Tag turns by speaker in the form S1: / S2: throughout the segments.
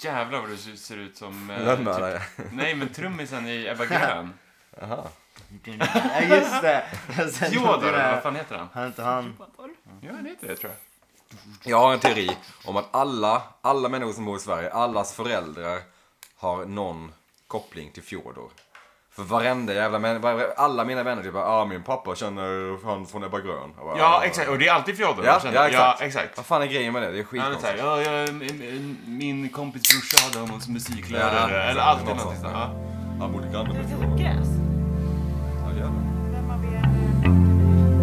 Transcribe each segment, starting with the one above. S1: Jävlar vad du ser- ser ut som... eh,
S2: Vem
S1: typ-
S2: är det?
S1: Nej, men trummisen i Ebba Grön.
S2: Jaha.
S3: Ja, just det. Sen
S1: Yoda,
S3: gjorde
S1: eller vad
S3: det.
S1: fan heter han?
S3: Han inte han.
S1: Ja, han heter det tror jag.
S2: Jag har en teori om att alla, alla människor som bor i Sverige, allas föräldrar har någon koppling till Fjodor. För varenda jävla människa, alla mina vänner typ bara, ah min pappa känner han från Ebba Grön. Jag bara,
S1: Ja,
S2: "Ah."
S1: exakt. Och det är alltid Fjodor.
S2: Ja,
S1: känner
S2: ja,
S1: jag.
S2: exakt.
S1: Ja, exakt.
S2: Vad fan är grejen med det? Det är
S1: Han är såhär,
S2: skitkonstigt.
S1: ja, jag, m- m- min kompis brorsa hade honom som musiklärare.
S2: Ja,
S1: eller
S2: exakt.
S1: alltid
S2: Något
S1: någonting
S2: sånt,
S1: sånt. Ja.
S2: Han bodde granne med
S4: Lite
S2: Fjodor.
S4: ogräs.
S2: Ja, jävlar.
S4: Vem av er...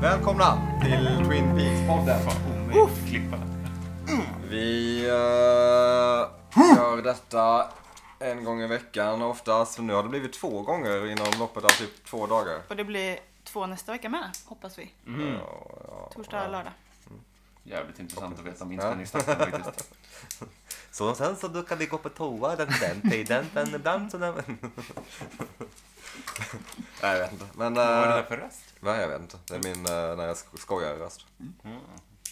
S2: Välkomna till Twin Peaks-podden.
S1: Omöjligt klippa.
S2: Vi eh, gör detta en gång i veckan oftast. Nu har det blivit två gånger inom loppet av typ två dagar.
S4: Och det blir två nästa vecka med, hoppas vi.
S2: Ja, ja.
S4: Torsdag och lördag.
S1: Jävligt intressant att veta om inspelningstakten faktiskt.
S2: Så sen så brukar vi gå på toa den, den tiden, men ibland så... Den... Nej, jag vet inte. Men...
S1: Vad är det där
S2: Uh,
S1: för röst?
S2: nej, jag vet inte. Det är min eh, när jag sk- skojar röst.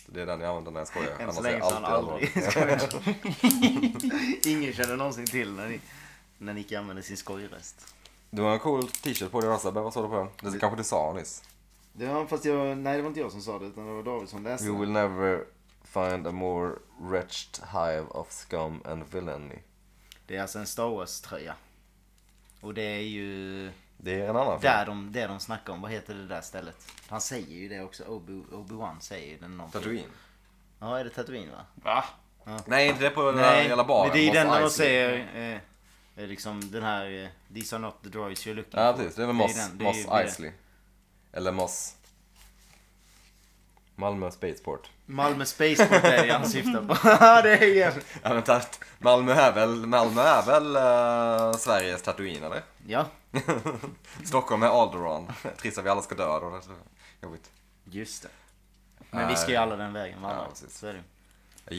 S2: Det är den jag använder när jag skojar.
S3: Än så
S2: är
S3: länge
S2: jag
S3: så han
S2: allvarlig.
S3: aldrig Ingen känner någonsin till när, ni, när Nicky använder sin skojröst.
S2: Du har en cool t-shirt på dig Lasse. Vad står det på den? Det kanske du sa nyss.
S3: Det var fast jag, nej det var inte jag som sa det utan det var David som läste.
S2: You will never find a more wretched hive of scum and villainy.
S3: Det är alltså en Star Wars tröja. Och det är ju
S2: Det är en annan
S3: där de, det de snackar om. Vad heter det där stället? Han säger ju det också. Obi- Obi-Wan säger ju det någonting.
S2: Tatooine?
S3: Ja är det Tatooine va?
S1: Va?
S2: Nej, inte det på den där jävla baren.
S3: men det är ju
S2: Mos
S3: den där de
S2: Eisley.
S3: säger eh, eh, liksom den här eh, These are not the droids you're looking
S2: Ja,
S3: for.
S2: precis. Det är väl
S3: ju
S2: Moss,
S3: den, det är
S2: Moss liksom.
S3: ju- det är det.
S2: Eisley. Eller Moss... Malmö Spaceport.
S3: Malmö Spaceport är det han syftar på. Ja, det är ju-
S2: Ja, men tack. Malmö är väl, Malmö är väl eh, Sveriges Tatooine, eller?
S3: ja,
S2: Stockholm är Alderaan. Trist att vi alla ska dö då. Det är så Jobbigt.
S3: just det. Men vi ska ju alla den vägen. Va?
S2: Ja, precis.
S3: så är det. ju.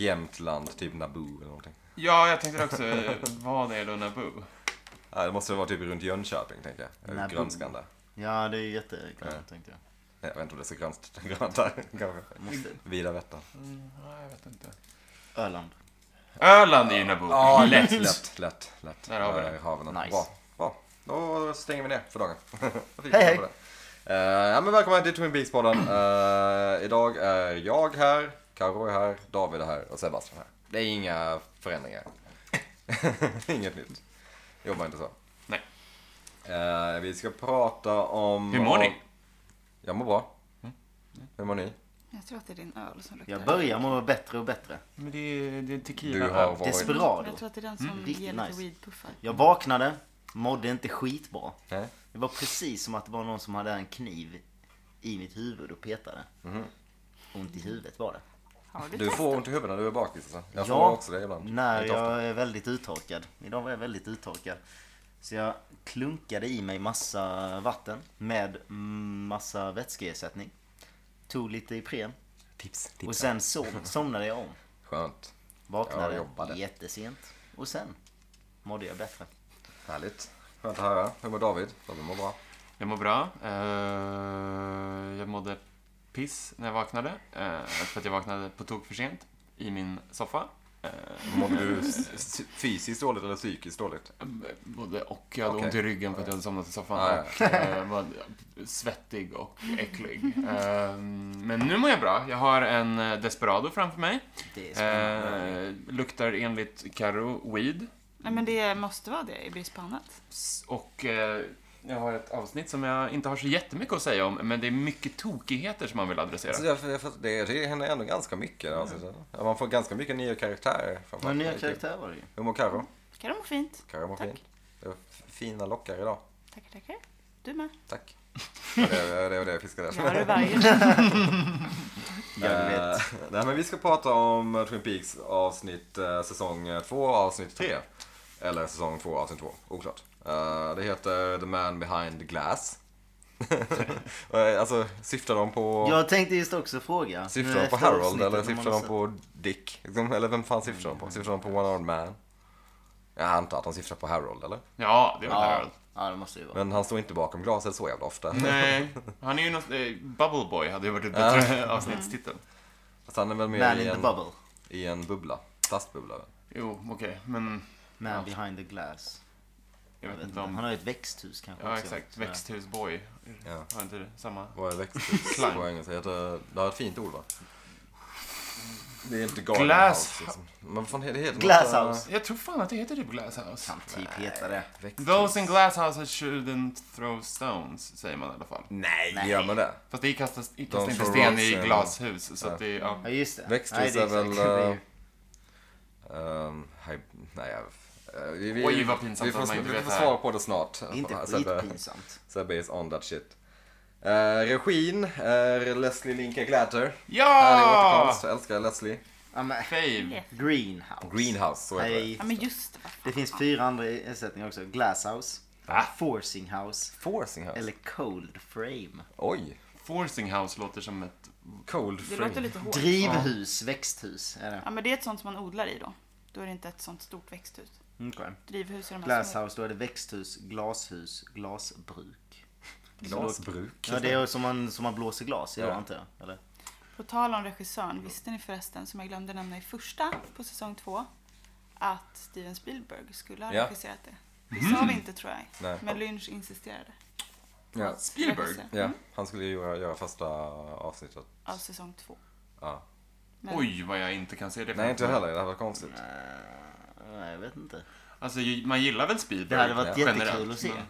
S2: Jämtland, typ Naboo eller någonting.
S1: Ja, jag tänkte också, eh, vad är då Naboo?
S2: Ja, det måste vara typ runt Jönköping, tänker jag.
S3: Naboo.
S2: Naboo. Grönskan där.
S3: Ja, det är ju jätteklart tänkte jag.
S2: Jag vet inte om det är så grönt, grönt där. Kanske.
S3: Måste,
S2: Vida Vättern.
S1: Nej, jag vet inte.
S3: Öland.
S1: Öland är ju Naboo.
S2: Ja, lätt, lätt, lätt, lätt.
S1: Där har vi det.
S2: Där har vi något.
S3: Nice.
S2: Bra, bra. Då stänger vi ner för dagen. Vad fint att
S3: Hej, hej.
S2: vara där. Eh, ja, men välkomna till Twin Peaks-podden. Eh, idag är jag här, Karo är här, David är här och Sebastian är här. Det är inga förändringar. Inget nytt. Jobbar inte så.
S1: Nej.
S2: Eh, vi ska prata om...
S1: Hur mår ni?
S2: Jag mår bra. Hur mår ni?
S4: Jag tror att det är din öl som luktar.
S3: Jag börjar må bättre och bättre.
S1: Men det är, det är tequila.
S2: Du har varit...
S3: Desperado.
S4: Mm, Jag tror att det är den som
S3: Mm, riktigt
S4: ger lite
S3: nice.
S4: weedpuffar.
S3: Jag vaknade, mådde inte skitbra.
S2: Nej.
S3: Det var precis som att det var någon som hade en kniv i mitt huvud och petade.
S2: Mhm.
S3: Ont i huvudet var det.
S4: Har
S2: Du
S4: du, testat?
S2: får ont i huvudet när du är bakis alltså. Jag
S3: Ja,
S2: får också det ibland.
S3: När
S2: Inte ofta.
S3: jag är väldigt uttorkad. Idag var jag väldigt uttorkad. Så jag klunkade i mig massa vatten med mm, massa vätskeersättning. Tog lite Ipren
S2: Tips,
S3: och
S2: tips.
S3: sen sov, somnade jag om.
S2: Skönt. Jag
S3: Vaknade
S2: jobbade.
S3: jättesent. Och sen mådde jag bättre.
S2: Härligt. Skönt att höra. Hur mår David? David mår bra.
S1: Jag mår bra. Eh, jag mådde piss när jag vaknade. eh, för att jag vaknade på tok för sent i min soffa. Eh,
S2: Mådde du s- s- fysiskt dåligt eller psykiskt dåligt?
S1: både och. Jag hade
S2: Okej.
S1: ont i ryggen för att jag hade somnat i soffan.
S2: Ah,
S1: och eh, var svettig och äcklig. Eh, men nu mår jag bra. Jag har en eh, Desperado framför mig.
S3: Det är spännande.
S1: Eh, luktar enligt Karo weed.
S4: Nej men det måste vara det i brist på annat.
S1: S- Och eh, jag har ett avsnitt som jag inte har så jättemycket att säga om, men det är mycket tokigheter som man vill adressera.
S2: Alltså, jag, jag, det, det händer ändå ganska mycket. Alltså. Ja, Man får ganska mycket nya karaktärer.
S3: Men
S2: framförallt.
S3: nya karaktärer var det ju.
S2: Hur mår Carro?
S4: Kan du må fint?
S2: Carro mår
S4: Tack.
S2: fint. Det var f- fina lockar idag.
S4: Tackar, tackar. Du med.
S2: Tack. Det var det, det, var det jag fiskade efter.
S4: Gör det varje.
S3: Ja, du vet.
S2: Eh, nej, men vi ska prata om eh, Twin Peaks avsnitt eh, säsong 2 avsnitt 3. Eller säsong 2 avsnitt 2, oklart. Eh, det heter The Man Behind Glass. Eh, alltså syftar de på,
S3: Jag tänkte just också fråga.
S2: syftar
S3: nu
S2: de på
S3: efter
S2: Harold
S3: eh, avsnittet,
S2: eller
S3: om man
S2: syftar
S3: har
S2: de
S3: sett- Mm.
S2: på Dick? Liksom, Eller vem fan syftar de på? Syftar de på One Armed Man? Jag antar att de syftar på Harold eller?
S1: Ja, det var
S3: Ja,
S1: Harold.
S3: ja, det måste ju vara.
S2: Men han står inte bakom glaset så jävla ofta.
S1: Nej, han är ju något... Eh, Bubble Boy hade ju varit ett bättre avsnittstitel.
S2: Fast han är väl mer
S3: Man
S2: i
S3: in the
S2: en,
S3: bubble.
S2: i en bubbla. Plastbubbla. väl?
S1: Jo, okej, men
S3: Man
S1: Ja.
S3: behind the glass.
S1: jag vet inte
S3: Mm. Han
S1: om...
S3: har ju ett växthus kanske
S1: Ja,
S3: också.
S1: exakt.
S3: Sådär.
S1: Växthusboy.
S2: Ja.
S1: Har inte det samma?
S2: Vad är växthus
S1: Klang.
S2: på engelska? Heter, det har ett fint ord va? Det är inte garden
S1: Glass-
S2: house, liksom. Men vad fan heter det? Heter
S3: Glass
S2: något,
S3: house.
S1: Jag tror fan att det heter typ Glass House.
S3: Kan typ heta det.
S2: äh, växthus.
S1: Those in glass houses shouldn't throw stones, säger man i alla fall.
S2: Nej,
S3: Nej.
S2: gör man det?
S1: Fast det kastas, det
S2: Don't
S1: kastas inte
S2: throw
S1: sten
S2: rocks,
S1: i
S2: eh,
S1: glashus, så
S2: ja.
S1: att det är... Ja.
S3: Ja, just det.
S2: Växthus
S3: Nej, det
S2: är väl, eh,
S3: exakt. Det är ju-
S2: Ehm, hej- nej, jag... eh, Vi,
S1: Oj, vad pinsamt
S2: vi får,
S1: att man inte
S2: vi
S1: vet
S2: får
S1: det här.
S2: svara på det snart.
S3: det är inte
S2: Sebbe-
S3: skitpinsamt.
S2: Sebbe is on that shit. Eh, regin är Leslie Linka Glatter.
S1: Ah!
S2: Härlig
S1: Ja!
S2: återkomst, jag älskar Leslie.
S3: Ja, men,
S1: Fave.
S3: greenhouse.
S2: Greenhouse, så heter det.
S3: Nej,
S4: Ja men just det. vad fan.
S3: det finns fyra andra ersättningar också. Glasshouse,
S2: Va?
S3: forcing house
S2: Forcing house.
S3: eller cold frame.
S2: Oj.
S1: Forcing House låter som ett...
S2: Cold
S4: Det
S2: frame.
S4: låter lite hårt.
S3: Drivhus, växthus är det.
S4: Ja men det är ett sånt som man odlar i då. Då är det inte ett sånt stort växthus.
S3: Okej.
S4: Drivhus är de här små.
S3: Glasshouse, då är det växthus, glashus, glasbruk.
S2: Glasbruk.
S3: Ja, det är som man, som man blåser glas i då
S2: Ja.
S3: antar jag. Eller?
S4: På tal om regissören, visste ni förresten, som jag glömde nämna i första på säsong två, att Steven Spielberg skulle ha
S2: Ja.
S4: regisserat det?
S1: Mhm.
S4: Det sa vi inte tror jag.
S2: Nej.
S4: Men Lynch insisterade.
S2: Ja.
S1: Spielberg.
S4: Regissör.
S2: Ja, han skulle ju göra, göra första avsnittet.
S4: Av säsong två.
S2: Ja.
S4: Men
S1: Oj, vad jag inte kan se det.
S2: Nej, inte jag heller. Det hade varit konstigt.
S3: Eh, nej, jag vet inte.
S1: Alltså, ju- man gillar väl
S3: Det
S1: Spielberg?
S3: hade varit
S2: Ja,
S3: jättekul
S1: generellt,
S3: att se.
S2: Mm.
S1: men-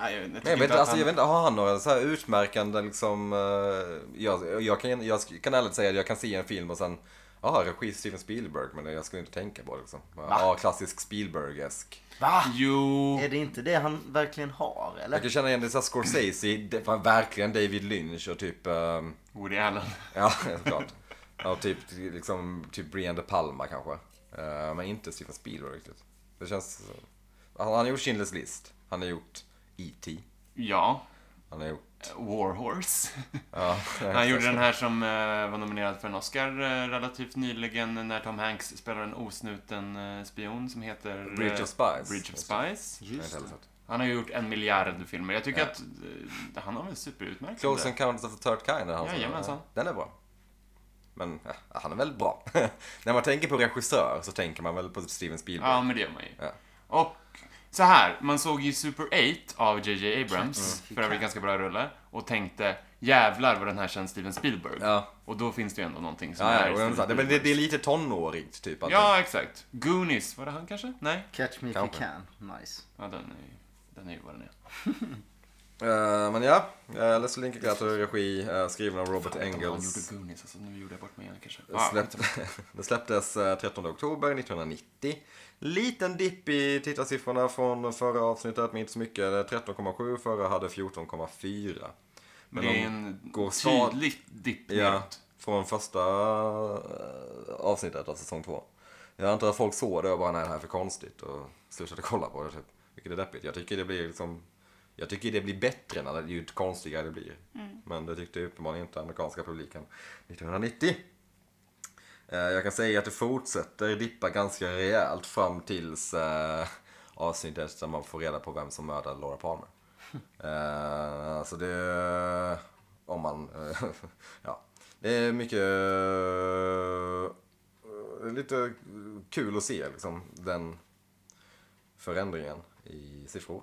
S1: Nej, jag, jag tycker
S2: Nej, jag vet,
S1: inte
S2: inte,
S1: att
S2: alltså, jag
S1: han...
S2: vet inte, har han några så här utmärkande liksom... eh, jag, jag, kan, jag sk- kan ärligt säga att jag kan se en film och sen... Ja, regi Steven Spielberg, men jag skulle inte tänka på det liksom. Ja, klassisk Spielberg-esk.
S3: Va?
S1: Jo...
S3: Är det inte det han verkligen har
S2: Jag
S3: eller?
S2: kan känna igen det såhär Scorsese, det var verkligen David Lynch och typ... ehm,
S1: Woody Allen.
S2: ja, såklart. Ja, typ, liksom, typ Brian De Palma kanske. Eh, men inte Steven Spielberg riktigt. Det känns... Han, han har gjort Schindler's List. Han har gjort E.T.
S1: Ja.
S2: Han har gjort...
S1: Warhorse.
S2: Ja,
S1: Han gjorde den här som eh, var nominerad för en Oscar eh, relativt nyligen när Tom Hanks spelar en osnuten eh, spion som heter... eh,
S2: Bridge of Spies.
S1: Bridge of Spies.
S3: Just det.
S1: Han har ju gjort en miljard filmer. Jag tycker
S2: Ja.
S1: att eh, han har väl superutmärkt
S2: Close
S1: det.
S2: Encounters of the Third Kind är han som-
S1: Jajamensan.
S2: Den är bra. Men eh, han är väl bra. När man tänker på regissör så tänker man väl på Steven Spielberg.
S1: Ja, men det gör man ju.
S2: Ja.
S1: Och så här, man såg ju Super 8 av JJ Abrams,
S3: Mm.
S1: för övrigt ganska bra rulle, och tänkte jävlar vad den här känns Steven Spielberg.
S2: Ja.
S1: Och då finns det ju ändå någonting som
S2: Ja,
S1: är
S2: ja, och jag menar, det, men det, det är lite tonårigt typ. att-
S1: Ja, exakt. Goonies, var det han kanske? Nej?
S3: Catch me if
S2: Kanske.
S3: you can. Nice.
S1: Ja, den är ju, den är ju vad den är.
S2: Eh, men ja, uh, Leslie Linklater regi, eh, skriven av Robert
S1: Han
S2: Engels.
S1: gjorde Goonies, alltså nu gjorde jag bort mig igen kanske.
S2: Det Släpp, det släpptes eh, 13 oktober 1990. Liten dipp i tittarsiffrorna från förra avsnittet, men inte så mycket. 13,7, förra hade 14,4.
S1: men det är
S2: de
S1: en
S2: går stad-
S1: tydlig dipp
S2: Ja,
S1: neråt.
S2: från första eh, avsnittet av säsong två. Jag antar att folk såg det och bara, nej det här är för konstigt och slutade kolla på det typ. Vilket är deppigt. Jag tycker det blir liksom, jag tycker det blir bättre när det, ju konstigare det blir. Men det tyckte uppenbarligen inte amerikanska publiken 1990. Eh, Jag kan säga att det fortsätter dippa ganska rejält fram tills eh, avsnittet där man får reda på vem som mördade Laura Palmer. Eh, alltså det... Om man... eh, ja. Det är mycket... eh, lite kul att se liksom den förändringen i siffror.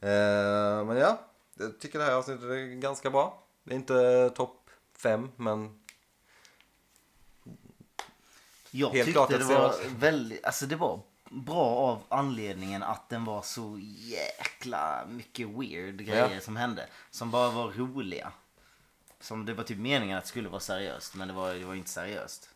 S2: Eh, men ja, jag tycker det här avsnittet är ganska bra. Det är inte topp fem, men
S3: Jag
S2: Helt
S3: tyckte
S2: klart att
S3: det
S2: det
S3: var
S2: var-
S3: väldigt, alltså det var bra av anledningen att den var så jäkla mycket weird grejer
S2: Ja.
S3: som hände. Som bara var roliga. Som det var typ meningen att det skulle vara seriöst men det var, det var inte seriöst.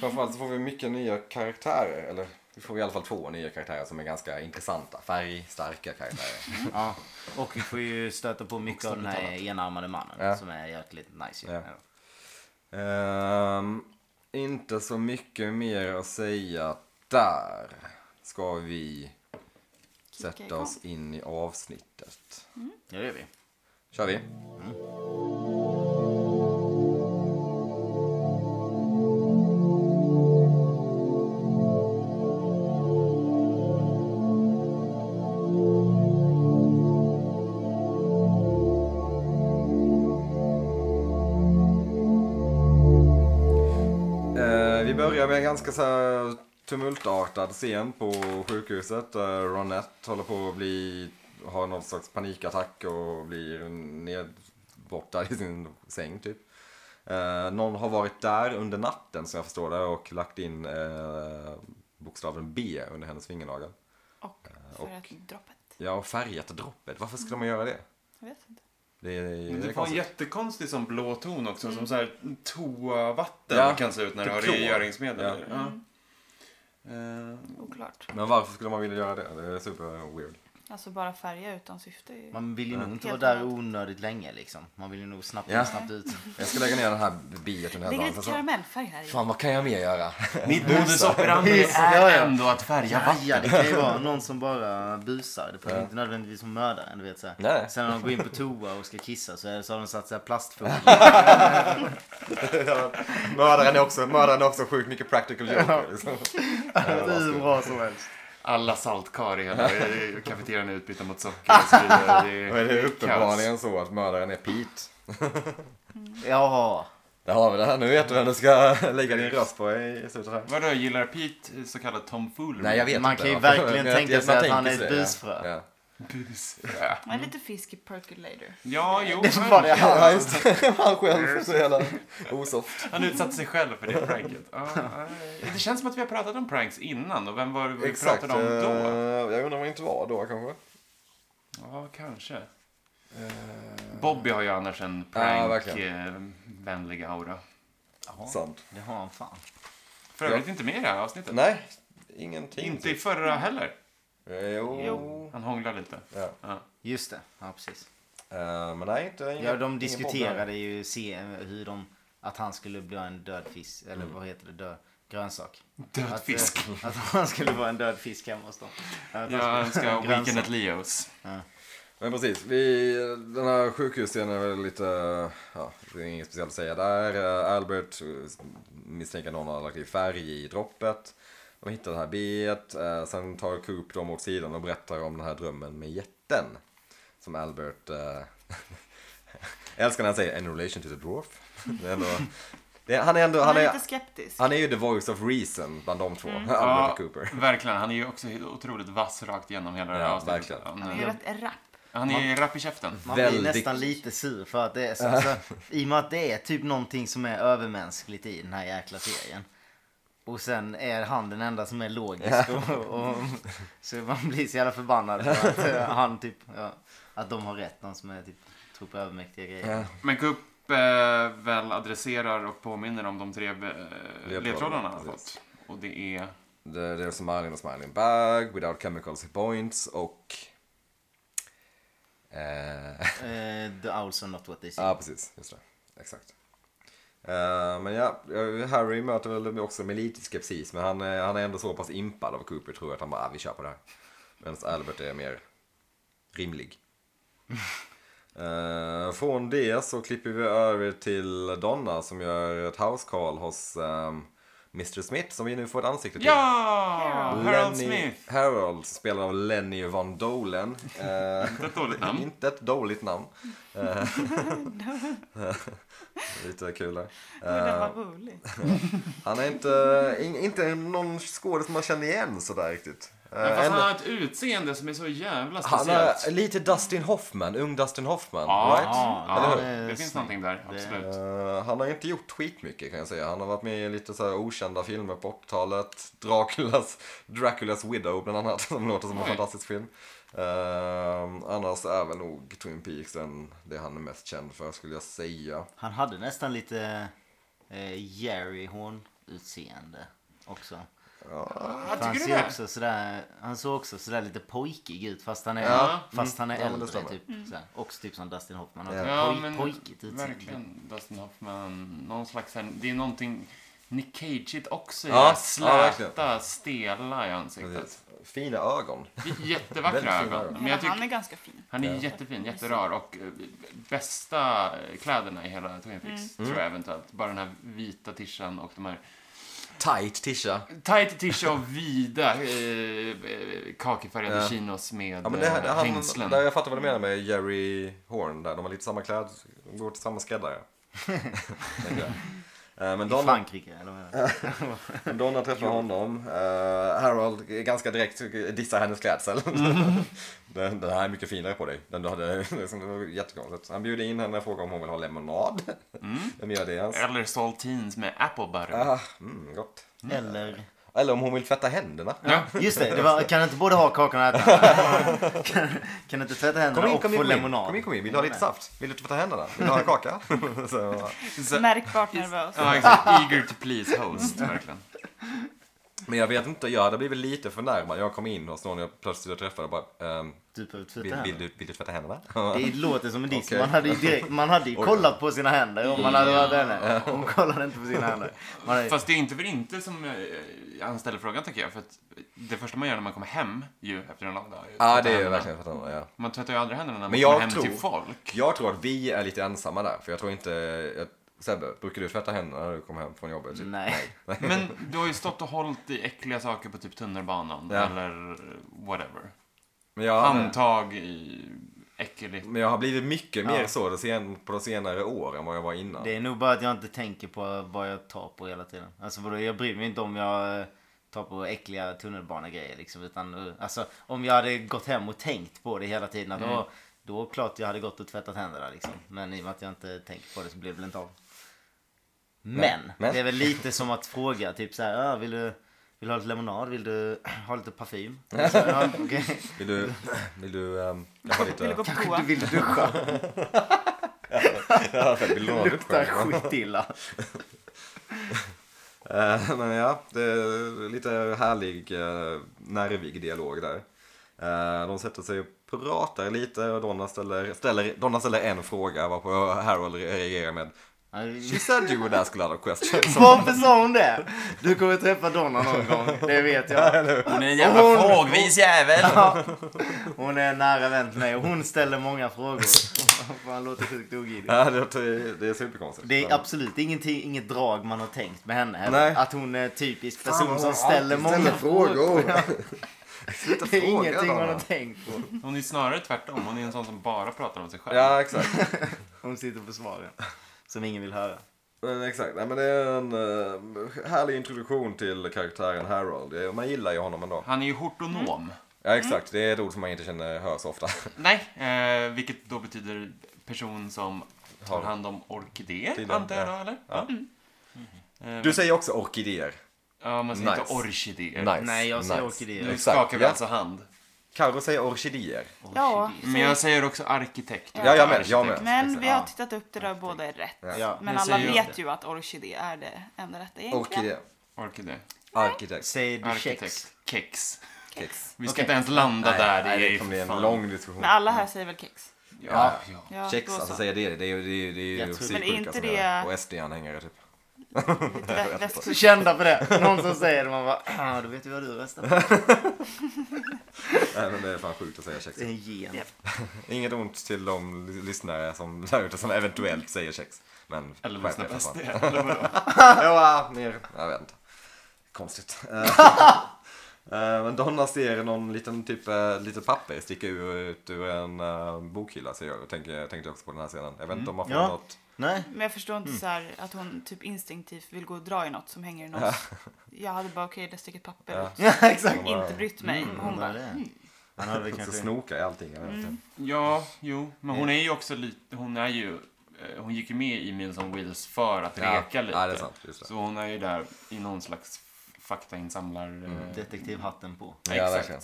S2: Framförallt så får vi mycket nya karaktärer, eller Vi får i alla fall två nya karaktärer som är ganska intressanta, färgstarka karaktärer.
S3: Ja. Och vi får ju stöta på mycket av den här enarmade mannen
S2: Ja.
S3: som är jäkligt nice ju.
S2: Ja. Ehm, inte så mycket mer att säga där. Ska vi
S4: Kicka
S2: sätta
S4: igång.
S2: oss in i avsnittet.
S3: Ja, det gör vi.
S2: Kör vi. Eh, vi börjar med en ganska så här tumultartad scen på sjukhuset. Eh, Ronette håller på att bli, har någon slags panikattack och blir nedbortad i sin säng typ. Eh, någon har varit där under natten som jag förstår det och lagt in eh, bokstaven B under hennes fingernagel.
S4: Och
S2: Eh, och-
S4: för att droppet.
S2: Ja, och färgat droppet. Varför skulle man göra det?
S4: Jag vet inte.
S2: Det är, det är
S1: Det får en
S2: konstigt.
S1: jättekonstig sån blå ton också, som så här toavatten
S2: Ja,
S1: kan se ut när du
S2: typ
S1: har
S2: klor.
S1: rengöringsmedel
S2: Ja.
S1: i. Ja. Eh,
S4: Oklart.
S2: Men varför skulle man vilja göra det? Det är super weird.
S4: Alltså bara färga utan syfte. är ju-
S3: Man vill ju nog inte vara
S4: Helt
S3: där
S4: annat.
S3: onödigt länge liksom. Man vill ju nog snabbt in,
S2: Ja.
S3: snabbt ut.
S2: Jag ska lägga ner den här biet under den
S4: Lägger
S2: här
S4: lite
S2: dagen. Sen
S4: karamellfärg här i.
S2: så- Fan, vad kan jag mer göra?
S1: Mitt modus operandi
S3: Hissa, ja, ja.
S1: är ändå att färga
S3: Ja,
S1: vatten.
S3: ja, det kan ju vara någon som bara busar. Det behöver inte nödvändigtvis vara mördaren, du vet så här.
S2: Nej.
S3: Sen när de går in på toa och ska kissa så, är, så har de satt så här plastfolie.
S2: mördaren, är också, mördaren är också sjukt mycket practical joker. Liksom.
S3: Det är hur bra som helst.
S1: Alla saltkar i hela kafeterian är utbytta mot socker och så vidare. Det
S2: Och det är
S1: kaos.
S2: uppenbarligen så att mördaren är Pete.
S3: Jaha.
S2: Där har vi det här. Nu vet du vem du ska lägga din röst på i slutet här.
S1: Vadå, gillar Pete så kallad tomfoolery?
S2: Nej, jag vet
S3: Man
S2: inte.
S3: kan ju
S2: varför.
S3: verkligen
S2: Men jag-
S3: tänka
S2: jag-
S3: sig
S2: man
S3: att han
S2: tänker
S3: är ett
S2: sig det.
S3: busfrö.
S2: Ja.
S1: Bus. Ja.
S4: Man är lite fisk i percolator.
S1: Ja, jo.
S3: Det var det
S2: Ja,
S3: han.
S2: just det. Han själv. Så jävla osoft.
S1: Han utsatte sig själv för det pranket. Ja, ja. det känns som att vi har pratat om pranks innan och vem var det vi
S2: Exakt.
S1: pratade om då?
S2: eh, Jag undrar om det inte var då kanske.
S1: Ja, kanske. Bobby har ju annars en
S2: eh, Ja, verkligen.
S1: prankvänlig aura.
S2: Sant.
S3: Det har han fan.
S1: För övrigt inte med i det här avsnittet.
S2: Nej, ingenting.
S1: Inte i förra heller.
S2: Eh, Jo.
S4: Jo.
S1: Han hånglar lite.
S2: Ja.
S1: Ja.
S3: Just det, ja precis.
S2: Eh, Men nej, inte ingen-
S3: Ja, de
S2: ingen podd
S3: diskuterade ju se hur de, att han skulle bli en död fisk, eller
S2: Mm.
S3: vad heter det, död grönsak.
S1: Död
S3: Att,
S1: fisk.
S3: eh, Att han skulle vara en död fisk hemma hos dem.
S1: Jag
S3: Att han skulle vara
S1: önskar
S3: en grönsak.
S1: Weekend at Leos.
S2: Men precis, vi, den här sjukhusscenen är väl lite, ja, det är inget speciellt att säga där. Eh, Albert eh, misstänker att någon har lagt i färg i droppet. De hittar det här bet, eh, sen tar Coop dem åt sidan och berättar om den här drömmen med jätten. Som Albert, eh, jag älskar när han säger in relation to the dwarf. Det är ändå, det, är- han är ändå,
S4: Han
S2: han
S4: är
S2: är, Mm.
S4: lite skeptisk.
S2: han är ju the voice of reason bland de två, Albert och Cooper.
S1: verkligen. Han är ju också otroligt vass rakt igenom hela det här
S2: Ja,
S1: avsnittet.
S2: verkligen.
S1: Han
S4: Han
S1: är,
S4: är rätt rapp.
S1: han är rapp i käften.
S3: Man blir
S2: Väldigt-
S3: nästan lite sur för att det är så, så, I och med att det är typ någonting som är övermänskligt i den här jäkla serien. Och sen är han den enda som är logisk. Och, och, så man blir så jävla förbannad för att eh, han typ, ja, att de har rätt. De som är typ, tror på övermäktiga grejer.
S2: Ja.
S1: Men Kupp eh, väl adresserar och påminner om de tre eh, ledtrådarna han har
S2: precis.
S1: fått. Och det är...
S2: Det, det är smiling och smiling bag, without chemicals and points och... Eh,
S3: Eh, the owls are not what they
S2: ja,
S3: seem.
S2: precis. Just det. Exakt. Eh, men ja, eh, Harry möter väl också med lite skepsis, men han, är- han är ändå så pass impad av Cooper tror jag att han bara, ah, vi kör på det här. Medan Albert är mer rimlig. Eh, från det så klipper vi över till Donna som gör ett house call hos ehm, Mr Smith som vi nu får ett ansikte till.
S1: Ja!
S4: Harold.
S1: Harold
S2: Lenny
S1: Smith.
S2: Harold, spelad av Lenny Van Dolen. Eh,
S1: Inte ett dåligt namn.
S2: inte ett dåligt namn. Eh, Lite kul där.
S4: Men den var
S2: Eh,
S4: rolig.
S2: han är inte, in, inte någon skådespelare som man känner igen sådär riktigt. Eh,
S1: Men fast
S2: en-
S1: han har ett utseende som är så jävla
S2: han
S1: speciellt.
S2: är lite Dustin Hoffman, ung Dustin Hoffman.
S1: Ja,
S2: right?
S1: ja,
S2: Eller
S1: det,
S2: hur?
S3: hur?
S1: finns någonting där,
S3: Det-
S1: absolut.
S2: Eh, han har inte gjort skitmycket kan jag säga. Han har varit med i lite så här okända filmer på 80-talet. Draculas, Draculas Widow bland annat, som låter som en
S1: Oj.
S2: fantastisk film. Eh, annars är väl nog Twin Peaks den, det han är mest känd för skulle jag säga.
S3: Han hade nästan lite eh, Jerry Horn utseende också.
S1: Ah,
S3: För Han
S1: tycker du
S3: ser
S1: det?
S3: också sådär, han såg också sådär lite pojkig ut fast han är,
S1: Ja.
S3: fast han är
S2: Ja, men det
S3: äldre
S2: stämmer.
S3: typ. Såhär. Också typ som Dustin Hoffman. har
S2: Ja.
S3: ett
S1: Mm. Ja,
S3: poj-
S1: men
S3: pojkigt utseende.
S1: verkligen Dustin Hoffman. Någon slags, här- det är någonting Nick Cage-igt också i
S2: Ja,
S1: det här
S2: ja,
S1: släta,
S2: verkligen.
S1: stela i ansiktet.
S2: Precis. Fina ögon.
S1: Jättevackra
S2: Väldigt fina
S1: ögon.
S2: ögon.
S1: Men jag tycker,
S4: Han är ganska fin.
S1: han är jättefin, jätterar och eh, bästa eh, kläderna i hela Twin Peaks, tror
S2: Mm.
S1: jag eventuellt. Bara den här vita tishan och de här
S2: Tight tisha.
S1: tight tisha och vida eh, eh, kakifärgade
S2: Ja.
S1: chinos med
S2: Ja, men det, det,
S1: eh,
S2: han,
S1: hängslen.
S2: där jag fattar vad du menar med Jerry Horn där. De har lite samma kläder, de går till samma skräddare. Tänker jag. Eh, Men
S3: I
S2: Donna,
S3: Frankrike eller vad är det?
S2: Donna träffar honom. Eh, Harold ganska direkt dissar hennes klädsel. den, den här är mycket finare på dig. Den du hade, liksom, det var jättekonstigt. Han bjuder in henne och frågar om hon vill ha lemonad. Vem gör det ens?
S1: Eller saltines med apple butter.
S2: Ah, mm, gott.
S3: Eller...
S2: Eller om hon vill tvätta händerna.
S1: Ja.
S3: Just det, det var, kan du inte både ha kakan och äta? den? Kan, kan du inte tvätta händerna
S2: Kom in,
S3: och
S2: kom
S3: få
S2: in, kom in.
S3: lemonad?
S2: Kom in, kom in. Vill du ha lite saft? Vill du tvätta händerna? Vill du ha en kaka? Så jag bara-
S1: Så-
S4: Märkbart nervös.
S1: Ja, exakt. Eager to please host,
S2: Mm.
S1: verkligen.
S2: Men jag vet inte, jag hade blivit lite förnärmad. Jag kom in hos någon jag plötsligt jag träffade och bara ehm,
S3: Du behöver Typ tvätta
S2: vill,
S3: händerna.
S2: vill, du, vill du tvätta händerna?
S3: Det låter som en diss.
S2: Okej.
S3: Man hade ju direkt, man hade ju
S2: Oj.
S3: kollat på sina händer om man hade varit henne. Hon kollade inte på sina händer. Man hade,
S1: Fast det är inte för inte som eh, han ställer frågan, tycker jag. För att det första man gör när man kommer hem, ju efter en lång dag, ju
S2: Ja,
S1: tvätta
S2: det är ju
S1: händerna.
S2: verkligen tvätta händerna, ja.
S1: Man tvättar ju aldrig händerna när man
S2: Men
S1: kommer
S2: jag
S1: hem
S2: tror-
S1: till folk.
S2: Jag tror att vi är lite ensamma där, för jag tror inte... Jag, Sebbe, brukar du tvätta händerna när du kommer hem från jobbet?
S4: Mm.
S2: Typ?
S3: nej.
S1: Men du har ju stått och hållit i äckliga saker på typ tunnelbanan
S2: Ja.
S1: eller whatever.
S2: Men jag,
S1: Handtag i äckligt.
S2: men jag har blivit mycket mer
S3: Ja.
S2: så de sen, på de senare åren än vad jag var innan.
S3: Det är nog bara att jag inte tänker på vad jag tar på hela tiden. Alltså vadå, jag bryr mig inte om jag eh, tar på äckliga tunnelbanegrejer liksom. Utan, eh, alltså om jag hade gått hem och tänkt på det hela tiden. Att, åh, då klart jag hade gått och tvättat händerna liksom. Men i och med att jag inte tänker på det så blev det väl inte av. Men,
S2: men-
S3: det är väl lite som att fråga typ så här, "Ah, vill du, vill du ha lite lemonad? Vill du ha lite parfym? Så, "Ja, okej."
S2: Vill du... Vill du... Um, jag har
S4: Vill du gå
S2: lite...
S4: på toa?
S3: Vill du duscha?
S2: Ja, vill du ha en dusch
S3: Luktar
S2: själv?
S3: skitilla.
S2: Eh, Men ja, det är lite härlig, eh, nervig dialog där. Eh, De sätter sig och pratar lite och Donna ställer, ställer, Donna ställer en fråga varpå Harold reagerar med She said you would ask a lot of questions.
S3: Varför sa hon det? Du kommer träffa Donna någon gång, det vet jag.
S1: Hon är en
S3: jävla Hon-
S1: fågvis jävel!
S3: Ja. Hon är en nära vän till mig och hon ställer många frågor. Han låter sjukt ogidig.
S2: Ja, det, är- det är superkonstigt.
S3: Det är
S2: Men-
S3: absolut ingenting, inget drag man har tänkt med henne heller.
S2: Nej.
S3: Att hon är en typisk
S2: Fan,
S3: person
S2: hon
S3: som
S2: alltid
S3: ställer många frågor.
S2: Sluta
S3: Det är
S2: fråga,
S3: ingenting man
S2: Donna.
S3: har tänkt på.
S1: Hon är snarare tvärtom. Hon är en sån som bara pratar om sig själv.
S2: Ja, exakt.
S3: Hon sitter på svaren. Som ingen vill höra.
S2: Men exakt, nej, men det är en eh, härlig introduktion till karaktären Harold. Eh, Man gillar ju honom ändå.
S1: Han är ju hortonom.
S2: Ja,
S4: Mm.
S2: exakt. Det är ett ord som man inte känner hör så ofta.
S1: Nej, eh, vilket då betyder person som tar
S2: Har-
S1: hand om orkidéer,
S2: Tydligen,
S1: antar jag
S2: ja.
S1: då, eller?
S2: Ja.
S1: Eh,
S2: Du säger också orkidéer.
S1: ja, man säger inte
S2: Nice.
S1: orkidéer.
S2: Nice.
S3: Nej, jag säger
S2: nice.
S3: orkidéer.
S1: Nu
S2: Exakt,
S1: skakar vi
S2: ja.
S1: alltså hand.
S2: Carro säger orkidéer.
S4: Ja,
S1: Men jag säger också arkitekt.
S2: Ja, jag med. Jag
S1: Arkitekt.
S2: med.
S4: Men vi
S3: Ja.
S4: har tittat upp det där och båda är rätt.
S3: Ja.
S4: Men
S1: Jag
S4: alla
S1: säger
S4: vet ju att orkidé är det enda rätta egentligen.
S2: Orkidé.
S1: Orkidé.
S2: Arkitekt.
S3: Säger du kex?
S1: Arkitekt. Kex.
S2: Kex.
S1: Vi ska
S3: Okej.
S1: inte ens landa där.
S2: Nej, det
S1: ju
S2: kommer bli
S1: fan-
S2: en lång diskussion.
S4: Men alla här säger väl kex?
S1: Ja, ja.
S4: Ja,
S2: Mm. Kex,
S4: då
S2: alltså
S4: så.
S2: säger det. Det är ju- det är ju- det är
S3: Jag
S2: ju
S3: tror-
S4: Men är
S2: psyksjuka
S4: inte
S2: som är
S4: det-
S2: Och SD-anhängare typ.
S4: Lite vä- väst-
S3: Så kända för det. Någon som säger det, man bara, ah, då vet vi vad du röstar på.
S2: Nej, men det är fan sjukt att säga kex.
S3: Det är en gen.
S4: Japp.
S2: Inget ont till de l- lyssnare som, där ute som eventuellt säger kex. Men
S1: Eller
S2: skärp er
S1: lyssna på
S2: för
S1: SD.
S2: fan.
S1: eller vadå?
S2: Ja, mer. Jag vet inte. Konstigt. Eh, eh, Men Donna ser någon liten typ, eh, lite papper sticka ut ur en eh, bokhylla ser jag och tänker, tänkte också på den här scenen. Jag vet inte om man får
S1: Mm.
S3: Ja.
S2: något.
S3: Nej.
S4: Men jag förstår inte
S2: Mm.
S4: så här att hon typ instinktivt vill gå och dra i något som hänger i någons... Jag hade bara okej, där sticker ett papper ut.
S3: Ja, exakt.
S4: Inte brytt mig. Hon
S3: Undrar
S4: bara,
S3: det. Han hade väl
S2: Så
S3: kanske...
S2: snoka i allting. Jag vet inte.
S1: Ja, jo. Men
S2: Mm.
S1: hon är ju också lite... Hon är ju... eh, Hon gick ju med i Meals on Wheels för att
S2: Ja.
S1: leka lite.
S2: Ja, det är sant. Just det.
S1: Så hon är ju där i någon slags faktainsamlar... eh,
S3: Detektivhatten på.
S1: ja,
S2: Mm. Ja,
S1: exakt.
S2: verkligen.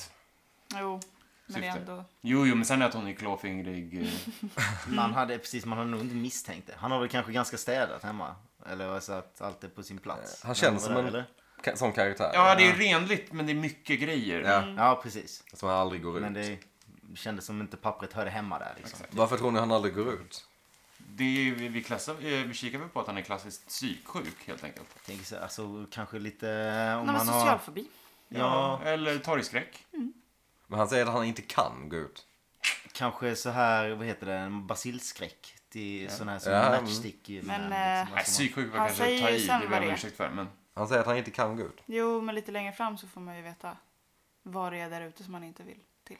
S4: jo, men det är
S1: Syfte.
S4: ändå...
S1: Jo, jo, men sen att hon är klåfingrig. eh,
S3: Man hade precis, man hade nog inte misstänkt det. Han har väl kanske ganska städat hemma. Eller så alltså att allt är på sin plats.
S2: Han känns
S3: När
S2: som
S3: var
S2: en-
S3: där, eller?
S2: ka- sån karaktär.
S1: Ja, det är ju renligt, men det är mycket grejer.
S2: Ja,
S3: Ja, precis.
S2: Som han aldrig går ut.
S3: Men det kändes som inte pappret hörde hemma där liksom.
S2: Varför tror ni han aldrig går ut?
S1: Det är, ju- vi, klassar, eh, vi kikar väl på att han är klassiskt psyksjuk, helt enkelt.
S3: Tänk så, alltså kanske lite om
S4: Han har
S3: man har...
S4: social fobi.
S3: Ja,
S1: Eller torgskräck.
S4: Mm.
S2: Men han säger att han inte kan gå ut.
S3: kanske så här, vad heter det, en basilskräck. Till sån här som
S2: Ja, mm.
S3: matchstick. i den
S4: Men,
S3: här,
S4: eh,
S1: Nej,
S3: liksom, att
S1: psyksjuk var
S4: Han
S1: kanske
S4: säger
S1: ta
S4: ju
S1: i, det
S4: sen
S1: ber
S4: vad
S1: jag om
S4: det är.
S1: ursäkt för. Men
S2: Han säger att han inte kan gå ut.
S4: Jo, men lite längre fram så får man ju veta vad det är där ute som man inte vill till.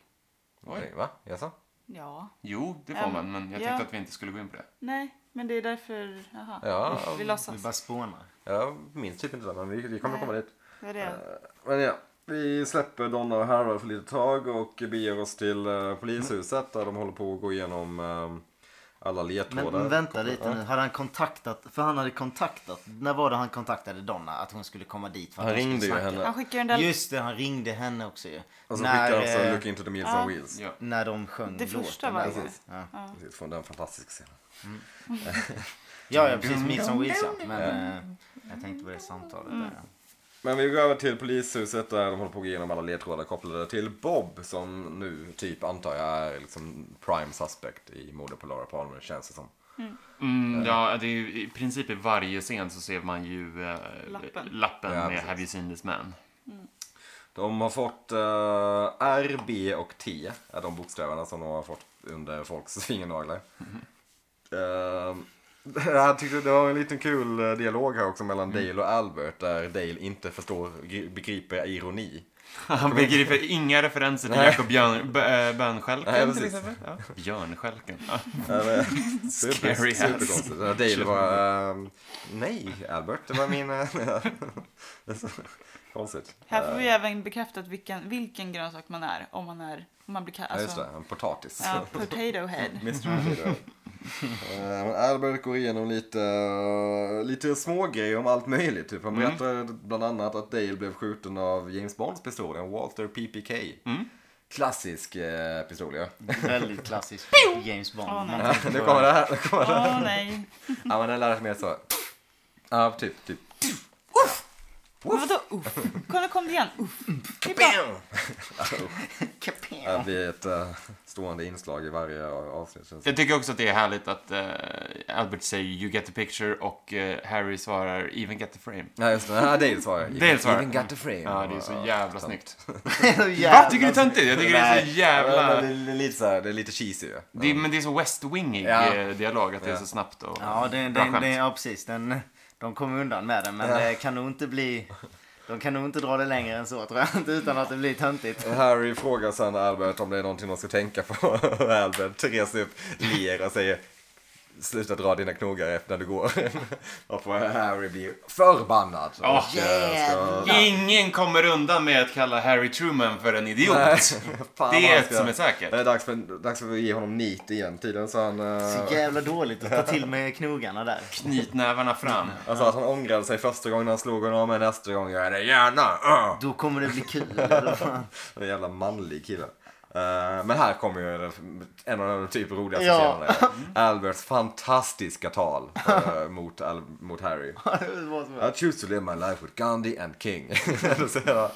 S1: Oj.
S2: Okej, va? Jaså?
S4: Ja.
S1: jo, det får
S4: Ja,
S1: man. Men jag
S4: ja.
S1: tänkte att vi inte skulle gå in på det.
S4: Nej, men det är därför... Jaha.
S2: Ja,
S4: Vi
S3: man- Vi
S4: låtsas.
S3: bara spånar.
S2: jag minns typ inte det, men vi, vi kommer
S4: Nej.
S2: komma dit.
S4: Det är det.
S2: Men ja, vi släpper Donna och Harold för lite tag och beger oss till eh, polishuset där de håller på att gå igenom eh, alla
S3: Men,
S2: ledtrådar.
S3: men vänta lite nu, hade han kontaktat, för han hade kontaktat, när var det han kontaktade Donna att hon skulle komma dit för att
S2: Han
S3: de skulle
S2: ringde ju
S3: snacka?
S2: henne.
S4: Han skickar ju en del...
S3: Just det, han ringde henne också ju.
S2: Och så skickar
S3: när,
S2: han
S1: alltså
S2: också
S3: eh,
S2: Look into the Meals on Wheels.
S1: Ja.
S3: när de sjöng
S4: Det första
S3: låten.
S4: var
S3: där.
S4: ju...
S3: Ja.
S2: Precis, Från den fantastiska scenen.
S3: Ja, ja precis. Meals on Wheels ja.
S4: Mm.
S3: Men eh, jag tänkte på det samtalet där.
S2: Men vi går över till polishuset där de håller på att gå igenom alla ledtrådar kopplade till Bob som nu typ antar jag är liksom prime suspect i mordet på Laura Palmer känns det som.
S1: Mm, ja, det är ju, i princip i varje scen så ser man ju eh,
S4: Lappen.
S1: lappen
S2: Ja,
S1: med
S2: precis.
S1: Have you seen this man?
S2: De har fått eh, R, B och T är de bokstäverna som de har fått under folks fingernaglar. Eh, jag tyckte det var en liten kul eh, dialog här också mellan
S1: Mm.
S2: Dale och Albert där Dale inte förstår, gri- begriper ironi.
S1: Han begriper inga referenser till Jakob Björn, b- eh,
S2: Nej,
S1: Bönstjälken
S2: precis.
S1: till exempel. Ja. Björnstjälken. Ja.
S2: Eh, Eller- Super,
S1: Scary ass.
S2: superkonstigt. Ja, Dale bara, ehm, nej Albert, det var min... eh, det är så Konstigt.
S4: Här får vi även bekräftat vilken, vilken grönsak man är om man är... Om man blir kall.
S2: Ja, just det,
S4: Alltså,
S2: en potatis.
S4: ja, potato head.
S2: Eh, Men Albert går igenom lite, eh, lite smågrejer om allt möjligt. Typ. Han
S1: Mm.
S2: berättar bland annat att Dale blev skjuten av James Bonds pistol, en Walter PPK.
S1: Mm.
S2: Klassisk eh, pistol ja.
S3: Väldigt klassisk James Bond.
S4: Åh, Mm. nej.
S3: Man
S2: Ja,
S3: tänker
S2: nu
S3: på-
S2: kommer det här. Nu kommer det.
S4: Åh
S2: här.
S4: nej.
S2: Ja, men den lär sig mer så. Ja, typ. typ.
S4: Men vadå uff? Kolla, kom det igen. Uff. Det är bra.
S2: Bam!
S3: Kapel.
S2: Det blir ett eh, stående inslag i varje avsnitt. känns det.
S1: Jag tycker också att det är härligt att eh, Albert säger you get the picture och eh, Harry svarar even get the frame.
S2: Ja, just det. Ja, Dale svarar.
S1: Dale svarar.
S2: Even got the frame.
S1: Ja, det är så jävla snyggt.
S3: Jävlar.
S1: Va? Tycker du det är töntigt? Jag tycker det är så
S3: Nej.
S2: Ja,
S1: jävla...
S2: men Det är lite så här, det är lite cheesy ju.
S1: Det, är- men det är så West Wingig
S2: Ja.
S1: eh, dialog, att det är
S2: Ja.
S1: så snabbt och
S3: Ja, det,
S1: bra
S3: det,
S1: skämt.
S3: det, ja precis. Den, de kommer undan med den men det kan nog inte bli... De kan nog inte dra det längre än så tror jag. inte, Utan att det blir töntigt.
S2: Harry frågar sen Albert om det är någonting de ska tänka på. Albert reser upp, ler och säger Sluta dra dina knogar efter när du går. Varpå Harry blir förbannad.
S1: Åh,
S2: Och, eh, ska-
S1: Ingen kommer undan med att kalla Harry Truman för en idiot.
S2: Nej,
S1: Det
S2: fan vad
S1: är
S2: han
S1: ett
S2: ska-
S1: som är säkert.
S2: Det är dags för, dags för att ge honom nit igen tydligen. Så han, eh,
S3: Så jävla dåligt att ta till med knogarna där.
S1: Knytnävarna fram.
S2: alltså att han ångrade sig första gången han slog honom men nästa gång gör jag det gärna. Uh.
S3: Då kommer det bli kul. Då-
S2: En jävla manlig kille. Eh, men här kommer ju den- en av de typ roligaste
S3: Ja.
S2: scenerna. Alberts fantastiska tal eh, mot, Al- mot Harry.
S3: det var så-
S2: I choose to live my life with Gandhi and King. Så jag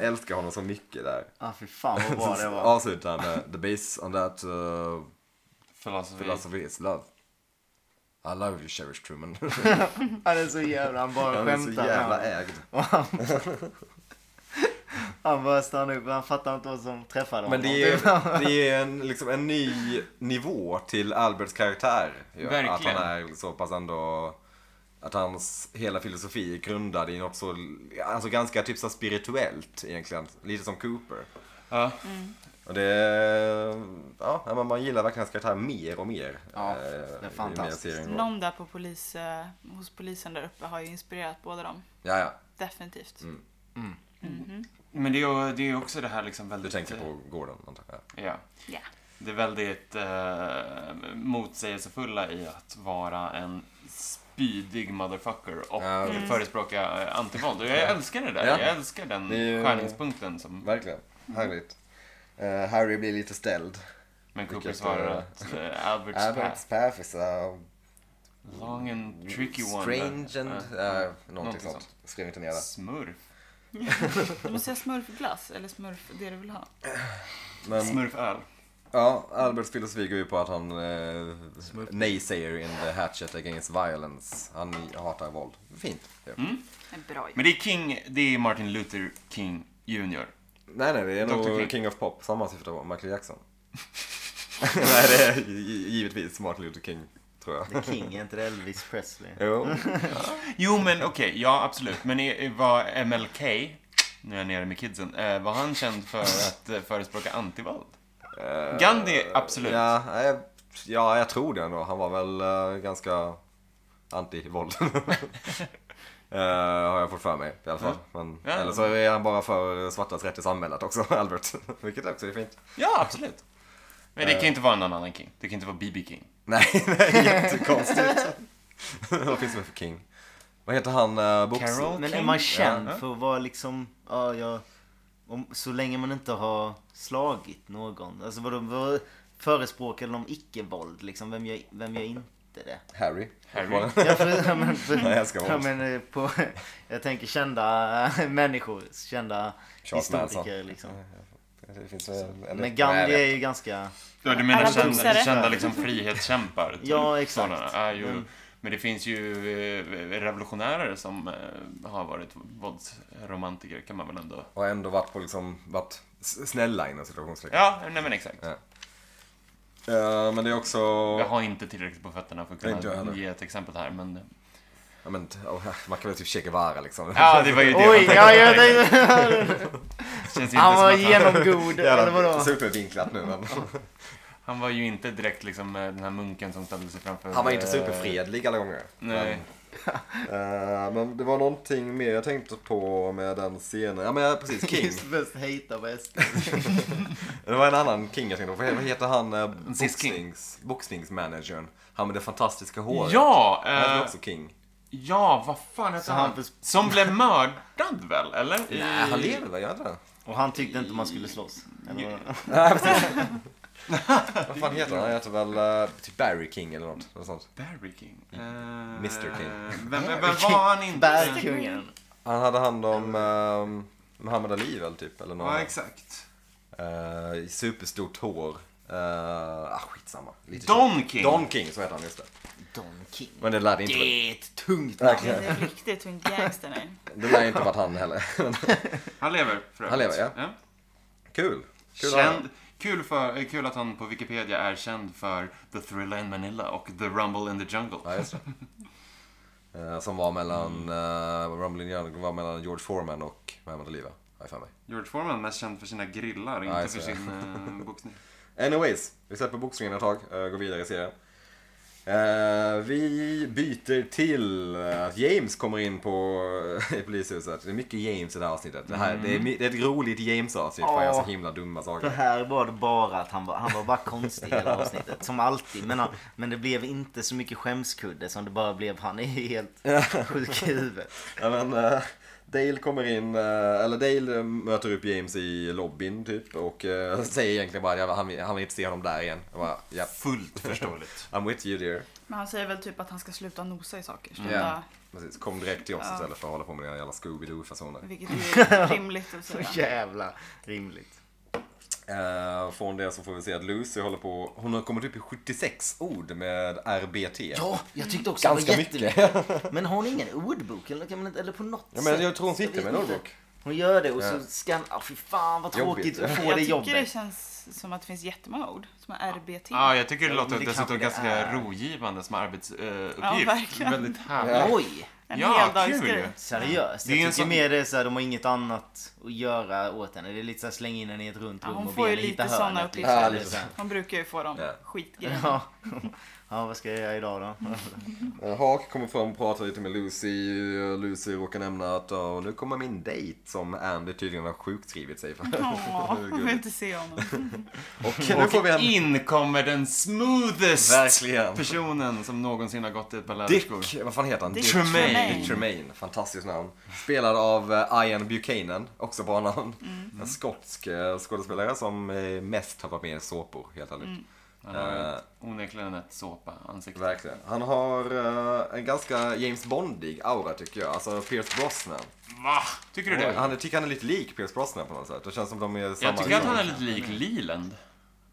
S2: älskar honom så mycket där.
S3: Ah fy fan vad bra det
S2: Så
S3: var. Mm.
S2: Avslutar han med The base on that uh,
S1: Philosophy.
S2: philosophy is love. I love you cherish Truman.
S3: Han är så jävla, han bara
S2: Han är så
S3: skämtar.
S2: jävla
S3: Han,
S2: ägd.
S3: han bara stannar upp, han fattar inte vad som träffade honom.
S2: Men det är, det är en, liksom en ny nivå till Alberts karaktär. ju. Att
S1: Verkligen.
S2: han är så pass ändå... Att hans hela filosofi är grundad i något så... Alltså ganska typ så spirituellt egentligen. Lite som Cooper.
S1: Ja.
S2: Och det... Ja, men man gillar verkligen hans karaktär mer och mer.
S3: Ja,
S2: eh,
S3: det är
S2: ju mer
S3: fantastiskt.
S2: serien går.
S4: Någon där på polis, eh, hos polisen där uppe har ju inspirerat båda dem.
S2: Ja, ja.
S4: Definitivt.
S1: Men det är ju det är ju också det här liksom
S2: Du
S1: väldigt...
S2: tänker på Gordon, antar jag.
S1: Ja.
S4: Ja.
S1: Det är väldigt eh, motsägelsefulla i att vara en spydig motherfucker och Mm.
S2: Ja.
S1: förespråka eh, antivåld. Och jag älskar det där.
S2: Ja.
S1: Jag älskar den
S2: Det är ju-
S1: skärningspunkten som...
S2: Verkligen.
S3: Mm.
S2: Härligt. Eh, Harry blir lite ställd.
S1: Men Cooper
S2: Vilket,
S1: svarar
S2: eh,
S1: att eh, Albert's
S2: Alberts
S1: Alberts.
S2: path is a
S1: Long and tricky one.
S2: Strange and...
S1: Ja,
S2: eh,
S1: ja.
S2: någonting, sånt. Skrev inte ner det.
S1: Smurf.
S4: Du måste säga smurfglass eller smurf, det du vill ha.
S2: Men
S1: Smurföl.
S2: ja, Alberts filosofi går ju på att han... Eh, naysayer in the hatchet against violence. Han hatar våld. Fint. Ja.
S1: Mm.
S4: En bra
S1: Men det är King, det är Martin Luther King Jr.
S2: Nej, nej, det är
S1: Dr.
S2: nog King.
S1: King.
S2: of Pop. Samma syfte på Michael Jackson. nej, det är gi- givetvis Martin Luther King, tror jag.
S3: The King, är inte det Elvis Presley?
S2: Jo.
S1: Jo men okej, ja absolut. Men är- var MLK, nu är jag nere med kidsen, eh, var han känd för att eh, förespråka antivåld?
S2: Eh,
S1: Gandhi, absolut.
S2: Ja, nej, jag, ja, jag tror det ändå. Han var väl eh, ganska anti-våld. Eh, har jag fått för mig i alla fall. Men,
S1: Ja.
S2: Eller så är han bara för svartas rätt i samhället också, Albert. Vilket också är fint.
S1: Ja, absolut. Men det kan ju inte vara någon annan King. Det kan inte vara B.B. King.
S2: Nej, det är jättekonstigt. Vad finns det för King? Vad heter han, uh,
S1: Carol
S3: Men
S1: King?
S3: är man känd
S1: Ja.
S3: för att vara liksom, ja, jag, om, så länge man inte har slagit någon. Alltså vadå, vad förespråkar de icke-våld liksom? Vem gör, vem gör inte det?
S2: Harry.
S1: Harry.
S3: Ja, för, ja, men, för,
S2: Nej, jag ska vara
S3: ja, men, eh, på, jag tänker kända eh, människor, kända
S2: Charles
S3: historiker
S2: Manson.
S3: liksom.
S2: alltså. Det finns, eh,
S1: Alltså,
S2: eller-
S3: Men
S2: Nej,
S3: Gandhi
S2: jag
S3: är
S2: vet.
S3: ju ganska...
S1: Ja, du menar
S4: Alla
S1: kända,
S4: boxare.
S1: kända liksom frihetskämpar? typ.
S3: Ja, exakt.
S1: Sådana. Ja, jo.
S3: Mm.
S1: Men det finns ju eh, revolutionärer som eh, har varit våldsromantiker, kan man väl ändå...
S2: Och ändå varit på liksom, varit s- snälla inom situationstecken.
S1: Ja, nej men exakt.
S2: Ja. Eh, men det är också...
S1: Jag har inte tillräckligt på fötterna för att
S2: Inte jag heller.
S1: kunna ge ett exempel här, men...
S2: Ja, men, oh, man kan väl typ Che Guevara liksom.
S1: Ja, det var ju det
S3: Oj, ja, jag tänkte...
S1: Känns inte
S3: Han var
S1: som att han,
S3: genomgod, eller
S2: Jävla
S3: vadå?
S2: supervinklat nu men.
S1: han var ju inte direkt liksom eh, den här munken som ställde sig framför...
S2: Han var inte
S1: eh,
S2: superfredlig alla gånger.
S1: Nej.
S2: Men, eh, men det var någonting mer jag tänkte på med den scenen. Ja men ja, precis, King.
S3: Just bäst hejta bäst.
S2: Det var en annan King jag tänkte på. Vad heter han? eh,
S1: Cis King.
S2: Boxnings, boxningsmanagern. Han med det fantastiska håret.
S1: Ja!
S2: Han heter
S1: Eh,
S2: också King.
S1: ja, vad fan
S3: Så
S1: hette
S3: han
S1: han?
S3: förs-
S1: Som blev mördad väl, eller?
S2: Nej, han lever väl? Gör han inte det?
S3: Och han tyckte inte man skulle slåss. Eller vadå?
S2: Vad fan heter han? Han heter väl eh, typ Barry King eller något. något sånt.
S1: Barry King? Eh,
S2: Mr. King.
S1: Vem, vem, vem var han inte?
S3: Bergkungen.
S2: Han hade hand om um, Muhammad Ali väl typ? Eller någon
S1: Ja,
S2: annan.
S1: exakt.
S2: Eh, superstort hår. Eh, ah, skitsamma. Lite
S1: Don King.
S2: Don King, så heter han just det.
S3: Don King.
S2: Men det lär inte,
S3: Det är ett tungt namn.
S4: Det
S2: verkligen,
S4: är riktigt hur en gangster är.
S2: det lär inte varit han heller.
S1: Han lever för övrigt.
S2: Han lever, ja. Kul. Kul att
S1: Känd, kul, för, eh, kul att han på Wikipedia är känd för The Thriller in Manila och The Rumble in the Jungle.
S2: höra. Ja, just det. Eh, som var mellan, uh, Rumbling Young var mellan George Foreman och Muhammad Ali va? Har jag för mig.
S1: George Foreman är mest känd för sina grillar,
S2: Ja, jag
S1: inte för
S2: ser.
S1: sin eh, boxning.
S2: Anyways, vi släpper boxningen ett tag och går vidare i serien. Eh, vi byter till att James kommer in på eh, i polishuset. Det är mycket James i det här avsnittet. Det, här, det, är, mi- det är ett roligt James-avsnitt för han gör så
S3: Mm. Ja.
S2: himla dumma
S3: Det
S2: saker.
S3: här var det bara att han var, han var bara konstig hela avsnittet. Som alltid. Men, han, men det blev inte så mycket skämskudde som det bara blev. Han är helt sjuk i huvudet.
S2: Ja, men, eh, Dale kommer in, eh, eller Dale eh, möter upp James i lobbyn typ och eh, säger egentligen bara att han, vill- han vill inte se honom där igen. Jag bara, ja,
S1: Fullt förståeligt.
S2: I'm with you dear.
S4: Men han säger väl typ att han ska sluta nosa i saker. eh, Sluta,
S2: Ja. Precis, kom direkt till oss
S4: Ja.
S2: istället för att hålla på med dina jävla Scooby-Doo-fasoner.
S4: Vilket är rimligt att
S3: Så
S4: säga.
S3: jävla rimligt.
S2: Eh, från det så får vi se att Lucy håller på, hon har kommit upp i 76 ord med RBT.
S3: Ja, jag tyckte också
S2: Ganska
S3: det var jättemycket.
S2: mycket.
S3: Men har hon ingen ordbok? Eller, kan man, inte- eller på något
S2: Ja,
S3: sätt?
S2: men jag tror hon
S3: vet
S2: sitter med en
S3: inte.
S2: ordbok.
S3: Hon gör det och
S2: Ja.
S3: så ska han... ah, fy fan vad
S2: Jobbigt.
S3: tråkigt att få
S4: Jag
S3: det
S4: tycker det
S3: jobbet.
S4: känns som att det finns jättemånga ord som är RBT.
S1: Ja, jag tycker det
S3: Ja,
S1: låter
S3: det
S1: dessutom
S3: kanske
S1: ganska
S3: det är.
S1: rogivande som arbetsuppgift.
S4: Ja, verkligen.
S1: Väldigt härligt.
S2: Ja.
S3: Oj!
S4: en
S1: Ja, kul
S4: heldagsgrej.
S1: ju.
S3: Seriöst?
S1: Det är en
S3: Jag tycker
S1: sån-
S3: mer det är så här, de har inget annat att göra åt henne. Det är lite så här, släng in henne i ett runt
S4: Ja,
S3: rum
S4: hon
S3: och
S4: får
S3: be
S4: ju
S3: henne
S4: lite
S3: hitta
S4: såna
S3: hörnet. liksom.
S4: uppgifter.
S2: Ja,
S3: det är
S2: lite
S3: så här.
S4: De brukar ju få dem
S2: Ja.
S4: skitgrejerna.
S3: Ja. ja, vad ska jag göra idag då?
S2: Eh, Hawk kommer fram och pratar lite med Lucy. Eh, Lucy råkar nämna att "Ja, nu kommer min dejt som Andy tydligen har sjukskrivit sig för.
S4: Åh,
S2: Hur
S4: jag vill
S2: gulligt.
S4: inte se honom.
S2: Och nu får vi en...
S1: In kommer den smoothest
S2: Verkligen.
S1: personen som någonsin har gått i ett par läderskor.
S2: Dick, vad fan heter han?
S4: Dick
S2: Tremaine.
S4: Tremaine.
S2: Dick Tremaine, fantastiskt namn. Spelad av eh, Ian Buchanan, också bra namn. En skotsk eh, skådespelare som eh, mest har varit med i såpor, helt ärligt.
S1: Han har
S2: Eh.
S1: ett, onekligen ett såpa ansikte.
S2: Verkligen. Han har eh, en ganska James Bondig aura tycker jag. Alltså Pierce Brosnan.
S1: Va? Tycker du det?
S2: Han jag tycker han är lite lik Pierce Brosnan på något sätt. Det känns som de är samma
S1: Jag tycker att han är lite lik Leland.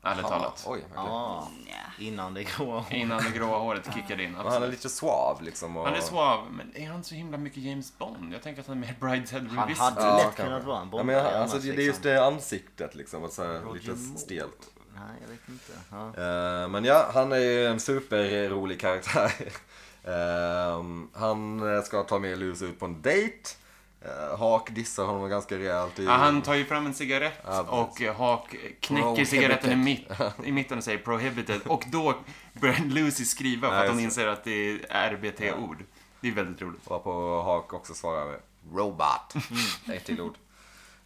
S1: Ärligt talat.
S2: Oj, okej.
S3: Ah,
S4: Nja.
S3: innan det går.
S1: Innan det gråa håret kickade in.
S2: Och han är
S1: Absolut.
S2: lite suav liksom. Och...
S1: Han är suav, men är han så himla mycket James Bond? Jag tänker att han är mer Brideshead
S3: Han
S1: Revisit.
S3: hade
S2: Ja,
S3: lätt
S2: kanske.
S3: kunnat vara en
S2: Ja,
S3: bomb.
S2: men jag, alltså, det, det är just det ansiktet liksom. Och så här,
S3: Roger
S2: lite
S3: Moore.
S2: stelt.
S3: Nej, jag vet inte. Ja.
S2: Eh, men ja, han är ju en superrolig karaktär. Ehm, han eh, ska ta med Luz ut på en dejt. Eh, Hak dissar honom ganska rejält. I...
S1: Ja, han tar ju fram en cigarett
S2: Ja,
S1: och eh, Hak knäcker
S2: Prohibited.
S1: cigaretten i, mitt, i mitten och säger prohibited. Och då börjar Lucy skriva för
S2: Ja,
S1: att hon
S2: just
S1: inser att det är RBT-ord. Det är väldigt roligt.
S2: Och på Hak också svarar med Robot.
S1: Mm.
S2: Ett till ord.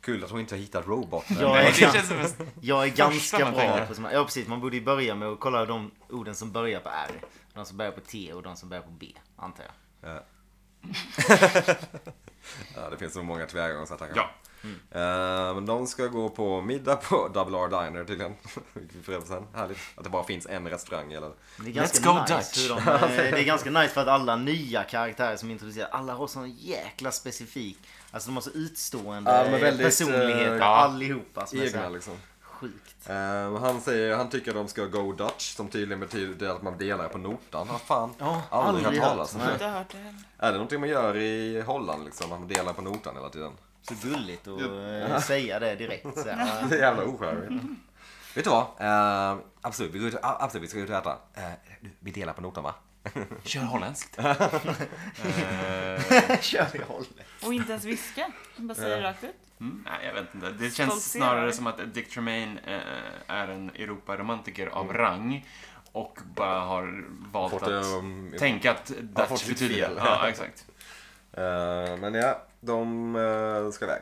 S2: Kul att hon inte har hittat roboten.
S3: Ja.
S1: Nej, det känns som en...
S3: Jag är
S1: Första
S3: ganska
S1: man
S3: bra
S1: tänker.
S3: på såna Ja, precis. Man borde ju börja med att kolla de orden som börjar på R. De som börjar på T och de som börjar på B, antar jag.
S2: Ja, det finns så många tillvägagångssätt här
S1: Ja.
S2: Eh, Men de ska gå på middag på Double R Diner tydligen. Vilket vi får reda på sen. Härligt. Att det bara finns en restaurang i hela...
S3: Det är ganska
S1: Let's go
S3: nice
S1: Dutch.
S3: hur de, eh, Det är ganska nice för att alla nya karaktärer som introduceras, alla har sån jäkla specifik, alltså de har så utstående
S2: Ja, de är
S3: eh,
S2: väldigt,
S3: personligheter
S2: eh,
S1: ja.
S3: allihopa som är så
S2: Egna
S3: här
S2: liksom.
S3: sjukt.
S2: Eh, han säger, han tycker de ska go Dutch som tydligen betyder att man delar på notan. Vad fan,
S3: Ja,
S2: aldrig hört
S3: aldrig
S2: talas om
S4: Jag har
S2: det.
S4: inte hört det heller.
S2: Är det någonting man gör i Holland liksom? Att man delar på notan hela tiden?
S3: Så gulligt att eh, säga det direkt. Så här.
S2: Det är jävla ocharmigt. Vet du vad? Eh, absolut, vi går ut, a- absolut, vi ska ut och äta. Eh, du, vi delar på notan va?
S1: Kör holländskt.
S3: Kör vi hållet.
S4: Och inte ens viska. Han bara säger rakt ut.
S1: Mm, nej, jag vet inte. Det känns
S4: Stoltserar.
S1: snarare som att Dick Tremaine eh, är en Europaromantiker av rang och bara har valt
S2: Mm. Fått,
S1: att
S2: ehm,
S1: tänka att
S2: har fått
S1: Dutch
S2: sitt
S1: betyder...
S2: fel.
S1: Ja, exakt.
S2: Eh, men ja, de eh, ska iväg.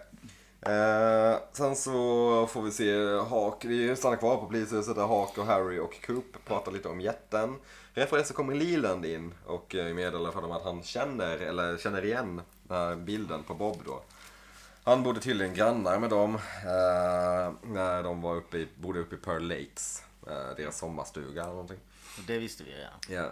S2: Eh, sen så får vi se Hak, vi stannar kvar på polishuset där Hak och Harry och Coop pratar lite om jätten. Rätt för det så kommer Leland in och eh, meddelar för dem att han känner, eller känner igen den här bilden på Bob då. Han bodde tydligen grannar med dem eh, när de var uppe i, bodde uppe i Pearl Lakes, eh, deras sommarstuga eller någonting.
S3: Och Det visste vi redan.
S2: Ja.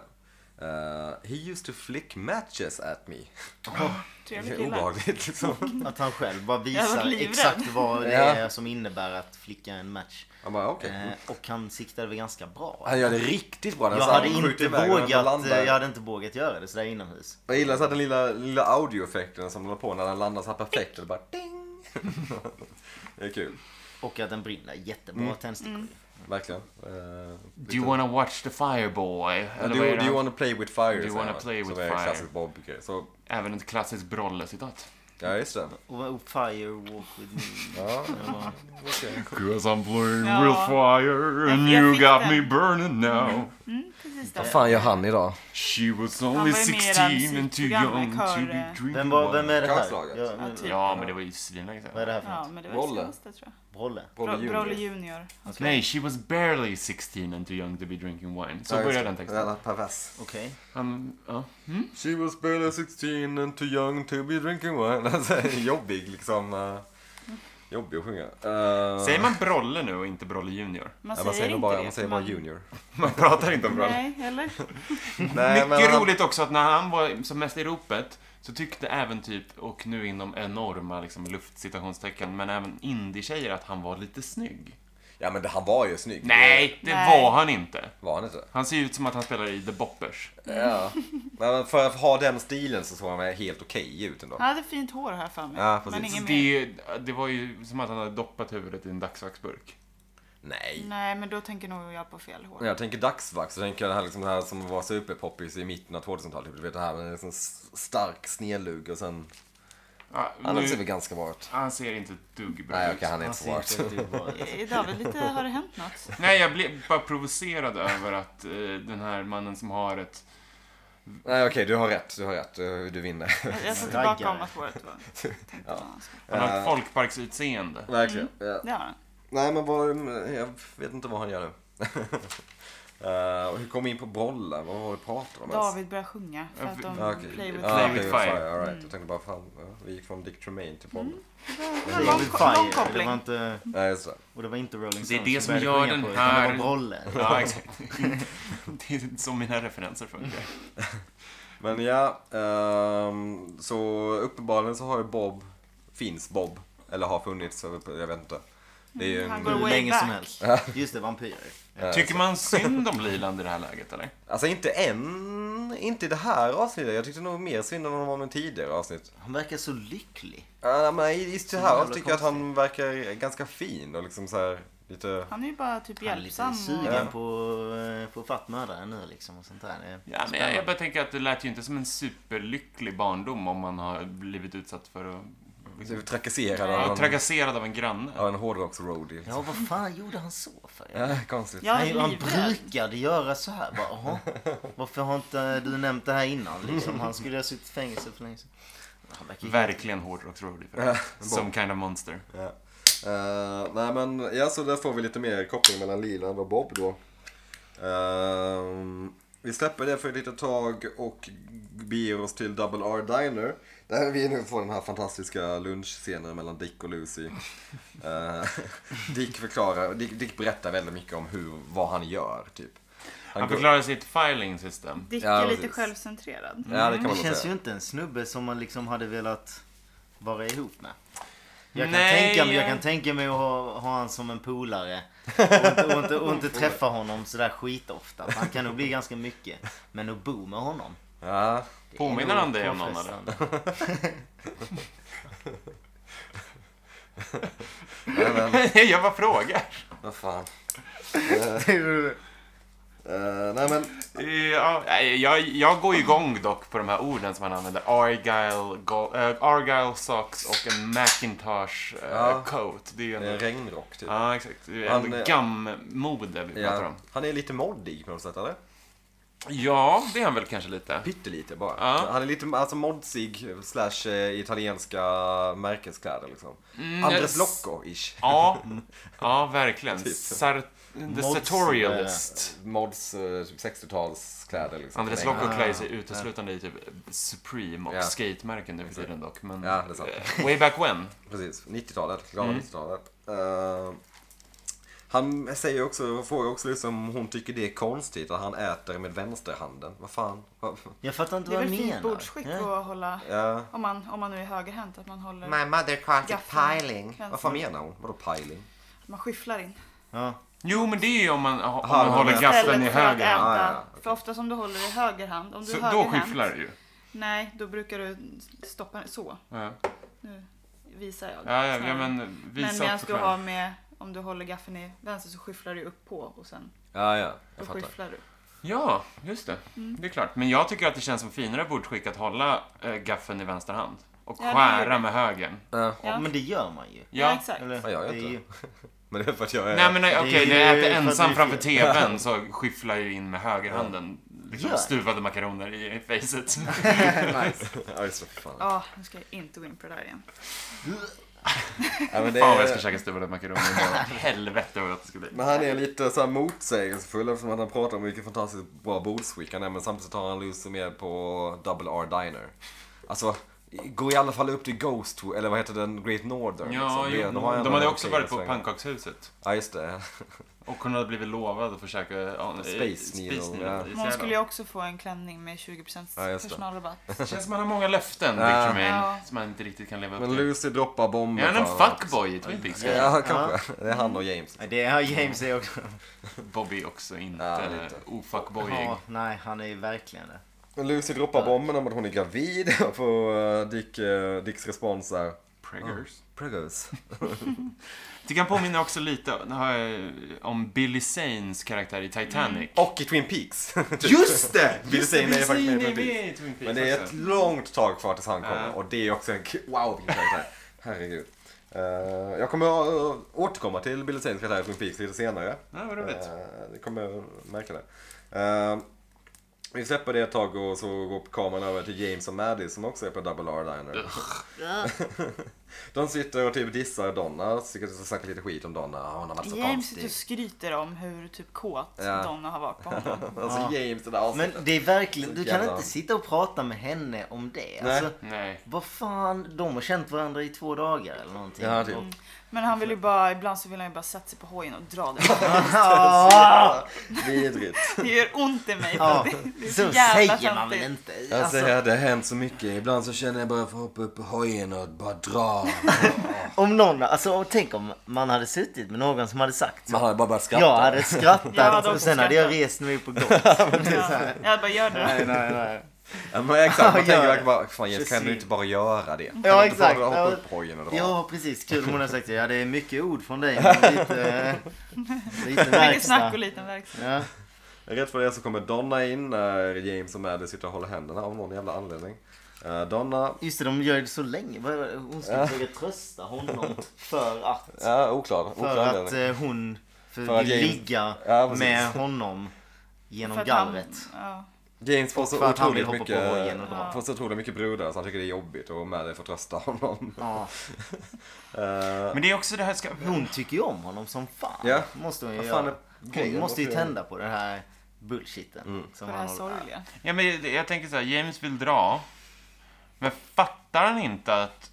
S2: Eh, he used to flick matches at me. Det
S4: Trevlig
S2: är
S4: kille.
S2: obehagligt liksom.
S3: Att han själv bara
S4: Mm. Jag har varit
S3: visar
S4: livrädd.
S3: exakt vad det
S2: Ja.
S3: är som innebär att flicka en match.
S2: Han bara okej.
S3: Eh, och han siktade väl ganska bra.
S2: Han gör det riktigt bra. Den
S3: Jag
S2: så här
S3: hade,
S2: alltså, skjuter
S3: inte
S2: iväg den och
S3: vågat, eh,
S2: landar.
S3: jag hade inte vågat göra det sådär inomhus.
S2: Jag gillar så här den lilla, lilla audioeffekten som de har på när den landar så här perfekt. Och det bara ding. det är kul.
S3: Och att den brinner. Jättebra
S2: Mm.
S3: tändstickor.
S2: Verkligen. Eh,
S1: Do you wanna watch the fireboy? Eller
S2: do,
S1: vad är det
S2: do you
S1: han-
S2: wanna play with fire?
S1: you
S2: säger
S1: wanna
S2: han,
S1: play
S2: som
S1: with
S2: är
S1: fire?
S2: klassisk Bob-grej. Så,
S1: Även ett klassiskt Brolle-citat.
S2: ja just det.
S3: Och, och Fire Walk With Me.
S2: Ja,
S3: Det var-
S2: okej.
S1: Cause I'm playing
S4: Ja.
S1: real fire and
S4: Jag
S1: you
S4: fick
S1: got
S4: den.
S1: me burning now.
S4: Mm, precis det.
S2: Vad fan gör han idag?
S1: She was
S4: var
S1: only
S4: ju med i
S1: 16 and too
S4: musikprogrammet,
S1: young to
S4: kör,
S1: be
S4: eh,
S1: dreaming.
S3: Vem, var, vem är det här?
S2: Kaoslaget.
S3: Ja, men-
S4: Ja, typ.
S1: Ja, men det var ju svinlänge
S3: vad är
S1: sedan.
S3: det här för
S4: Ja,
S3: något?
S4: men det var
S2: Brolle.
S4: det senaste tror jag.
S3: Brolle?
S2: Brolle
S4: Bro-
S2: Junior.
S4: Brolle Junior.
S1: Nej, she was barely 16 and too young to be drinking wine. Så
S2: Ja, just
S1: börjar
S2: det.
S1: den texten.
S2: Jävla pervers.
S3: Okej.
S1: Han, ja.
S2: She was barely 16 and too young to be drinking wine. Alltså, jobbig liksom. eh, jobbig att sjunga. Eh,
S1: Säger man Brolle nu och inte Brolle Junior?
S2: Ja,
S4: Man säger,
S2: man säger nog
S4: inte
S2: bara,
S4: det.
S2: man säger
S4: för
S2: bara junior.
S1: Man pratar inte om Brolle.
S4: Nej, eller?
S2: Nej, Eh, men
S1: Mycket
S2: han-
S1: roligt också att när han var som mest i ropet så tyckte även typ, och nu inom enorma liksom, luftcitationstecken, men även indie-tjejer att han var lite snygg.
S2: Ja men det- han var ju snygg.
S1: Nej, det
S4: Nej.
S1: var han inte.
S2: Det Var han inte?
S1: Han ser ju ut som att han spelar i The Boppers.
S2: Ja. Nej, men för att ha den stilen så såg han väl helt okej ut ändå.
S4: Han hade fint hår här för mig.
S2: Ja, precis.
S4: men
S1: Så
S4: inget mer.
S1: Det, det var ju som att han hade doppat huvudet i en dagsvaxburk.
S2: Nej.
S4: Nej, men då tänker nog jag på fel hår.
S2: När jag tänker dagsvax så tänker jag det här, liksom det här som var superpoppis i mitten av 2000-talet. Typ. Du vet det här med en sån s- stark snedlugg och sen...
S1: Ja,
S2: Han ser väl
S1: nu,
S2: ganska bra ut.
S1: han ser inte ett dugg bra
S2: Nej
S1: ut.
S2: okej, han är
S3: Han
S2: inte så
S3: ser
S2: bra
S3: inte
S2: ut.
S3: riktigt bra ut.
S4: Eh, David, lite har det hänt något?
S1: Nej, jag blev bara provocerad över att eh, den här mannen som har ett...
S2: Nej okej, du har rätt. Du har rätt. Du, du vinner.
S4: Jag jag tar
S3: Raggare.
S4: tillbaka om att håret var... Tänkte ja.
S1: Han har ett
S2: Eh.
S1: folkparksutseende.
S2: Verkligen. Ja.
S4: Det har han.
S2: Nej men vad, jag vet inte vad han gör nu. Eh, och hur kom vi in på bollar? Vad var det vi pratade om? ens?
S4: David börjar sjunga för att de
S2: Ja, okej.
S4: play with
S1: Play
S2: Ah,
S4: fire.
S2: Play
S1: with
S2: with fire.
S1: Fire,
S2: all right. Jag tänkte bara, fan, ja, vi gick från Dick Tremaine till bollar.
S4: Mm. Det var en lång
S3: Det
S4: koppling.
S3: var inte,
S2: Nej, så.
S3: och det var inte Rolling Stones
S1: Det är det som
S3: började
S1: gör
S3: sjunga
S1: den
S3: på, utan
S1: här-
S3: Det var Brolle.
S1: Ja, exakt. Det är så mina referenser funkar.
S2: Men ja, ehm, så uppenbarligen så har ju Bob, finns Bob, eller har funnits, jag vet inte. Det är ju
S4: Mm, Han
S2: en, eh,
S4: går
S3: Hur
S4: way
S3: länge
S4: back.
S3: som helst. Just det, vampyrer. Ja.
S1: Tycker man synd om Leland i det här läget, eller?
S2: alltså inte än, inte i det här avsnittet. Jag tyckte nog mer synd om honom än tidigare avsnitt.
S3: Han verkar så lycklig.
S2: Uh, men i just det
S3: Så
S2: här
S3: jävla
S2: avsnittet tycker jag att han verkar ganska fin och liksom så här lite...
S4: Han är ju bara typ
S3: Han är lite
S4: hjälpsam.
S3: sugen
S4: Och...
S3: på eh, på att fatt mördaren nu liksom och sånt där. Det är
S1: Ja, men jag, jag bara tänker att det lät ju inte som en superlycklig barndom om man har blivit utsatt för att...
S2: lite Trakasserad
S1: Ja,
S2: av en,
S1: trakasserad av en granne.
S2: av en hårdrocks-roadie.
S3: Ja, vad fan gjorde han så för?
S2: Ja, konstigt.
S4: Jag är
S3: han, han
S4: livrädd.
S3: brukade göra så här bara. Jaha, varför har inte du nämnt det här innan? Liksom, han skulle ha suttit i fängelse för länge sedan. Han verkar ju-
S1: Verkligen hårdrocksroadie för det. Som kind of monster.
S2: Ja. Eh, nej men, ja så där får vi lite mer koppling mellan Liland och Bob då. Ehm, vi släpper det för ett litet tag och beger oss till Double R Diner. Där vi nu får den här fantastiska lunchscenen mellan Dick och Lucy. Eh, Dick förklarar, Dick, Dick berättar väldigt mycket om hur, vad han gör typ. Han
S1: Han
S2: går-
S1: förklarar sitt filing system.
S4: Dick
S2: Ja,
S4: är lite
S2: precis.
S4: självcentrerad.
S1: Mm,
S2: Ja det kan man
S3: Det
S2: nog
S3: känns ju
S2: säga.
S3: inte en snubbe som man liksom hade velat vara ihop med. Jag kan,
S1: Nej,
S3: tänka, mig, jag
S1: jag-
S3: kan tänka mig att ha, ha han som en polare och inte, och inte, och inte träffa honom sådär skitofta. Han kan nog bli ganska mycket. Men att bo med honom.
S2: Ja,
S3: det är
S1: Påminner
S3: nog
S1: han dig om någon,
S3: påfrestande.
S2: nej, men
S1: jag bara frågar.
S2: vad fan. Eh, nej men,
S1: Ja, nej, jag, jag går ju igång dock på de här orden som han använder. Argyle, go, eh, Argyle socks och en Macintosh eh,
S2: Ja.
S1: coat. Det är ju
S2: en
S1: ändå...
S2: regnrock typ.
S1: Ja, exakt. Det är
S2: Han
S1: ändå
S2: är-
S1: gammode vi pratar
S2: Ja.
S1: om.
S2: Han är lite moddig på något sätt eller?
S1: Ja, det är han väl kanske lite.
S2: Pyttelite bara.
S1: Ja.
S2: Han är lite alltså modsig slash eh, italienska märkeskläder liksom. Andres
S1: jag-
S2: Locco-ish.
S1: Ja, ja verkligen.
S2: Typ.
S1: Sar- the
S3: Mods-
S1: Sartorialist.
S2: Mods eh, typ 60-talskläder liksom.
S1: Andres
S2: Länge.
S1: Locco klär sig uteslutande i typ Supreme och
S2: Ja.
S1: skatemärken nu för tiden dock. Men
S2: Ja, det är sant.
S1: eh, way back when.
S2: Precis, 90-talet. Glada 90-talet. Eh, han säger också, frågar också liksom om hon tycker det är konstigt att han äter med vänsterhanden. Vad fan? Vad- eh.
S3: Jag fattar inte
S4: Det är
S3: vad
S4: väl
S3: han
S4: fint
S3: menar.
S4: bordsskick
S3: Ja.
S4: att hålla,
S2: Ja.
S4: om man, om man nu är högerhänt, att man håller,
S2: mother caught
S4: it piling.
S2: Vad fan menar hon? Vadå piling?
S4: att man skyfflar in.
S3: Ja.
S1: Jo, men det är ju om man, ha- om
S2: Aha,
S1: man
S2: men-
S1: håller gaffeln i
S4: Istället för att
S1: höger
S4: äta.
S1: hand.
S2: Ja, ja, ja, okej.
S4: För oftast om du håller i höger hand, om du
S1: Så
S4: är
S1: då
S4: högerhänt,
S1: skyfflar det ju.
S4: nej då brukar du stoppa så.
S1: Ja,
S4: Nu visar jag.
S1: ja, ja,
S4: Så
S1: ja
S4: här.
S1: men
S4: men
S1: visa
S4: medan
S1: upp
S4: du
S1: förklaring.
S4: har med, om du håller gaffeln i vänster så skyfflar du upp på och sen
S2: Ja, ja.
S4: då
S2: Jag fattar.
S4: skyfflar du.
S1: Ja, just det.
S4: Mm.
S1: Det är klart. Men jag tycker att det känns som finare bordsskick att hålla eh, gaffeln i vänster hand. Och
S4: Ja, det gör
S1: skära
S4: det.
S1: med högern.
S2: Ja.
S4: Ja.
S3: Men det gör man ju.
S4: Ja,
S1: Ja.
S4: exakt.
S3: Eller,
S2: Ja, jag gör
S3: det är
S2: inte
S3: ju-
S2: Men det är för att jag är...
S1: Nej men nej,
S3: Det är
S1: okej,
S3: ju
S1: när jag äter
S3: för att det
S1: ensam
S3: är
S1: framför
S3: fel.
S1: TVn så skyfflar jag ju in med högerhanden. Liksom
S3: Gör.
S1: stuvade makaroner i i facet.
S2: nice. ja, just det. för Fan.
S4: Ja, nu ska jag inte gå in på det där igen.
S2: Ja, men, det
S1: Fan vad jag ska
S2: är,
S1: käka stuvade makaroner imorgon. Helvete vad gott det ska bli.
S2: men han är lite så här motsägelsefull eftersom att han pratar om vilken fantastiskt bra bordsskick han är men samtidigt tar han Lucy med på Double R Diner. Alltså, gå i alla fall upp till Ghost, eller vad heter den, Great Northern.
S1: Ja,
S2: liksom. Det-
S1: jo,
S2: ändå
S1: de hade
S2: en
S1: också
S2: okej
S1: varit på
S2: sväng.
S1: pannkakshuset.
S2: Ja, just det.
S1: Och hon hade blivit lovad att försöka... Ja, eh,
S2: Space Needle,
S1: Space
S2: ja.
S1: i
S4: Hon
S1: Seattle.
S4: skulle ju också få en klänning med 20%
S2: Ja, just det.
S4: personalrabatt.
S1: Det känns som han har många löften, Dick
S2: Ja.
S1: Tremaine,
S4: Ja.
S1: som han inte riktigt kan leva upp
S2: Men
S1: till.
S2: Lucy droppar bomber.
S1: Är han en
S2: för honom.
S1: fuckboy i Twin Peaks?
S2: Ja, kanske. Det är han och James.
S3: Nej, Det har James är också.
S1: Bobby också inte
S2: Ja, lite.
S1: ofuckboyig.
S3: Ja, nej, han är ju verkligen det.
S2: Men Lucy droppar bomben om att hon är gravid och på eh, Dick, eh, Dicks respons är...
S1: Preggers.
S2: Preggers.
S1: Tycker han påminner också lite nu har jag, om Billy Sanes karaktär i Titanic.
S2: Och i Twin Peaks.
S1: Just det!
S2: Billy Zane är faktiskt med i Twin Peaks.
S1: i Twin Peaks
S2: Men det är ett
S1: också.
S2: långt tag kvar tills han kommer
S1: Ja.
S2: och det är också en k- wow vilken karaktär. Herregud. Eh, jag kommer att eh, återkomma till Billy Zanes karaktär i Twin Peaks lite senare.
S1: Ja, vad roligt.
S2: Eh, Ni kommer märka det. Eh, vi släpper det ett tag och så går kameran över till James och Maddie som också är på Double R Diner. De sitter och typ dissar Donna, sitter och snackar lite skit om Donna. Ah, Hon har varit så
S4: James sitter
S2: konstig.
S4: och skryter om hur typ kåt
S2: Ja.
S4: Donna har varit på honom.
S2: Alltså James i det här
S3: Men
S2: avsnittet.
S3: det är verkligen, du kan
S2: Jävlar.
S3: inte sitta och prata med henne om det.
S2: Nej.
S3: Alltså,
S1: Nej.
S3: vad fan, de har känt varandra i två dagar eller någonting. Mm.
S2: Ja, typ.
S4: Men han vill ju bara, ibland så vill han ju bara sätta sig på hojen och dra den.
S3: Ah!
S2: Vidrigt.
S4: Det gör ont i mig. för
S3: Ja,
S4: att det, det är så,
S3: Så
S4: jävla
S3: säger man väl
S4: töntigt.
S3: inte?
S2: Jag
S3: Alltså,
S2: säger, det har hänt så mycket. Ibland så känner jag bara för att hoppa upp på hojen och bara dra.
S3: om någon, alltså om- tänk om man hade suttit med någon som hade sagt så.
S2: Man hade bara börjat skratta.
S3: Jag hade skrattat
S4: Jag hade
S3: och
S4: också
S3: sen hade jag
S4: skrattat.
S3: rest mig upp och gått.
S4: Ja. Jag bara gör det.
S3: nej, nej.
S2: Ja, men exakt, man
S3: Ja, gör
S2: tänker verkligen
S3: det.
S2: bara, fan Jens kan du
S3: Försvinn.
S2: inte bara göra det? Kan
S3: Ja,
S2: du inte bara
S3: exakt.
S2: hoppa
S3: Ja,
S2: upp på hojen och dra?
S3: Ja, precis. Kul om hon hade sagt det. Ja, det är mycket ord från dig. Men lite, lite
S4: Mycket snack
S3: verkstad.
S4: och liten verkstad.
S3: Ja.
S2: Rätt för det så kommer Donna in när James och Maddie sitter och håller händerna av någon jävla anledning. Eh, Donna,
S3: Just det, de gör det så länge. Vad- vad- Hon skulle försöka trösta honom för att...
S2: ja oklar, oklar
S3: För att
S2: anledning.
S3: eh, hon för
S2: För att
S3: vill
S2: James-
S3: ligga
S2: Ja, precis.
S3: med honom genom
S4: För att han-
S3: gallret.
S4: ja.
S2: James får
S3: för
S2: så
S3: att han vill
S2: otroligt
S3: hoppa på
S2: mycket,
S3: hojen och dra.
S2: får så otroligt mycket brudar så han tycker det är jobbigt och Maddie får trösta honom.
S3: Ja.
S2: Eh,
S1: Men det är också det här ska...
S3: Hon tycker ju om honom som fan.
S2: Ja.
S3: Måste hon ju
S2: Vad fan
S3: göra.
S2: är Mm.
S3: Hon
S2: grejen?
S3: måste ju
S2: Varför gör-
S3: tända på den här bullshiten.
S4: På
S3: Som
S4: det
S3: han
S4: här
S3: håller-
S4: sorgliga.
S1: Ja, men det- jag tänker så här, James vill dra. Men fattar han inte att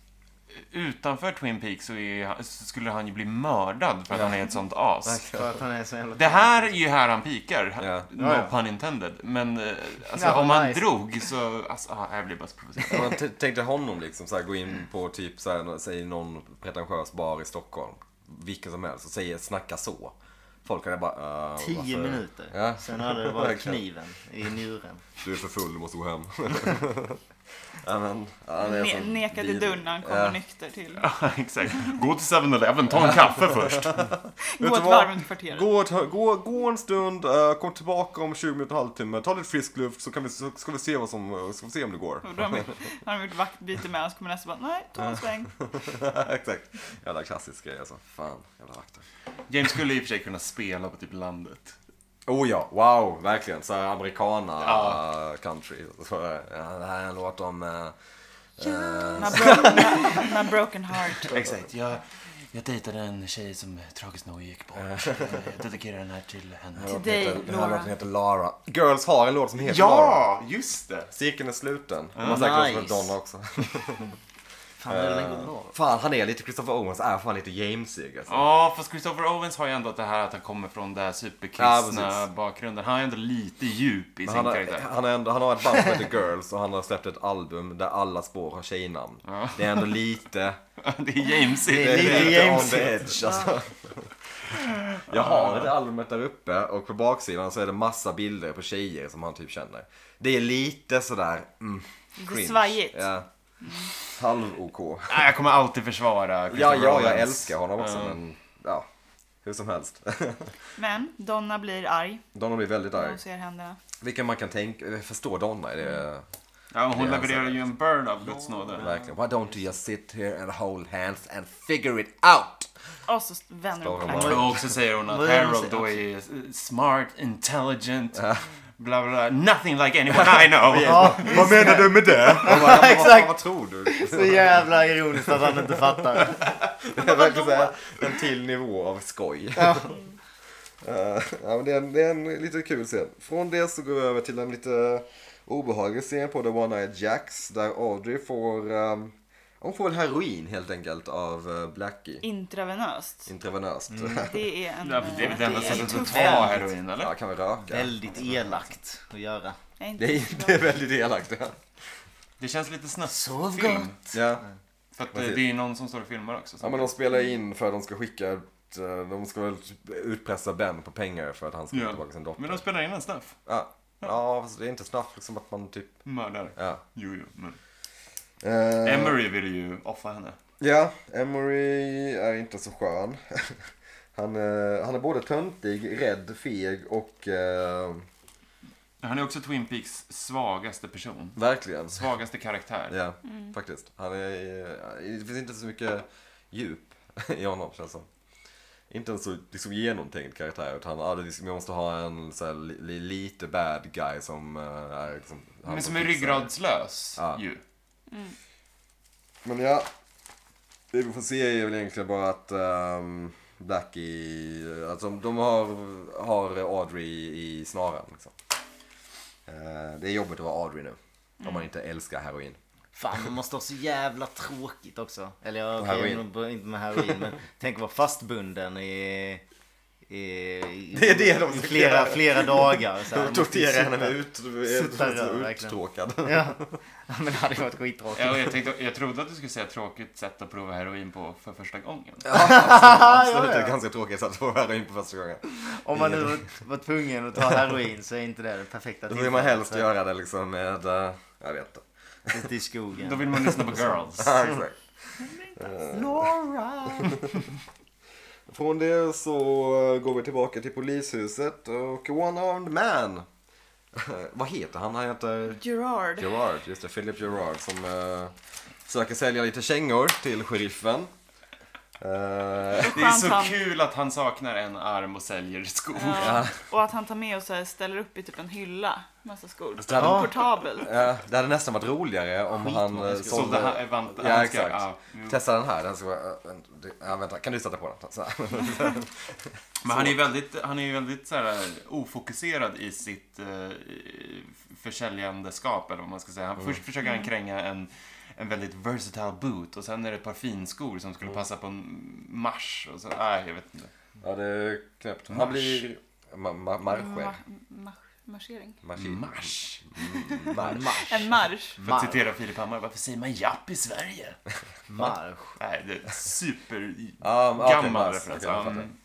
S1: utanför Twin Peaks så, är, han- så skulle han ju bli mördad för att han är ett sånt as.
S3: För att han är så jävla...
S1: Det här är ju här han pikar.
S2: Ja.
S1: No
S3: Ja, ja.
S1: pun intended. Men eh, alltså,
S3: Ja,
S1: om han
S3: nice.
S1: drog så... Alltså, ah, jag blir bara så provocerad.
S2: Om man t- tänkte honom liksom så här, gå in på typ så här, säg någon pretentiös bar i Stockholm. Vilken som helst och säga snacka så. Folk hade bara eh,
S3: Tio
S2: varför-
S3: minuter.
S2: Ja.
S3: Sen hade det varit
S2: Verkligen.
S3: kniven i njuren.
S2: Du är för full, du måste gå hem. ja, men, ja, det är
S4: Ne-
S2: så
S4: nekade
S2: vidrigt.
S4: dörren när han kommer
S2: Ja.
S4: nykter till.
S1: Ja, Exakt. Gå till 7-Eleven, ta en kaffe först.
S4: Gå
S2: Vet
S4: ett
S2: du vad?
S4: varv runt kvarteret.
S2: Gå, ett, gå, gå en stund, eh, kom tillbaka om 20 minuter, halvtimme, ta lite frisk luft så, kan vi, så ska vi se vad som, ska vi se om det går.
S4: Och då har de- har de gjort vaktbyte med honom så kommer nästa bara, nej, ta en sväng.
S2: Exakt. Jävla klassisk grej alltså. Fan, jävla vakter.
S1: James skulle i och för sig kunna spela på typ landet.
S2: Oh ja, wow, verkligen. Så här americana
S1: Ja.
S2: eh, country. Så, ja, det här är en låt om... eh,
S4: När broken, när, när broken heart.
S1: Exakt. Jag, jag dejtade en tjej som tragiskt nog gick bort. Jag dedikerar den här till henne.
S4: Till
S2: den heter-
S4: dig,
S2: den här
S4: Laura.
S2: låten heter Lara. Girls har en låt som heter Lara.
S1: Ja, just det!
S2: Cirkeln är sluten. De har säkert
S3: Nice.
S2: nice. Donna också.
S3: Fan, det är länge bra.
S2: Fan, han är lite Christopher Owens, är fan lite Jamesig alltså.
S1: Ja, fast Christopher Owens har ju ändå det här att han kommer från den här superkristna
S2: Ja, precis.
S1: bakgrunden. Han är ändå lite djup i
S2: Men
S1: sin
S2: Han har,
S1: karaktär.
S2: han, har ändå, han har ett band som heter Girls och han har släppt ett album där alla spår har tjejnamn. Det är ändå lite...
S1: det är James
S3: Det
S2: Det är
S3: är
S2: lite
S3: lite
S2: on
S3: James.
S2: the edge alltså. Jag har det albumet där uppe och på baksidan så är det massa bilder på tjejer som han typ känner. Det är lite sådär... Mm,
S4: Lite
S2: cringe.
S4: svajigt.
S2: Ja. Halv-OK.
S1: Nej, jag kommer alltid försvara
S2: Ja,
S1: Christopher
S2: ja, jag
S1: Owens.
S2: älskar honom också
S1: Mm.
S2: men... Ja, hur som helst.
S4: Men Donna blir arg
S2: Donna blir väldigt
S4: när
S2: arg.
S4: hon ser händerna.
S2: Vilken man kan tänka, förstå Donna i det.
S1: Ja, hon
S2: Det är han
S1: levererar
S2: säkert.
S1: ju en burn av Guds nåde.
S2: Verkligen. Why don't you just sit here and hold hands and figure it out?
S4: Och så vänder hon på
S2: Står hon
S4: klacken.
S1: Och också säger hon att
S3: Vad är det hon
S1: Harold då
S3: säger?
S1: är smart, intelligent, bla bla bla. Nothing like anyone I know.
S3: Ja,
S2: Vad menar du med det? Vad, vad, vad,
S3: Exakt.
S2: vad tror du?
S3: så jävla ironiskt att han inte fattar.
S2: Det är verkligen så här, en till nivå av skoj. Ja. ja, men det, är en, det är en lite kul scen. Från det så går vi över till en lite obehaglig scen på The One-Eyed Jacks där Audrey får, um, hon får väl heroin helt enkelt av eh, Blackie.
S4: Intravenöst.
S2: Intravenöst.
S4: Det är en... eh,
S1: Det är väl det enda
S4: det är
S1: sättet att
S4: tufft.
S1: ta heroin, eller?
S2: Ja, kan vi röka?
S3: Väldigt elakt att göra.
S4: Det är inte
S2: Det
S4: så
S2: är,
S4: bra.
S2: det är väldigt elakt. ja.
S1: Det känns lite
S3: Sov
S1: snuskfilm.
S3: gott.
S2: Ja.
S1: För att eh,
S2: Precis.
S1: det är ju någon som står och filmar också.
S2: ja, men de spelar in för att de ska skicka, ett, eh, de ska väl utpressa Ben på pengar för att han ska få
S1: Ja.
S2: tillbaka sin dotter.
S1: Men de spelar in en snuff.
S2: Ja, ja fast det är inte snabbt liksom att man typ,
S1: Mördare.
S2: ja.
S1: Jo, jo. Men.
S2: Eh,
S1: Emery vill ju offa henne.
S2: Ja, Emery är inte så skön. Han, eh, han är både töntig, rädd, feg och... Eh,
S1: Han är också Twin Peaks svagaste person.
S2: verkligen.
S1: Svagaste karaktär.
S2: Ja, faktiskt. Han är, eh, det finns inte så mycket djup i honom känns som. Inte en så liksom, genomtänkt karaktär. Utan ah, det är liksom, jag måste ha en så här, li, li- lite bad guy som eh, är liksom, han
S1: Men som är
S2: fixar det.
S1: ryggradslös
S2: Ja.
S1: ju.
S2: Men ja. Det vi får se är väl egentligen bara att um, Blackie, alltså de har, har Audrey i snaran. Liksom. Eh, det är jobbigt att vara Audrey nu. Om
S3: Mm.
S2: man inte älskar heroin.
S3: Fan, det måste ha så jävla tråkigt också. Eller ja, okej,
S2: heroin.
S3: nog bara- inte med heroin, men tänk att vara fastbunden i... i, i
S2: Det är det de
S3: i
S2: ska
S3: flera,
S2: göra.
S3: flera dagar. Så här.
S2: De
S3: Man måste
S2: torterar henne
S3: sitta-
S2: ut,
S3: sitta där, verkligen.
S2: uttråkad.
S3: Ja. ja, men det hade ju varit skittråkigt.
S1: Ja, och jag, tänkte, jag trodde att du skulle säga tråkigt sätt att prova heroin på för första gången.
S2: Absolut, det är ganska tråkigt att få heroin på första gången.
S3: Om man nu var, var tvungen att ta heroin så är inte det det perfekta
S2: Då vill man helst göra det liksom med, eh, jag vet inte.
S3: Ute i
S1: Då
S3: skogen.
S1: vill man lyssna på girls.
S3: Mm.
S2: Ja, exakt.
S3: Laura!
S2: Från det så eh, går vi tillbaka till polishuset och One Armed Man. Vad heter han? Han heter
S4: Gerard.
S2: Gerard. Just det, Philip Gerard som eh, försöker sälja lite kängor till sheriffen. Eh,
S1: Det är
S4: Skönt han.
S1: så kul att han saknar en arm och säljer skor.
S4: Ja. Och att han tar med och så här ställer upp i typ en hylla, massa skor.
S2: Alltså, det hade-
S4: Portabelt.
S2: ja, det hade nästan varit roligare om han
S1: Sålde
S2: eh,
S1: han,
S2: sålde...
S1: eh, vant,
S2: Ja,
S1: han ska,
S2: exakt.
S1: ja.
S2: Testa den här. Den ska, vara- eh, det- ja, vänta, kan du sätta på den? Så här.
S1: Men han är ju väldigt, han är ju väldigt så här, ofokuserad i sitt eh, försäljandeskap, eller vad man ska säga. Han,
S2: Mm.
S1: Först försöker
S4: Mm.
S1: han kränga en, en väldigt versatile boot och sen är det ett par finskor som
S2: Mm.
S1: skulle passa på en marsch. Och så, nej, jag vet inte.
S2: Ja, det är knäppt. Han
S1: Marsch.
S2: blir... Ma- ma- marscher.
S4: Ma- marsch- Marschering.
S2: Maskin.
S1: Marsch?
S2: Marsch.
S4: En marsch.
S1: Typ- För att
S3: Marsch.
S1: citera Filip Hammar, varför säger man japp i Sverige?
S3: Marsch.
S1: Nej, det är super
S2: Ja, men- okej,
S1: gammal
S2: marsch.
S1: referens.
S2: Okej, jag
S1: Ja,
S2: fattar.
S1: mm.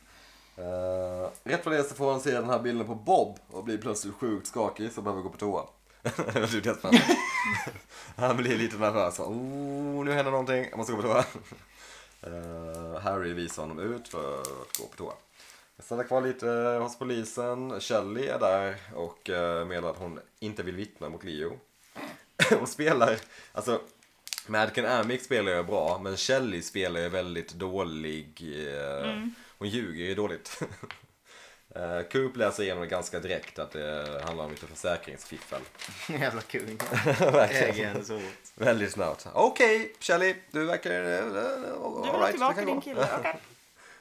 S2: Eh, rätt vad det är så får han se den här bilden på Bob och blir plötsligt sjukt skakig så behöver gå på toa. Det är det som händer. han blir lite nervös. va, Oh, nu händer någonting. Jag måste gå på toa. Eh, Harry visar honom ut för att gå på toa. Jag stannar kvar lite eh, hos polisen. Shelley är där och eh, meddelar att hon inte vill vittna mot Leo. hon spelar, alltså Madcon Amick spelar ju bra men Shelley spelar ju väldigt dålig. eh,
S4: Mm.
S2: Hon ljuger ju dåligt. Eh, Coop läser igenom det ganska direkt att det handlar om lite försäkringsfiffel.
S3: Jävla kung.
S2: Verkligen.
S3: Äggen så hårt.
S2: Väldigt snabbt. Okej, Shelley, du verkar... eh, eh,
S4: Du
S2: all
S4: vill
S2: right,
S4: ha
S2: vi
S4: tillbaka
S2: kan
S4: din
S2: gå.
S4: kille, okej.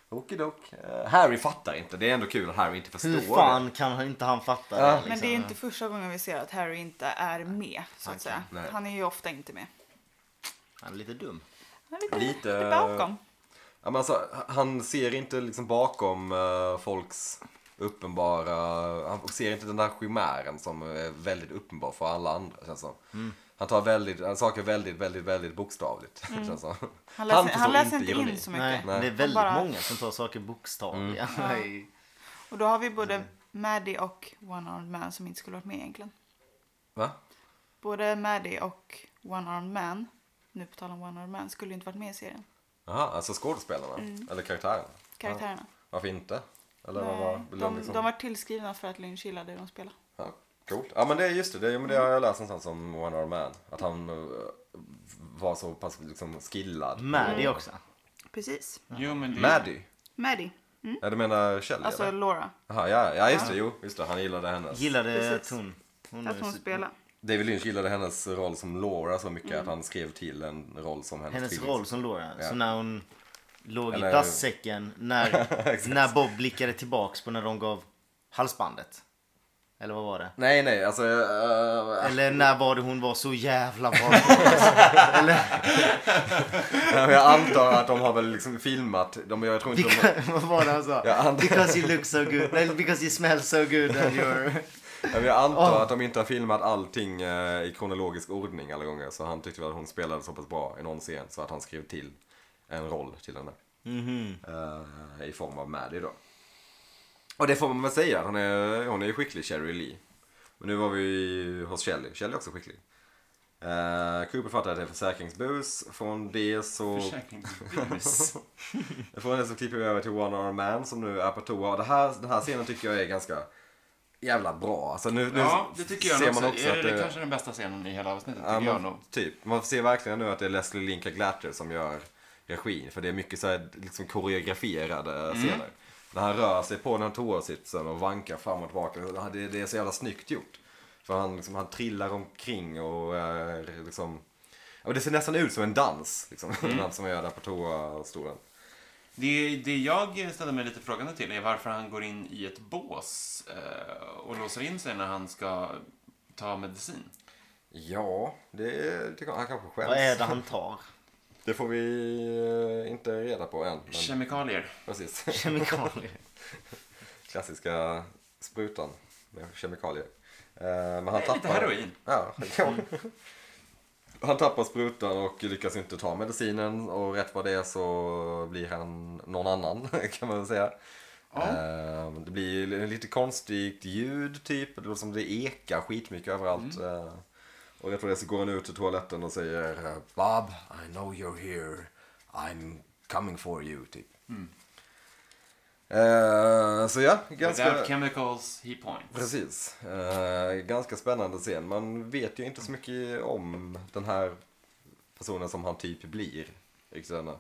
S2: Okidok. Eh, Harry fattar inte. Det är ändå kul att Harry inte förstår.
S3: Hur
S2: det.
S3: fan kan han inte han fatta det?
S2: Ja.
S3: Liksom?
S4: Men det är inte första gången vi ser att Harry inte är med, så att säga.
S2: nej.
S4: Han är ju ofta inte med.
S3: Han är lite dum.
S4: Han är lite,
S2: Lite-
S4: lite bakom.
S2: Ja, men alltså, han ser inte liksom bakom eh, folks uppenbara... Han ser inte den där chimären som är väldigt uppenbar för alla andra, känns som. Han tar väldigt, han saker väldigt, väldigt, väldigt bokstavligt. känns som.
S4: Mm. Han läser, han
S2: förstår
S4: läser inte
S2: ironi.
S4: in så mycket.
S3: Nej,
S2: Nej. Mm.
S3: det är väldigt
S4: bara-
S3: många som tar saker bokstavliga. Nej.
S4: Och då har vi både Maddie och One-Armed Man som inte skulle varit med egentligen.
S2: Va?
S4: Både Maddie och One-Armed Man, nu på tal om One-Armed Man, skulle ju inte varit med i serien.
S2: Jaha, alltså skådespelarna? Eller karaktärerna?
S4: Mm. Karaktärerna.
S2: Ja. Varför inte? Eller vad
S4: Nej,
S2: var
S4: de,
S2: Lund
S4: de var tillskrivna för att Lynch gillade hur de spelade.
S2: Ja, coolt. Ja men det är just det, det, men det har jag läst någonstans om One Arm Man. Att han eh, var så pass liksom skillad. Mm.
S3: Maddie
S4: Mm.
S3: också.
S4: Precis.
S1: Jo, men det,
S2: Maddie?
S4: Maddie.
S2: Ja du menar Shelley
S4: Alltså
S2: eller?
S4: Laura.
S2: Jaha, ja, ja just det, jo, just det, han gillade hennes.
S3: Gillade att
S4: Precis.
S3: hon... hon
S4: Att hon spelade.
S2: David Lynch gillade hennes roll som Laura så mycket att han skrev till en roll som hennes
S3: Hennes
S2: tvilling.
S3: roll som Laura.
S2: Ja.
S3: Så när hon låg
S2: Eller-
S3: i plastsäcken. När, när Bob blickade tillbaks på när de gav halsbandet. Eller vad var det?
S2: Nej nej, alltså... eh,
S3: Eller när var det hon var så jävla bra?
S2: eh, jag antar att de har väl liksom filmat, de, jag tror inte de...
S3: Because- Vad var det han sa?
S2: Jag antar-
S3: Because you look so good. Nej, because you smell so good and you're...
S2: Ja, men Jag antar att de inte har filmat allting eh, i kronologisk ordning alla gånger. Så han tyckte väl att hon spelade så pass bra i någon scen så att han skrev till en roll till henne. Eh, I form av Maddie då. Och det får man väl säga, hon är, hon är ju skicklig Cherry Lee. Men nu var vi hos Shelley, Shelley är också skicklig. Uh, Cooper fattar att det är försäkringsbus. Från det så...
S1: Försäkringsbus.
S2: Från det så klipper vi över till One Arm Man som nu är på toa. Och det här, den här scenen tycker jag är ganska jävla bra. Alltså nu, nu
S1: Ja, det tycker jag
S2: ser
S1: nog också.
S2: man också
S1: är
S2: att
S1: det,
S2: det,
S1: kanske den bästa scenen i hela avsnittet,
S2: ja,
S1: tycker jag
S2: man,
S1: nog.
S2: typ, man ser verkligen nu att det är Leslie Linka Glatter som gör regin. För det är mycket så här liksom koreograferade
S1: Mm.
S2: scener. När han rör sig på den här toasitsen och vankar fram och tillbaka. Det, det är så jävla snyggt gjort. För han, eh, liksom, han trillar omkring och är liksom Ja, men det ser nästan ut som en dans. Liksom.
S1: Mm.
S2: Den dans som man gör där på toastolen.
S1: Det, det jag ställer mig lite frågande till är varför han går in i ett bås eh, och låser in sig när han ska ta medicin.
S2: Ja, det tycker jag. Han kanske skäms.
S3: Vad är det han tar?
S2: Det får vi eh, inte reda på än. Men
S1: Kemikalier.
S2: precis.
S3: Kemikalier.
S2: Klassiska sprutan med kemikalier. Eh, Men han
S1: Nej,
S2: tappar...
S1: lite heroin.
S2: Ja, ja. Han tappar sprutan och lyckas inte ta medicinen och rätt vad det är så blir han någon annan kan man väl säga.
S1: Ja.
S2: Eh, Det blir lite konstigt ljud typ, det låter som det ekar skitmycket överallt.
S1: Mm.
S2: eh, Och rätt vad det är så går han ut till toaletten och säger eh, Bob, I know you're here. I'm coming for you typ. Eh, Så ja, ganska...
S1: Without chemicals, he points.
S2: Precis. Eh, ganska spännande scen. Man vet ju inte så mycket om den här personen som han typ blir. Riktigt ännu.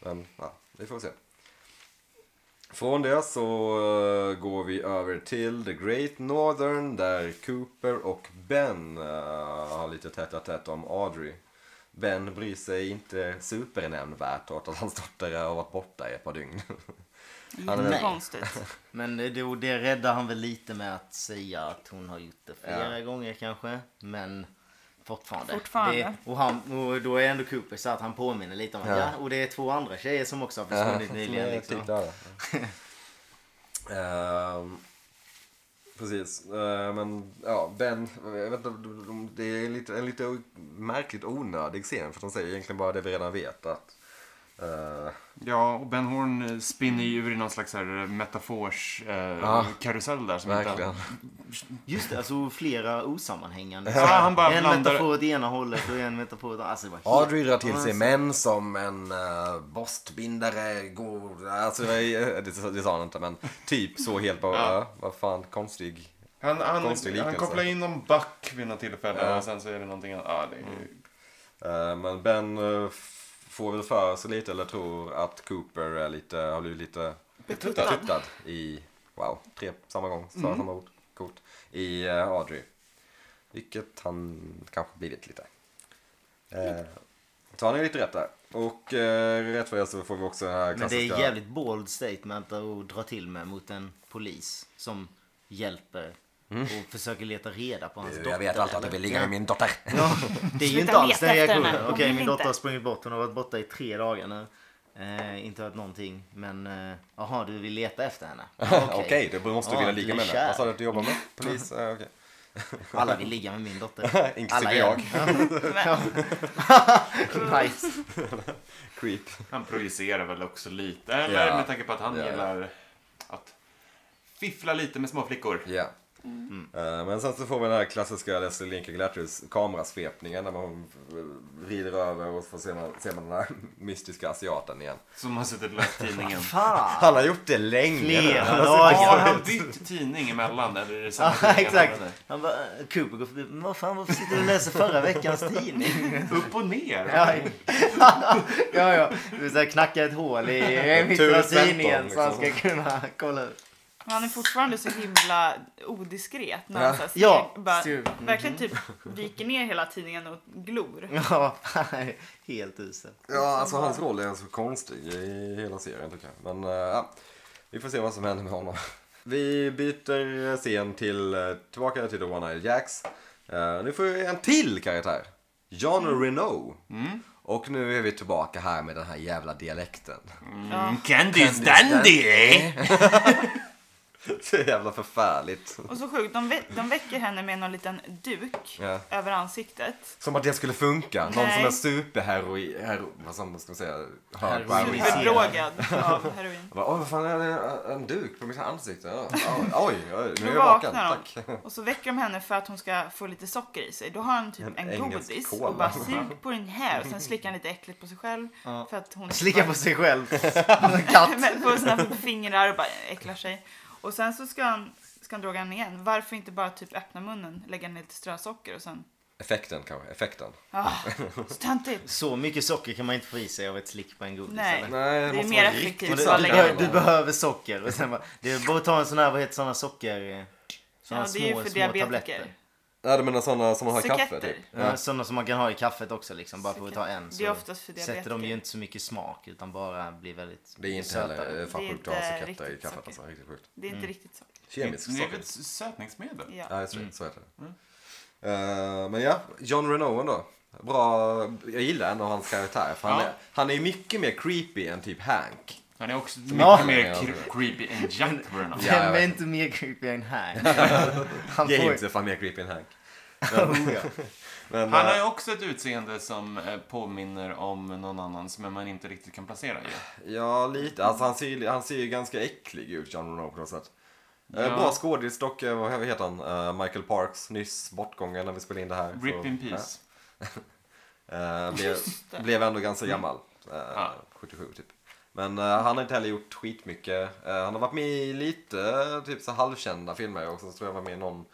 S2: Men ja, det får vi se. Från det så eh, går vi över till The Great Northern där Cooper och Ben eh, har lite tätt tätt om Audrey. Ben bryr sig inte supernämnvärt åt att hans dotter har varit borta i ett par dygn. är väl-
S4: Lite konstigt.
S3: Men det, det- det räddar han väl lite med att säga att hon har gjort det flera gånger kanske. Men fortfarande.
S4: Fortfarande.
S3: Det, och, han, och då är ändå Cooper så att han påminner lite om att
S2: Ja.
S3: ja. och det är två andra tjejer som också har försvunnit nyligen.
S2: Nej,
S3: Liksom.
S2: typ där, ja. Ehm, precis. Eh, men ja, Ben, jag vet inte, det är lite, en lite märkligt onödig scen för de säger egentligen bara det vi redan vet att eh,
S1: Ja, och Ben Horn eh, spinner ju ur i någon slags så här metaforskarusell eh,
S2: Ja.
S1: karusell där. Som
S2: verkligen.
S1: Inte,
S3: Just det, alltså flera osammanhängande.
S1: ja, han bara
S3: en
S1: blandar.
S3: metafor åt ena hållet och en metafor åt alltså, det var helt-
S2: Audrey drar till sig
S3: Alltså,
S2: män som en uh, borstbindare går... Alltså, det, det sa han inte, men typ så helt bara.
S1: Ja.
S2: eh, vad fan, konstig.
S1: Han, han,
S2: Konstig
S1: han
S2: liknelse.
S1: kopplar in någon back vid något tillfälle
S2: Ja.
S1: och sen så är det någonting annat. Ja, det är,
S2: Eh, Men Ben eh, f- får väl för sig lite eller tror att Cooper är lite, har blivit lite
S1: Betuttad.
S2: betuttad i, wow, tre samma gång, sa
S3: Mm.
S2: samma ord, coolt, i eh, Audrey. Vilket han kanske blivit lite. Eh,
S3: Mm.
S2: Så han är lite rätt där. Och eh, rätt vad det är så får vi också den här
S3: Men det
S2: klassiska...
S3: är jävligt bold statement att dra till med mot en polis som hjälper och försöker leta reda på hans dotter.
S2: Mm. Jag vet allt att det vill ligga i min dotter.
S3: Ja, det är ju
S4: Sluta
S3: inte alls
S4: leta
S3: den
S4: efter
S3: reaktionen.
S4: den här. Hon
S3: Okej,
S4: vill
S3: min
S4: inte.
S3: dotter har sprungit bort. Hon har varit borta i tre dagar nu. Eh, inte hört någonting. Men eh, jaha, du vill leta efter henne? Ja,
S2: Okej, då måste du
S3: Ja,
S2: vilja
S3: du
S2: ligga
S3: är
S2: med henne.
S3: kär.
S2: Vad sa du att du jobbar med? Polis? Eh, okej.
S3: Alla vill ligga med min dotter.
S2: Inklusive
S3: gör det.
S2: jag.
S3: nice.
S2: Creep.
S1: Han projicerar väl också lite. Eller
S2: Ja.
S1: med tanke på att han
S2: Ja.
S1: gillar att fiffla lite med små flickor.
S2: Ja. Eh, Men sen så får vi den här klassiska Leslie Lincoln Glatters kamerasvepningen när man eh, rider över och så ser man, ser man den här mystiska asiaten igen.
S1: Som har suttit och läst tidningen.
S3: Fan.
S2: Han har gjort det alltså typ- länge
S3: Flera
S1: Har
S3: dagar.
S1: han bytt tidning emellan eller är det samma tidning
S3: Ja,
S1: han
S3: exakt.
S1: använder?
S3: Han bara, eh, Cooper går förbi. Men vad fan, varför sitter du och läser förra veckans tidning?
S1: Upp och ner.
S3: Ja, ja. ja. Du så här knacka ett hål i mitt
S2: Tur
S3: av
S2: femton,
S3: tidningen så han ska
S2: liksom.
S3: kunna kolla ut.
S4: Men Han är fortfarande så himla odiskret. När
S2: Ja. Mm-hmm.
S4: han så här steg,
S3: Ja,
S4: bara,
S3: sur. Mhm.
S4: verkligen typ viker ner hela tidningen och glor.
S3: Ja, helt usel.
S2: Ja, alltså hans roll är så konstig i hela serien tycker jag. Men eh, ja, vi får se vad som händer med honom. Vi byter scen till, eh, tillbaka till The One Eyed Jacks. Eh, Nu får vi en till karaktär. John Renault. Och nu är vi tillbaka här med den här jävla dialekten.
S1: Mm, Candy's dandy.
S2: Så jävla förfärligt.
S4: Och så sjukt, de, vä- de väcker henne med någon liten duk
S2: Ja.
S4: över ansiktet.
S2: Som att det skulle funka. Någon
S4: Nej.
S2: som är superheroi... Hero, vad som ska man säga? Hör på
S3: Heroin.
S2: heroin.
S3: Super-
S4: Superdrogad av heroin.
S2: Jag bara, Åh, vad fan är det? En duk på mitt ansikte? Ja, Oj, oj, oj, nu är
S4: Då
S2: jag vaken.
S4: vaknar
S2: Tack.
S4: de och så väcker de henne för att hon ska få lite socker i sig. Då har han typ
S2: En
S4: en,
S2: engelsk
S4: godis
S2: cola.
S4: och bara sug på den här och sen slickar han lite äckligt på sig själv. För att hon
S3: Slicka på sig själv. Som en katt.
S4: Men på sina fingrar och bara äcklar sig. Och sen så ska han, ska han droga henne igen. Varför inte bara typ öppna munnen, lägga ner lite strösocker och sen...
S2: Effekten kanske, effekten.
S4: Ah, så töntigt!
S3: Så mycket socker kan man inte få i sig av ett slick på en godis.
S4: Nej.
S3: eller?
S2: Nej,
S4: Det är
S2: måste
S4: mer
S2: vara
S4: effektivt
S2: riktigt
S4: att
S3: Du,
S4: bara
S2: sant.
S4: lägga
S3: behöver, du behöver socker. Och sen bara, det är bara att ta en sån här, vad heter såna socker... eh, Såna
S4: Ja, det är ju för diabetiker.
S2: Ja, du menar sådana som man har i kaffe
S4: Suketter.
S2: typ?
S3: Ja. Sådana som man kan ha i kaffet också liksom. Bara för att ta en
S4: Det är
S3: så
S4: oftast för
S3: sätter de
S4: diabetiker.
S3: ju inte så mycket smak utan bara blir väldigt
S2: Det är inte
S3: sötare.
S2: heller eh, fan
S4: Det är
S2: sjukt att ha
S4: inte
S2: suketter i
S4: riktigt
S2: kaffet alltså.
S4: socker.
S2: Riktigt sjukt.
S4: Det är inte riktigt så.
S2: Kemisk
S1: Det är väl
S2: socker.
S1: ett sötningsmedel?
S4: Ja.
S2: Ja, just det. Så heter det. Eh, men ja, John Renovan då. Bra, jag gillar ändå hans karaktär. För han,
S1: Ja.
S2: är, han är ju mycket mer creepy än typ Hank.
S1: Han är också mycket
S3: Ja.
S1: mer cre- creepy än Jack Bruno.
S2: Ja, jag
S3: Vem är
S2: vet.
S3: inte mer creepy än Hank? Han får
S2: James
S3: ju...
S2: är fan mer creepy än Hank.
S3: Oh, ja.
S2: Men,
S1: Han
S2: eh,
S1: har ju också ett utseende som eh, påminner om någon annans, men man inte riktigt kan placera ju.
S2: Ja, lite. Alltså, han, ser, ju- han ser ju ganska äcklig ut, John Renault på något sätt. Eh,
S1: Ja.
S2: Bra skådis dock, eh, vad heter han? Eh, Michael Parks, nyss bortgången när vi spelade in det här.
S1: Rip
S2: Så,
S1: in peace.
S2: ja. Eh, blev,
S4: Just det.
S2: blev ändå ganska gammal. Eh,
S1: Mm. Ja.
S2: 77 typ. Men eh, han har inte heller gjort skitmycket. Eh, han har varit med i lite eh, typ så halvkända filmer och så tror jag han var med i någon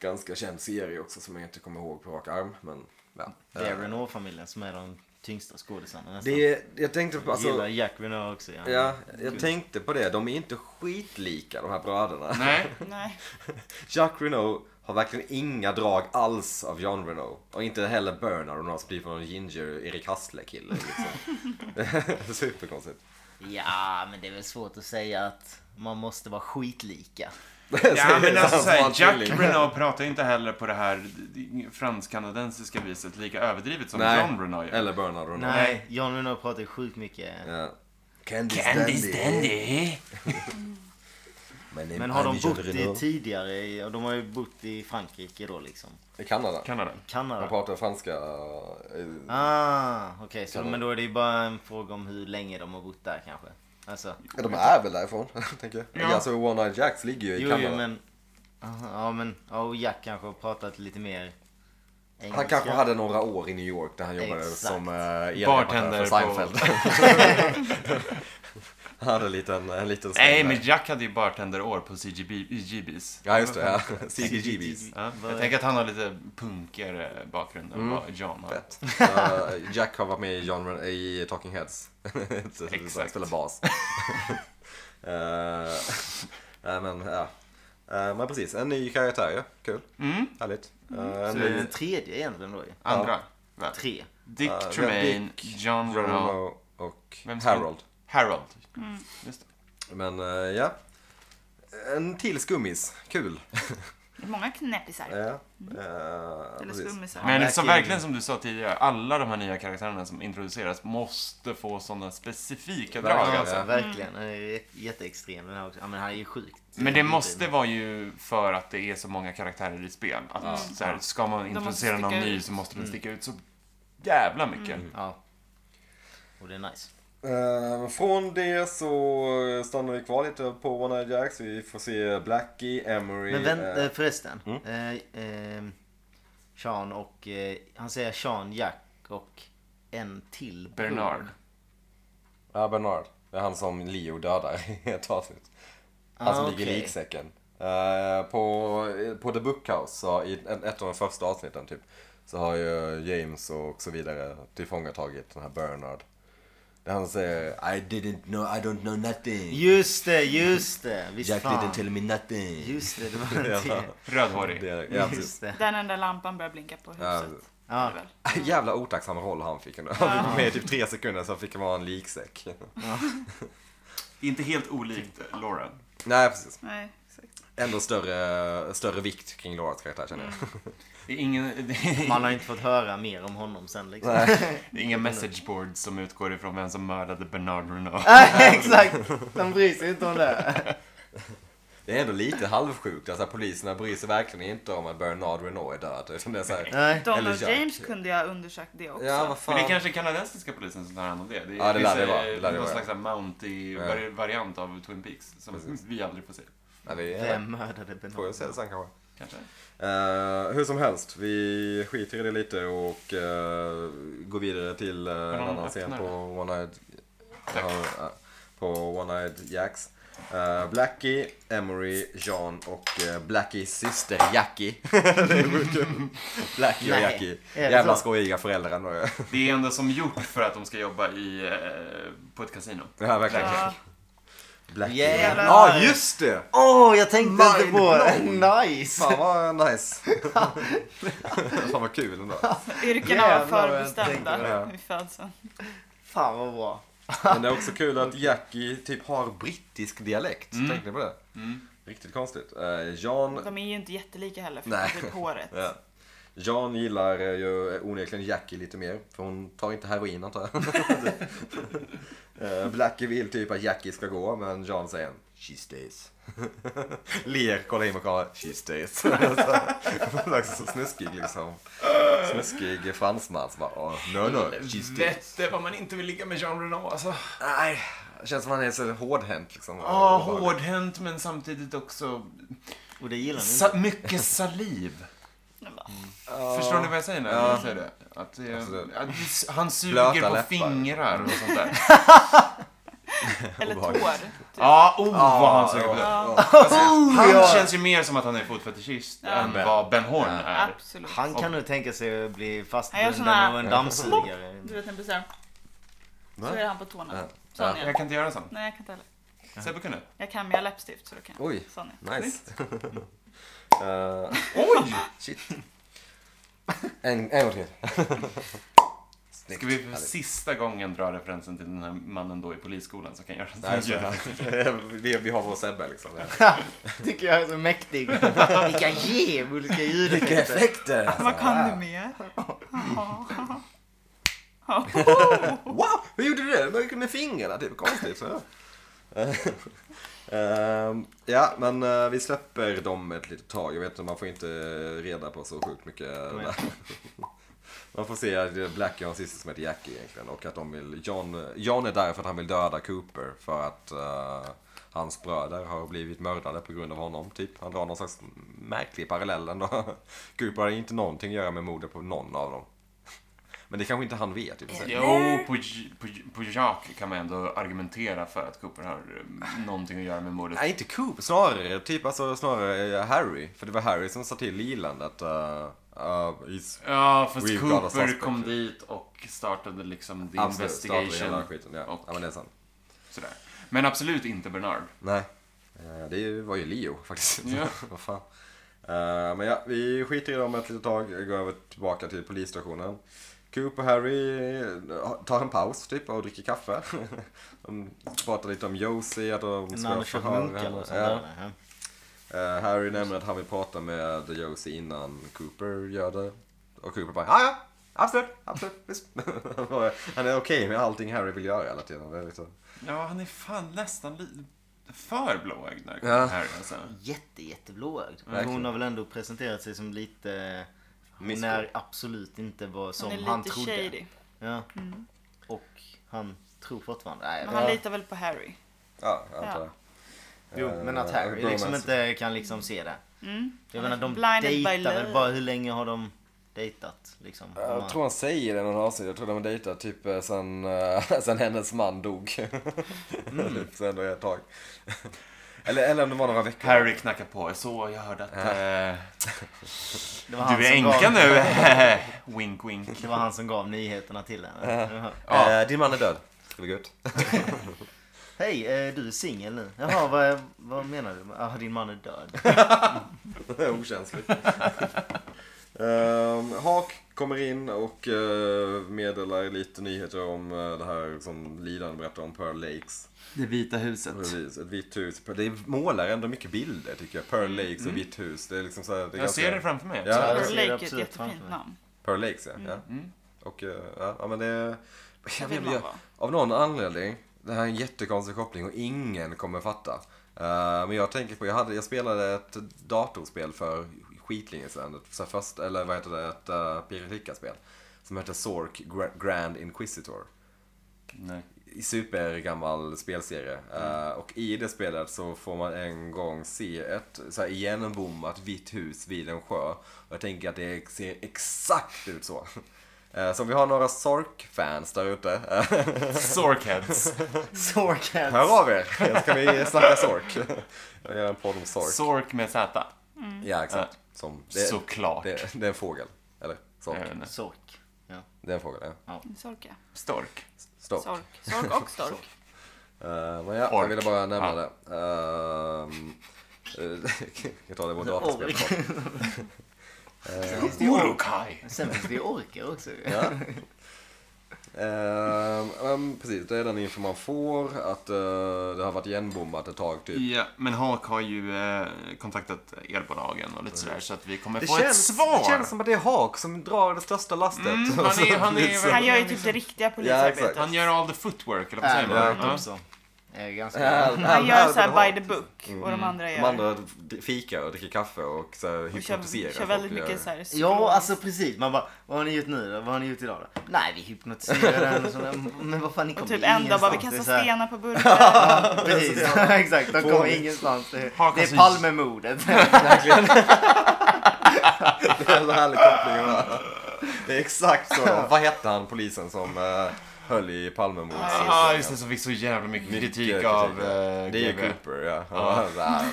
S2: ganska känd serie också som jag inte kommer ihåg på rak arm. Men, ja.
S3: Det
S2: Eh,
S3: är Renault-familjen som är de tyngsta skådisarna nästan.
S2: det, jag tänkte på,
S3: Jag gillar
S2: alltså,
S3: Jack Renault också. Ja.
S2: ja, jag tänkte på det, de är inte skitlika de här bröderna.
S1: Nej,
S4: Nej.
S2: Jacques Renault har verkligen inga drag alls av John Renault. Och inte heller Bernard Renault som blir från någon ginger Erik Hassle-kille. Liksom. Superkonstigt.
S3: ja, men det är väl svårt att säga att man måste vara skitlika.
S1: ja, men alltså,
S2: Han som har
S1: såhär,
S2: en
S1: Jack
S2: tvilling.
S1: Bruno pratar ju inte heller på det här fransk-kanadensiska viset lika överdrivet som
S2: Nej.
S1: John Bruno gör.
S2: Eller Bernard Renault.
S3: Nej, John Renault pratar ju sjukt mycket.
S2: Ja. Candy
S1: Dandy.
S3: Men har de bott i tidigare, i- ja, de har ju bott i Frankrike då liksom.
S2: I Kanada.
S1: Kanada.
S2: De
S3: Kanada.
S2: pratar franska. eh,
S3: Ah, okej, så
S2: Kanada.
S3: men då är det ju bara en fråga om hur länge de har bott där kanske. Alltså,
S2: De är väl därifrån, tänker jag.
S1: Ja.
S2: Alltså, One Eye Jacks ligger ju i
S3: jo,
S2: Kanada.
S3: jo men... Aha, ja, men, ja, och Jack kanske har pratat lite mer engelska.
S2: Han kanske hade några år i New York där han jobbade
S3: Exakt.
S2: som uh,
S1: Bartender
S2: för Seinfeld. han hade en liten, en liten sväng
S1: Nej,
S2: där.
S1: men Jack hade ju bartenderår på CGB, CGBs.
S2: Ja, just det. Ja. CGGBs.
S1: Ja, jag tänker att han har lite punkigare bakgrund
S2: Mm.
S1: än vad John har.
S2: Fett. Eh, Jack har varit med i, John, Ren- i Talking Heads. Så Han
S1: Exakt.
S2: spelar bas. Eh, Nej, men ja. Eh, men precis, en ny karaktär ju. Kul.
S1: Mm.
S2: Härligt. Eh, en
S3: Så det är
S2: ny...
S3: den tredje egentligen då ju.
S1: Andra. väl?
S3: Tre.
S1: Dick
S2: Ja,
S1: Tremaine, John Renault,
S2: Geronimo och
S1: Vem ska-
S2: Harold.
S1: Harold. Just det.
S2: Men eh, ja. En till skummis. Kul.
S4: Det är många knäppisar.
S2: Ja. Eh,
S4: Eller
S2: precis.
S4: skummisar.
S1: Men så
S3: verkligen-
S1: verkligen som du sa tidigare, alla de här nya karaktärerna som introduceras måste få sådana specifika drag
S2: Verkligen,
S1: alltså.
S2: ja.
S3: Verkligen. Han är ju jätte- jätteextrem den här också. Ja, men han är ju sjukt.
S1: Men det måste vara ju för att det är så många karaktärer i spel. Att så här, ska man introducera någon
S4: sticka
S1: ny
S4: ut.
S1: så måste
S2: Mm.
S1: den sticka ut så jävla mycket.
S3: Ja. Och det är nice.
S2: Eh, från det så stannar vi kvar lite på One Eye Jacks. Vi får se Blackie, Emery.
S3: Men vänt,
S2: eh,
S3: eh, förresten. Eh, eh, Sean och... Eh, han säger Sean, Jack och en till. bror.
S2: Mm.
S1: Bernard.
S2: Ja, Bernard. Det är han som Leo dödar i ett avsnitt. Han
S3: Ah,
S2: som ligger i
S3: okej.
S2: liksäcken. Eh, på, på The Bookhouse, så i en- ett av de första avsnitten typ, så har ju James och så vidare tillfångatagit den här Bernard. Där han säger I didn't know, I don't know nothing.
S3: Just det, just det. Visst
S2: Jack
S3: fan.
S2: didn't tell me nothing.
S3: Just det, det var det.
S1: Rödhårig.
S2: Det, ja, precis.
S3: just det.
S4: Den enda lampan börjar blinka på
S2: Ja.
S4: huset.
S3: Ja.
S4: Det är väl.
S1: Mm.
S2: Jävla otacksam roll han fick ändå. Han fick vara med i typ tre sekunder så fick han vara en liksäck.
S1: Inte helt olikt eh, Laura.
S2: Nej precis.
S4: Nej, exakt.
S2: Ändå större, större vikt kring Lauras karaktär känner
S1: Mm.
S2: jag.
S1: Det är ingen, det är,
S3: Man har inte fått höra mer om honom sen liksom.
S1: det är inga messageboards som utgår ifrån vem som mördade Bernard Renault.
S3: Nej, exakt. De bryr sig inte om det.
S2: Det är ändå lite halvsjukt. Alltså, poliserna bryr sig verkligen inte om att Bernard Renault är död. Utan det är så här,
S3: Nej.
S4: Donald
S2: Jack. typ.
S4: James kunde jag ha undersökt det också.
S2: ja
S1: Men
S2: vad
S1: det är
S2: fan.
S1: kanske kanadensiska polisen som tar hand om det. Det,
S2: Ja, det lär det
S1: finns, eh,
S2: vara. Det lär det
S1: någon
S2: vara.
S1: slags Mountie-variant av Twin Peaks som vi aldrig får se.
S2: Ja, det är,
S3: Vem mördade
S2: får
S3: Bernard?
S2: jag säga sen kanske.
S1: Kanske.
S2: Eh, hur som helst, vi skiter i det lite och eh, går vidare till eh, en
S1: någon
S2: annan scen
S1: öppnare?
S2: på One-Eyed
S1: Tack.
S2: ja, eh, på One-Eyed Jacks. Eh, Blackie, Emery, Jean och eh, Blackies syster Jackie. det är sjukt kul. Blackie och
S3: Nej,
S2: Jackie.
S3: är det
S2: Jävla
S3: så?
S2: skojiga föräldrar ändå. ju.
S1: Det är ändå som gjort för att de ska jobba i, eh, på ett kasino.
S2: Ja, verkligen.
S4: Ja.
S2: Black
S3: Jävlar.
S2: Ja, ah, just det!
S3: Åh, jag tänkte inte
S2: Mind
S3: på
S2: blown.
S3: Nice!
S2: Fan vad nice. Fan vad kul ändå.
S4: Yrkena var
S3: Jävlar vad jag
S4: förbestämda
S2: tänker. Mm.
S4: vid födseln.
S3: Fan vad bra.
S2: Men det är också kul att Jackie typ har brittisk dialekt. Tänkte ni på det? Riktigt konstigt. Eh, Jan...
S4: De är ju inte jättelika heller för
S2: Nej.
S4: typ håret.
S2: Ja. Jan gillar eh, ju onekligen Jackie lite mer. För hon tar inte heroin antar jag. Eh, Blackie vill typ att Jackie ska gå men Jan säger She stays. Ler, kollar in på kameran. She stays. så, hon är också så snuskig liksom. Snuskig fransman som bara "Ah, No no, she stays.
S1: Vette vad man inte vill ligga med Jean Reno alltså.
S2: Nej, det känns som han är så hårdhänt liksom.
S1: Ja, hårdhänt men samtidigt också
S3: Och det gillar ni inte.
S1: sa- mycket saliv.
S4: Men bara,
S2: Mm.
S1: Förstår ni vad jag säger när jag säger det? Att det
S2: Absolut.
S1: att det- han suger
S2: Blöta
S1: på
S2: läppar.
S1: fingrar och sånt där.
S4: Eller tår.
S2: Obehagligt.
S1: Ja, oh vad han suger på
S2: Ja,
S1: det.
S2: ja.
S1: Alltså, han
S3: ja.
S1: känns ju mer som att han är fotfetischist än
S2: Ben.
S1: vad Ben Horn är.
S4: Absolut.
S3: Han kan nog tänka sig att bli
S4: Han gör såna
S3: fastbunden
S4: här-
S3: av en dammsugare.
S4: Du vet när det blir så här. Så
S2: Va?
S4: är han på tårna.
S2: Ja.
S4: Sån är
S1: Jag
S4: jag.
S1: kan inte göra en sån.
S4: Nej jag kan inte heller.
S1: Sebbe kunde.
S4: Jag kan men jag har läppstift så då kan jag.
S2: Oj.
S4: Sån är jag.
S2: Nice. Eh,
S1: Oj!
S2: shit. En, en gång till. Snyggt.
S1: Ska vi för sista gången dra referensen till den här mannen då i polisskolan som kan göra
S2: Nej,
S1: sånt
S2: så
S1: här?
S2: här. vi, vi har vår Sebbe liksom.
S3: Tycker jag är så mäktig. Vilka jäv, olika
S2: Vilka
S3: ljud.
S2: effekter! Alltså,
S4: Vad kan du
S2: wow.
S4: mer?
S2: Wow! Hur gjorde du det? Med, med fingrarna? Typ konstigt. Så. Ehm, ja, men eh, vi släpper dem ett litet tag. Jag vet inte, man får inte reda på så sjukt mycket.
S3: Nej.
S2: där. man får se att det är Black och hans syster som heter Jackie egentligen. Och att de vill, John, John är där för att han vill döda Cooper. För att eh, hans bröder har blivit mördade på grund av honom. Typ. Han drar någon slags märklig parallell ändå. Cooper har inte någonting att göra med mordet på någon av dem. Men det kanske inte han vet. Typ,
S1: Jo, på, på, på Jacques kan man ändå argumentera för att Cooper har eh, någonting att göra med mordet.
S2: Nej, inte Coop, snarare typ alltså snarare eh, Harry. För det var Harry som sa till lilandet. Uh, uh, he's...
S1: Ja, fast
S2: We've got a
S1: Cooper
S2: suspect.
S1: kom dit och startade liksom the
S2: Absolut, startade
S1: investigation.
S2: hela skiten, ja.
S1: och-
S2: ja, men det är sant.
S1: Sådär. Men absolut inte Bernard.
S2: Nej, eh, det är ju- var ju Leo faktiskt.
S1: Ja.
S2: Vad fan. Eh, men ja, vi skiter i dem ett litet tag. Jag går över tillbaka till polisstationen. Coop och Harry eh, tar en paus typ och dricker kaffe. de pratar lite om Josie, att de
S3: När
S2: ska
S3: han kört
S2: förhöra
S3: munkar eller
S2: henne.
S3: sånt
S2: Ja.
S3: där. va?
S2: Eh, Harry nämner att han vill prata med Josie innan Cooper gör det. Och Cooper bara, ja ja, absolut, absolut, visst. han är okej med allting Harry vill göra hela tiden. Det är liksom...
S1: Ja, han är fan nästan li- för blåögd när det
S2: Ja.
S1: kommer till Harry alltså.
S3: Jätte, jätteblåögd. Men
S2: Verkligen.
S3: hon har väl ändå presenterat sig som lite... Hon
S2: Missbruk.
S3: är absolut inte vad som
S4: Han är
S3: han,
S4: lite
S3: trodde.
S4: shady. Mm.
S3: Ja. Och han tror fortfarande... Nej,
S4: Men
S3: det-
S4: han litar väl på Harry.
S2: Ja, jag antar
S4: Ja.
S2: det.
S3: Jo,
S2: Eh,
S3: men att Harry
S2: bromance.
S3: liksom inte kan liksom se det. Jag menar, de
S4: Mm. Blinded by
S3: dejtar väl
S4: love.
S3: bara... Hur länge har de dejtat? Liksom? De har-
S2: Jag tror han säger det i någon avsnitt. Jag tror de har dejtat typ eh, sen, eh, sen hennes man dog. Mm. sen ett tag. Eller, eller om det var några veckor.
S1: Harry knackar på. Så, jag hörde att eh,
S3: det var han
S1: du är
S3: som gav-
S1: änka nu. wink, wink.
S3: Det var han som gav nyheterna till henne. Jaha.
S1: Ja.
S2: Eh, din man är död. Ska vi gå ut?
S3: Hej, eh, du är singel nu. Jaha, vad, vad menar du? Ah, din man är död.
S2: Okänsligt. um, Hak kommer in och eh, meddelar lite nyheter om eh, det här som Lidan berättar om Pearl Lakes.
S1: Det vita huset.
S2: Precis, ett vitt hus. Det målar ändå mycket bilder tycker jag. Pearl Lakes och vitt hus. Det är liksom så här, det är
S1: Mm. Jag
S2: ganska-
S1: ser det framför mig.
S2: Ja.
S4: Pearl
S3: jag ser det
S4: Lake är ett
S3: absolut framför
S4: jättefint
S3: mig.
S4: namn.
S2: Pearl Lakes ja. ja. Och eh, ja, ja, men det... Jag
S4: vill
S2: vet,
S4: man
S2: jag,
S4: vara.
S2: av någon anledning, det här är en jättekonstig koppling och ingen kommer fatta. Eh, men jag tänker på, jag, hade, jag spelade ett datorspel för skitlänge sedan. Ett, så här först, eller vad heter det, ett uh, piratikarspel. Som hette Zork Gra- Grand Inquisitor
S1: Nej.
S2: supergammal spelserie. Eh, och i det spelet så får man en gång se ett så här igenbommat vitt hus vid en sjö. Och jag tänker att det ser exakt ut så. Eh, så om vi har några Sork-fans där ute. eh,
S1: Sorkheads.
S3: Sorkat.
S2: hör av er! Så kan vi snacka Sork. Jag gör en podd om Sork.
S1: Sork med Z.
S2: Ja, exakt. Som, det,
S1: Såklart.
S2: det, det är en fågel. Eller? Sork.
S1: Jag vet inte.
S3: Sork. Ja.
S2: Det är en fågel, ja.
S4: Sork ja.
S1: Stork.
S2: Stork.
S4: Sork. Sork och stork.
S2: Eh, men ja, jag
S1: Ork.
S2: ville bara nämna
S1: Ja.
S2: det. Ehm, eh, jag tar det i vårt dataspel.
S3: Ork.
S1: Urukaj!
S3: Sen finns det ju orkar också.
S2: Ja. Ehm, men precis, det är den info man får. Att eh, det har varit igenbombat ett tag typ.
S1: Ja, men Hawk har ju eh, kontaktat elbolagen och lite sådär så att vi kommer
S2: Det
S1: få
S2: känns,
S1: ett svar.
S2: det känns som att det är Hawk som drar det största lastet.
S1: Mm, han
S2: Och så
S1: är- han
S2: blir det
S1: är
S2: så-
S1: väl-
S4: Han gör ju typ det riktiga polisarbetet.
S2: exakt.
S1: Han gör all the footwork, eller vad
S3: Äh,
S1: säger
S3: det är
S1: man? Ja.
S3: typ så. Eh, Ganska...
S2: Al-
S4: Han
S2: Al-
S4: gör
S2: Albert
S4: så här
S2: Hawk.
S4: by the book och de andra
S2: De
S4: gör...
S2: andra fikar och dricker kaffe och så här,
S4: Och kör,
S2: hypnotiserar
S4: kör väldigt
S2: folk.
S4: mycket så här
S3: Ja, alltså precis. Man bara, vad har ni gjort nu då? Vad har ni gjort idag då? Nej, vi hypnotiserar den och sådär. Men vad fan, ni
S4: Och
S3: kommer
S4: typ en dag bara, vi
S3: ingenstans.
S4: kastar
S3: Det är så här-
S4: stenar på burkar.
S3: Precis, exakt. De kommer ingenstans. Det, det
S1: Hakan
S3: är
S1: syns.
S3: Palmemordet.
S2: Det är en härlig koppling. va? Det är exakt så. Vad hette han polisen som eh, höll i Palmemordet?
S1: Ja, ah, just det, så fick så jävla mycket kritik, av eh,
S2: Det är ju
S1: GV.
S2: Cooper, ja. Han var såhär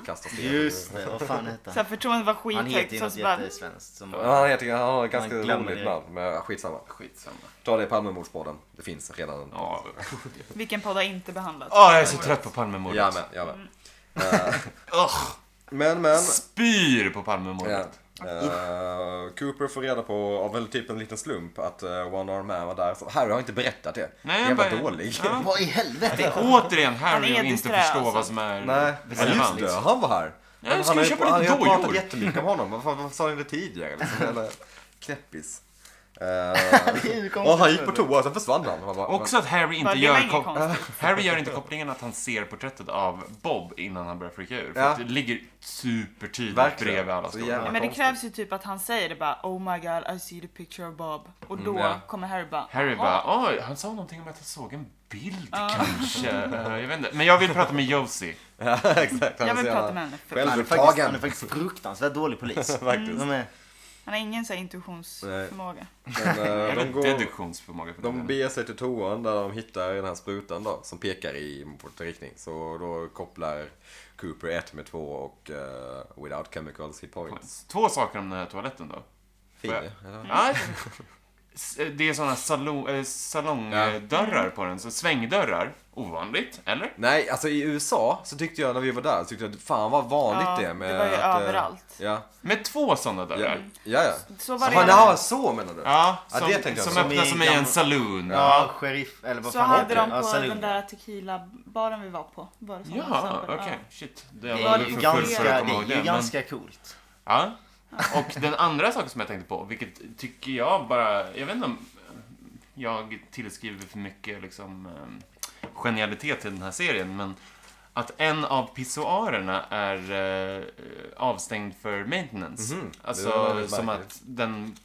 S2: och kastade sten.
S3: Just det, vad fan hette
S4: Så här,
S3: han?
S4: förtroendet var
S3: Han heter ju
S4: skithögt.
S3: något
S4: Så bara,
S3: jättesvenskt. Som bara,
S2: Han, heter, han har ett ganska
S3: Man glömmer
S2: roligt
S3: det.
S2: namn, men ja, skitsamma.
S1: Skitsamma.
S2: Ta det i Palmemordspodden. Det finns redan en.
S1: Ja,
S4: vilken podd har inte behandlats?
S1: Ah, jag är så trött på Palmemordet.
S2: Jag med, jag
S4: Mm.
S2: med.
S1: Ugh,
S2: Men, men.
S1: spyr på Palmemordet.
S2: Ja. Eh, Cooper får reda på, av väl typ en liten slump, att uh, One Arm Man var där. Så Harry har inte berättat det.
S1: Nej,
S2: Jävla
S1: bara-
S2: dålig.
S1: Ja.
S3: Vad i helvete?
S1: Återigen
S4: Han
S1: Harry
S4: är
S1: och inte
S4: disträ,
S1: förstå
S4: alltså.
S1: vad som är
S2: Nej, ja, just
S1: relevant.
S2: det. Han var här.
S1: Ja, jag
S2: han
S1: skulle
S2: har ju-
S1: köpa
S2: han
S1: lite
S2: har ju pratat
S1: dojor.
S2: jättemycket om honom. Varför, varför sa han inte tidigare? Liksom, eller knäppis. Eh,
S3: Det är ju
S2: och
S3: konstigt
S2: han gick på
S3: nu.
S2: toa och sen försvann han. Man bara,
S1: Också att Harry
S4: Bara,
S1: inte
S4: det
S1: gör,
S4: var inget
S1: kom-
S4: konstigt.
S1: Harry gör inte kopplingen att han ser porträttet av Bob innan han börjar freaka ur. För
S2: Ja.
S1: att det ligger supertydligt
S2: Verkligen.
S1: bredvid alla
S2: Så
S1: skolor.
S2: jävla-
S4: Ja, Men det
S2: konstigt.
S4: krävs ju typ att han säger det bara Oh my god I see the picture of Bob. Och då
S2: Mm, ja.
S4: kommer Harry bara
S1: Harry
S4: "Jaha."
S1: bara, oj, han sa någonting om att han såg en bild kanske. Eh, jag vet inte. Men jag vill prata med Josie.
S2: Ja, exakt. Han
S4: Jag
S2: är
S4: vill
S2: så
S4: prata
S2: jävla
S4: med henne. för-
S2: själv-
S3: Han är, Mm. faktiskt, han är faktiskt fruktansvärt dålig polis.
S2: Faktiskt.
S3: De är,
S4: Han har ingen så här intuitionsförmåga.
S2: Men, eh,
S1: Eller
S2: de, går,
S1: deduktionsförmåga. För
S2: de
S1: de
S2: beger sig till toan där de hittar den här sprutan då, som pekar i motsatt riktning. Så då kopplar Cooper 1 med 2 och eh, Without Chemicals hit points.
S1: Två saker om den här toaletten
S4: Mm.
S1: då.
S2: Fin,
S1: Får jag-
S2: eller?
S1: Nej. S- Det är sådana salong, eh, salongdörrar på den, så svängdörrar. Ovanligt, eller?
S2: Nej, alltså i USA så tyckte jag när vi var där så tyckte jag fan vad vanligt
S4: Ja,
S2: det är med
S4: det var ju
S2: att, eh,
S4: överallt.
S2: Ja,
S1: Med två sådana
S2: ja,
S1: dörrar.
S2: ja. ja.
S4: Så var det
S2: Jaha,
S4: redan.
S2: ja, så menar du?
S1: Mm. Ja,
S2: Ja,
S1: som,
S2: det tänkte jag
S1: som
S2: på.
S1: öppnar
S3: Som
S1: som
S3: i
S1: i en
S3: gamla-
S1: saloon.
S3: ja, sheriff eller vad
S4: Så
S3: fan
S4: hade de
S3: Ja,
S4: på
S3: saloon.
S4: den där tequila-baren vi var på. Var det så
S1: Ja,
S4: Ja.
S1: okej. Shit. Det
S3: Det
S1: var
S3: är
S1: lite
S3: ju
S1: för full
S3: ganska,
S1: för
S3: det
S1: att komma ihåg
S3: är ju
S1: det. Men,
S3: ganska coolt.
S1: ja. Och den andra saken som jag tänkte på, vilket tycker jag bara... Jag vet inte om jag tillskriver för mycket liksom, eh, genialitet till den här serien, men att en av pissoarerna är eh, avstängd för maintenance.
S2: Mhm. Det var
S1: Alltså
S2: väldigt
S1: som
S2: märkligt.
S1: att den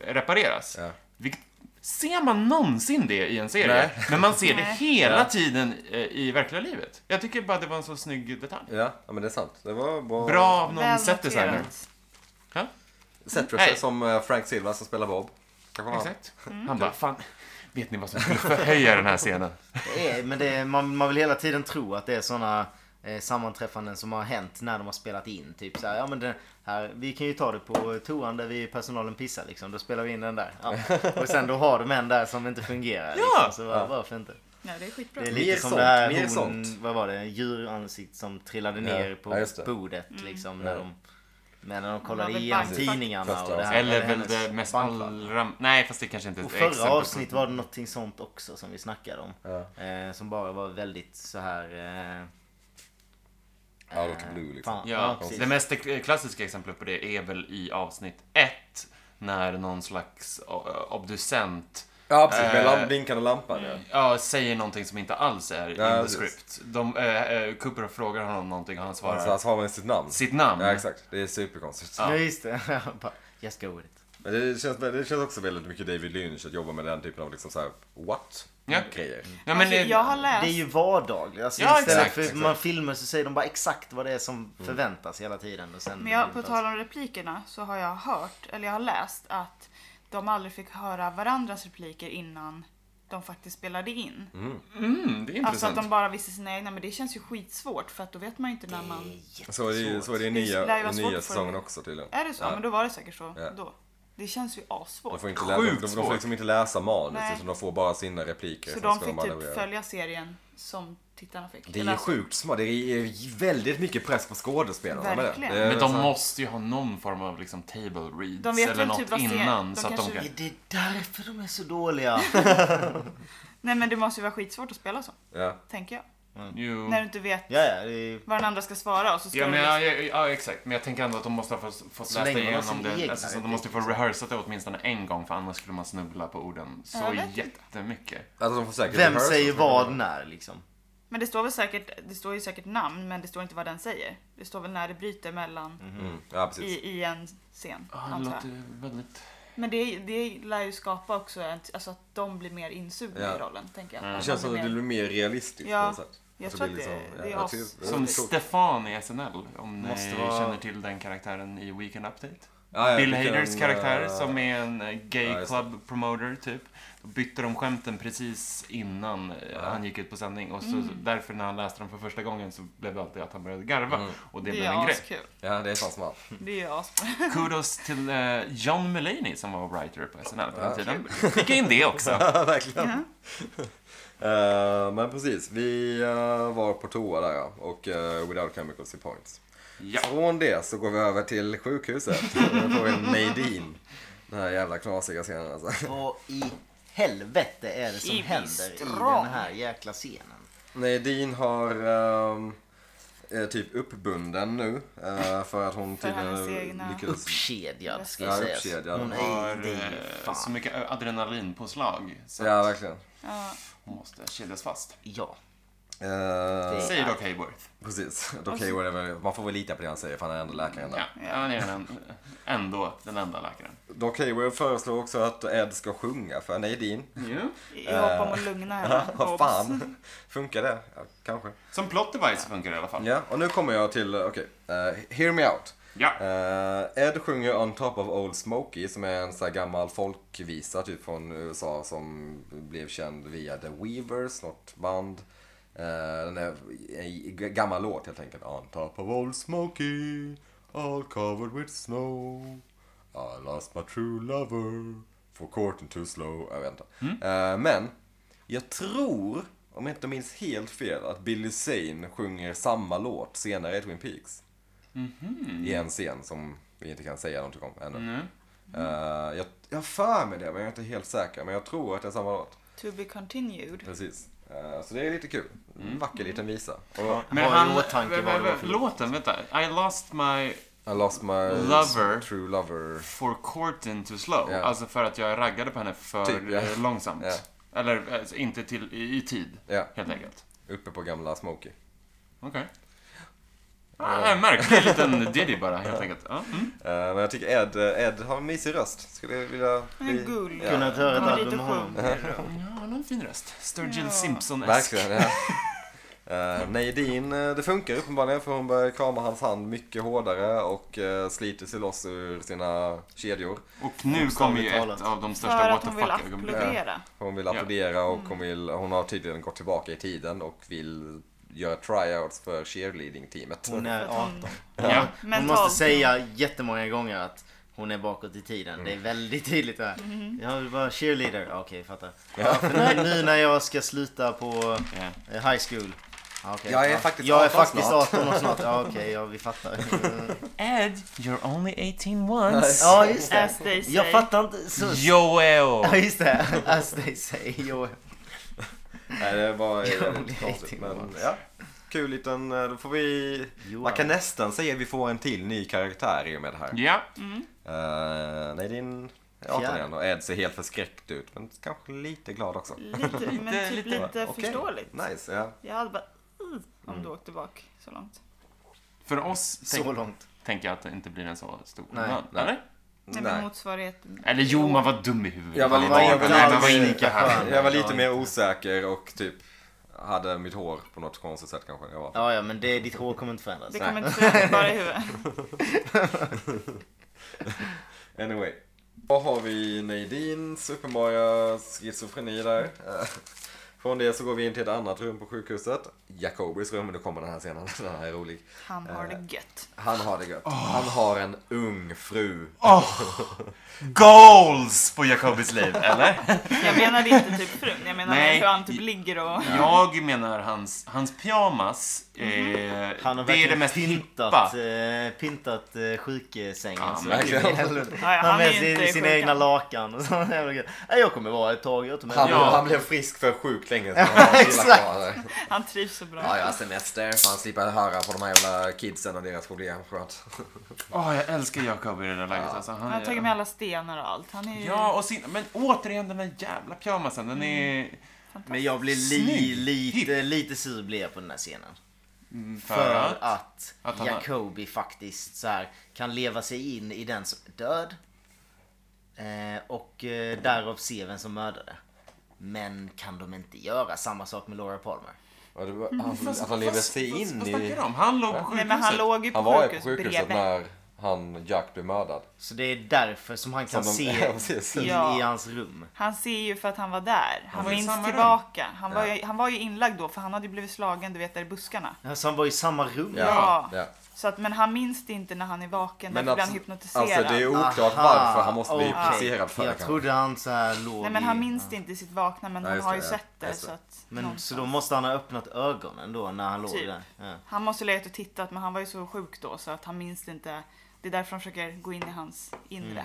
S1: repareras.
S2: Ja.
S1: Vilket, ser man någonsin det i en serie?
S2: Nej.
S1: Men man ser det
S4: Nej.
S1: hela
S2: Ja.
S1: tiden eh, i verkliga livet. Jag tycker bara det var en så snygg detalj.
S2: Ja, ja, men det är sant. Det var bra.
S1: Bra av någon
S4: Väl
S1: set designer.
S4: noterat.
S1: Ja,
S2: Cetrus
S1: Nej.
S2: som eh, Frank Silva som spelar Bob. Kanske var han.
S1: exakt.
S4: Mm.
S1: Han bara, fan, vet ni vad som skulle förhöja den här scenen?
S3: Det är, men det är, man, man vill hela tiden tro att det är såna eh, sammanträffanden som har hänt när de har spelat in. Typ så här, ja men det här, vi kan ju ta det på toan där vi personalen pissar liksom. Då spelar vi in den där. Ja. Och sen då har de en där som inte fungerar. Liksom, så var, varför inte?
S4: Nej, det är skitbra.
S3: Det är
S4: Det
S3: lite
S2: Mer
S3: som
S2: sånt,
S3: det här
S2: mer
S3: hon,
S2: sånt.
S3: vad var det, djuransikt som trillade ner på
S2: ja, just det.
S3: bordet
S1: Mm.
S3: liksom när
S2: Ja.
S3: de men när de kollade
S4: Ja, men
S3: igenom
S4: bankfack.
S3: tidningarna och det här.
S1: Eller väl
S3: hennes
S1: det mest
S3: bankfack.
S1: allra... Nej, fast det kanske inte är
S3: Och
S1: ett
S3: förra
S1: exempel.
S3: avsnitt var det någonting sånt också som vi snackade om.
S2: Ja.
S3: Eh, som bara var väldigt så här... Eh,
S2: Out of the blue liksom.
S3: fan, ja,
S1: Ja,
S3: precis.
S1: det mest klassiska exemplet på det är väl i avsnitt ett. När någon slags eh, obducent
S2: Ja, precis. Med
S1: Eh.
S2: lamp, blinkande lampan ja.
S1: Ja, säger någonting som inte alls är
S2: Ja,
S1: in the
S2: precis.
S1: script. De, eh, eh, Cooper frågar honom någonting och han svarar
S2: Så han svarar med sitt namn.
S1: sitt namn.
S2: Ja, exakt. Det är superkonstigt.
S3: Ja, just det. Jag bara, Just go with it.
S2: Men det känns, det känns också väldigt mycket David Lynch att jobba med den typen av liksom så här, what?
S1: Ja.
S2: Grejer.
S1: Ja, men,
S4: alltså,
S1: eh,
S4: jag har läst...
S3: Det är ju vardagligt. Alltså,
S1: Ja,
S3: istället
S1: exakt,
S3: för
S1: exakt.
S3: man filmer så säger de bara exakt vad det är som
S2: Mm.
S3: förväntas hela tiden. Och sen
S4: Men jag, på tal om replikerna så har jag hört, eller jag har läst att de aldrig fick höra varandras repliker innan de faktiskt spelade in.
S1: mm, det är
S4: Alltså att
S1: intressant.
S4: de bara visste sina egna, men det känns ju skitsvårt för att då vet man ju inte när man...
S3: Det är
S2: Så är det, ju-
S3: jättesvårt.
S2: så är det i
S4: Det lär
S2: nya,
S4: ju vara
S2: i
S4: svårt att
S2: nya
S4: få
S2: säsongen
S4: det.
S2: också tydligen.
S4: Är det så?
S2: Ja.
S4: Men då var det säkert så
S2: Ja.
S4: då. Det känns ju
S2: De
S4: assvårt.
S2: får, inte
S1: Sjukt
S2: läsa, de, de får
S1: svårt.
S2: liksom inte läsa manus
S4: Nej.
S2: utan de får bara sina repliker.
S4: Så
S2: sen
S4: de
S2: ska
S4: fick
S2: leverera.
S4: typ följa serien som tittarna fick.
S2: Det är
S4: Eller
S2: ju
S4: alltså,
S2: sjukt smart. Det är ju väldigt mycket press på skådespelarna med det.
S4: Verkligen.
S2: det är
S1: Men de
S2: så-
S1: måste ju ha någon form av liksom table reads
S4: De vet
S1: eller
S4: väl
S1: något
S4: typ vad serien-
S1: innan.
S4: de
S1: så att de
S4: kanske-
S1: kan...
S3: Är det därför de är så dåliga?
S4: Nej men det måste ju vara skitsvårt att spela så,
S2: Ja.
S4: tänker
S2: Mm.
S4: jag.
S1: Jo.
S4: När du inte vet
S3: ja, ja, det är...
S4: vad den andra ska svara och så ska
S1: Ja,
S4: du
S1: men,
S4: liksom-
S1: ja, ja, ja, exakt. Men jag tänker ändå att de måste ha fått, fått
S3: Så
S1: läsa
S3: länge de har
S1: igenom
S3: sin
S1: det.
S3: egna
S1: Alltså, så de
S3: idé,
S1: måste ju få rehearsat det åtminstone en gång, för annars skulle man snubbla på orden så
S4: Jag vet inte.
S1: jättemycket.
S2: Alltså de får säkert
S3: Vem
S2: rehearsa
S3: säger
S2: och sådär.
S3: vad när liksom?
S4: Men det står väl säkert, det står ju säkert namn men det står inte vad den säger. Det står väl när det bryter mellan
S2: Mm. Ja, precis.
S4: i, i en scen.
S1: Ja, det
S4: antar jag.
S1: låter väldigt...
S4: Men det, det lär ju skapa också en, alltså att de blir mer insugna
S2: Ja. Mm.
S4: i rollen tänker jag.
S2: Det
S4: Att
S2: känns
S4: de
S2: som att det
S4: blir
S2: blir
S4: mer-
S2: mer realistiskt
S4: Ja,
S2: på något sätt.
S4: jag
S2: Alltså,
S4: tror
S2: blir
S4: att det-
S2: liksom-
S4: det är
S2: jag
S4: oss.
S2: tycker-
S1: Som Stefan i SNL, om ni
S2: Måste vara-
S1: känner till den karaktären i Weekend Update.
S2: Ja, ja,
S1: Bill
S2: vilken,
S1: Haders karaktär
S2: eh,
S1: som är en eh, gay
S2: ja, just det.
S1: club promoter, typ. Då bytte de skämten precis innan eh, han gick ut på sändning. Och så, därför när han läste dem för första gången så blev det alltid att han började garva. Och det,
S4: Det
S1: blev en
S4: är
S1: grej.
S4: askul.
S2: Ja, det är fan smart.
S4: Det är ju askul.
S1: Kudos till eh, John Mulaney som var writer på SNL på den tiden. Fick in det också.
S2: Ja, verkligen. Eh, men precis, vi eh, var på toa där ja, och eh, Without Chemicals i Points.
S1: Ja.
S2: Från det så går vi över till sjukhuset. Då får vi en Nadine. Den här jävla knasiga scenen alltså.
S3: Vad i helvete är det som
S4: I
S3: händer i
S4: Vistrand.
S3: den här jäkla scenen?
S2: Nadine har ehm, är typ uppbunden nu eh, för att hon
S4: För hennes egna-
S2: lyckades...
S3: Uppkedjad ska
S2: Ja,
S3: jag säga.
S2: uppkedjad.
S3: Hon är
S1: Har
S3: det är ju
S1: eh, så
S3: fan.
S1: mycket eh, adrenalinpåslag så
S2: Ja, verkligen.
S4: Ja.
S1: hon måste kedjas fast.
S3: Ja.
S2: Eh,
S1: Säger dock Hayworth.
S2: precis. Okay, whatever. Man får väl lita på det han säger för han är ändå läkaren där.
S1: Ja, han är den, ändå den enda läkaren.
S2: Doc Hayward föreslår också att Ed ska sjunga för Nadine.
S1: Jo.
S4: I hopp om att lugna henne.
S2: Vad
S4: Obs.
S2: fan? Funkar det? Ja, kanske.
S1: Som plot device funkar det i alla fall.
S2: Ja, och nu kommer jag till, okej, eh, Hear Me Out.
S1: Ja.
S2: Eh, Ed sjunger On Top of Old Smokey som är en sån här gammal folkvisa typ från USA som blev känd via The Weavers, något band. Eh, den är en g- gammal låt helt enkelt. On top of Old Smokey, all covered with snow. I lost my true lover, for court and too slow. Jag vet inte. Eh, men, jag tror, om jag inte minns helt fel, att Billy Zane sjunger samma låt senare i Twin Peaks i en scen som vi inte kan säga någonting om ännu. Eh, jag, jag har för mig det, men jag är inte helt säker. Men jag tror att det är samma låt.
S4: To be continued.
S2: Precis. Eh, så det är lite kul. En vacker liten visa. Och
S1: Men
S3: Har i
S1: han...
S3: åtanke
S1: vä-
S3: vad det
S1: vä-
S3: var för låt.
S1: Låten, vänta. I lost my
S2: I lost my
S1: Lover.
S2: true lover.
S1: for courting too slow.
S2: Ja.
S1: Alltså för att jag raggade på henne för
S2: Typ, ja.
S1: eh, långsamt.
S2: Ja.
S1: Eller alltså, inte till, i, i tid,
S2: Ja,
S1: helt enkelt.
S2: uppe på gamla Smokey.
S1: Okej. Ah, en märklig liten diddy bara, helt enkelt. Ja. Mm.
S2: Eh, men jag tycker Ed, Ed har en mysig röst. Skulle jag vilja...
S4: Han är gullig.
S2: Ja.
S3: Kunnat höra
S4: Kommer
S3: ett
S4: dit
S3: album
S4: och
S3: med
S4: sjung.
S3: honom.
S1: Ja, han har en fin röst. Sturgill
S4: Ja.
S1: Simpson-esk.
S2: Verkligen, ja. Eh, Nadine, eh, det funkar uppenbarligen för hon börjar krama hans hand mycket hårdare och eh, sliter sig loss ur sina kedjor.
S1: Och nu kommer ju
S3: talat.
S1: ett av de
S4: För
S1: största
S4: att
S1: what the
S4: hon vill
S1: fuck-ögonblicken.
S4: applådera.
S2: Hon vill applådera och hon, vill, hon har tydligen gått tillbaka i tiden och vill göra tryouts för cheerleading-teamet.
S3: Hon är
S4: För att
S3: 18.
S4: hon-
S1: Ja.
S3: Hon
S4: Mentalt.
S3: måste säga jättemånga gånger att hon är bakåt i tiden.
S2: Mm.
S3: Det är väldigt tydligt det här.
S1: Mm-hmm.
S3: Jag vill vara cheerleader. Okej, fattar. Ja, för nu, nu när jag ska sluta på
S1: Ja.
S3: eh, high school. Ja, okej.
S2: Jag är
S3: Ja.
S2: faktiskt
S3: jag är
S2: 18
S3: faktiskt
S2: snart.
S3: 18 och snart. Ja, okej, ja, vi fattar.
S1: Ed, you're only 18 once.
S3: Ja, just det.
S4: As they say.
S3: Jag fattar inte. Så...
S1: Joel!
S3: Ja, just det. As they say. Jo.
S2: Nej, det var
S3: Ja, det
S2: väldigt
S3: är
S2: konstigt.
S3: till
S2: Men,
S3: oss.
S2: ja. Kul liten, eh, då får vi...
S3: Johan.
S2: Man kan nästan säga att vi får en till ny karaktär i och med det här.
S1: Ja,
S2: Eh, Nadine är 18
S3: Fjärde.
S2: igen och Ed ser helt förskräckt ut men kanske lite glad också.
S4: Lite, men
S1: Lite-
S4: typ lite
S2: Okej.
S4: förståeligt.
S2: Nice, ja.
S4: Jag hade bara "Ugh", om du åkte bak så långt.
S1: för oss
S3: Så långt.
S1: tänker jag att det inte blir en så stor
S3: Nej,
S1: skillnad.
S2: nej.
S1: Eller?
S2: Nej.
S4: Nej, men motsvarigheten.
S1: Eller jo, man var dum i huvudet.
S2: Jag var
S1: Man
S2: lite- jag var
S1: nej, man
S2: lite-
S1: var inte lika här.
S2: Jag var lite
S3: Ja,
S2: mer osäker och typ hade mitt hår på något konstigt sätt kanske. Jag var.
S3: Ja, ja, men det, ditt hår kommer inte förändras.
S4: Det kommer inte förändras bara i huvudet.
S2: Anyway. Då har vi Nadines uppenbara schizofreni där. Eh, Från det så går vi in till ett annat rum på sjukhuset. Jacobis rum, men nu kommer den här scenen. Den här är rolig.
S4: Han har det gött.
S2: Han har det gött. Han har en ung fru.
S1: Goals på Jacobis liv, eller?
S4: Jag menade inte typ frun, jag menade
S1: Nej.
S4: hur han typ ligger och...
S1: Jag menar hans, hans pyjamas.
S2: Mhm.
S1: Eh,
S3: Han har
S1: det är det
S3: verkligen
S1: mest hippa.
S3: pintat, eh, pintat eh, sjuksängen.
S1: Ja,
S3: så
S2: verkligen.
S3: in i helvete.
S4: Ja, ja,
S3: han har
S4: han är
S3: med
S4: ju
S3: sig
S4: inte
S3: sina
S4: sjuk,
S3: egna
S4: han.
S3: lakan och sådana jävla grejer. Nej, jag kommer vara ett tag, jag tar med
S2: Han,
S3: mig.
S1: Ja.
S2: han blev frisk för sjuk länge sedan. Han har chillat kvar där.
S4: Han trivs så bra.
S2: Ja, ja, semester. Fan, slippa höra på de här jävla kidsen och deras problem. Skönt.
S1: Åh, jag älskar Jacob i det där läget. Alltså, han,
S4: Han har tagit med alla stenar och allt. Han är ju...
S1: Ja, och sin, men återigen den där jävla pyjamasen. Den är
S3: Men jag blev li,
S1: Snygg.
S3: lite, lite sur blev jag på den här scenen.
S2: Mm.
S3: För
S1: för att...
S3: att,
S1: att han har-
S3: Jacobi faktiskt så här, kan leva sig in i den som är död. Eh, och eh, därav se vem som mördade. Men kan de inte göra samma sak med Laura Palmer?
S2: Ja, det var- Han, att han lever sig in
S1: Mm, Vad
S2: i...
S1: snackar du om? Han låg på
S4: Nej,
S1: sjukhuset.
S4: men han låg ju på
S2: Han var ju på
S4: sjukhus
S2: sjukhuset
S4: bredvid.
S2: när han Jack blev mördad.
S3: Så det är därför som han kan
S2: Som de- Ja, precis.
S3: se in
S4: Ja.
S3: i hans rum.
S4: Han ser ju för att han var där. Han,
S1: var i samma
S4: minns
S1: rum.
S4: tillbaka. Han var, ju, han var ju inlagd då för han hade ju blivit slagen du vet där i buskarna.
S3: Alltså han var i samma rum.
S4: Ja.
S2: ja.
S4: Så att, men han minns det inte när han är vaken.
S2: Men
S4: därför blir han
S2: alltså,
S4: hypnotiserad.
S2: alltså det är oklart
S3: Aha,
S2: varför han måste bli
S3: okej.
S2: hypnotiserad för det
S3: Jag
S2: kanske.
S3: trodde han så här låg
S4: Nej men han
S3: i-
S4: minns det inte i sitt vakna men
S2: Ja,
S4: han
S2: just
S4: har ju
S2: det, ja.
S4: sett det.
S2: Just det.
S4: Så att, Mm.
S3: Men, så då
S4: någonstans.
S3: måste han ha öppnat ögonen då när han låg
S4: Typ.
S3: där. Ja.
S4: Han måste ha legat och tittat men han var ju så sjuk då så att han minns det inte. Det är därför han försöker gå in i hans inre.
S2: Mm.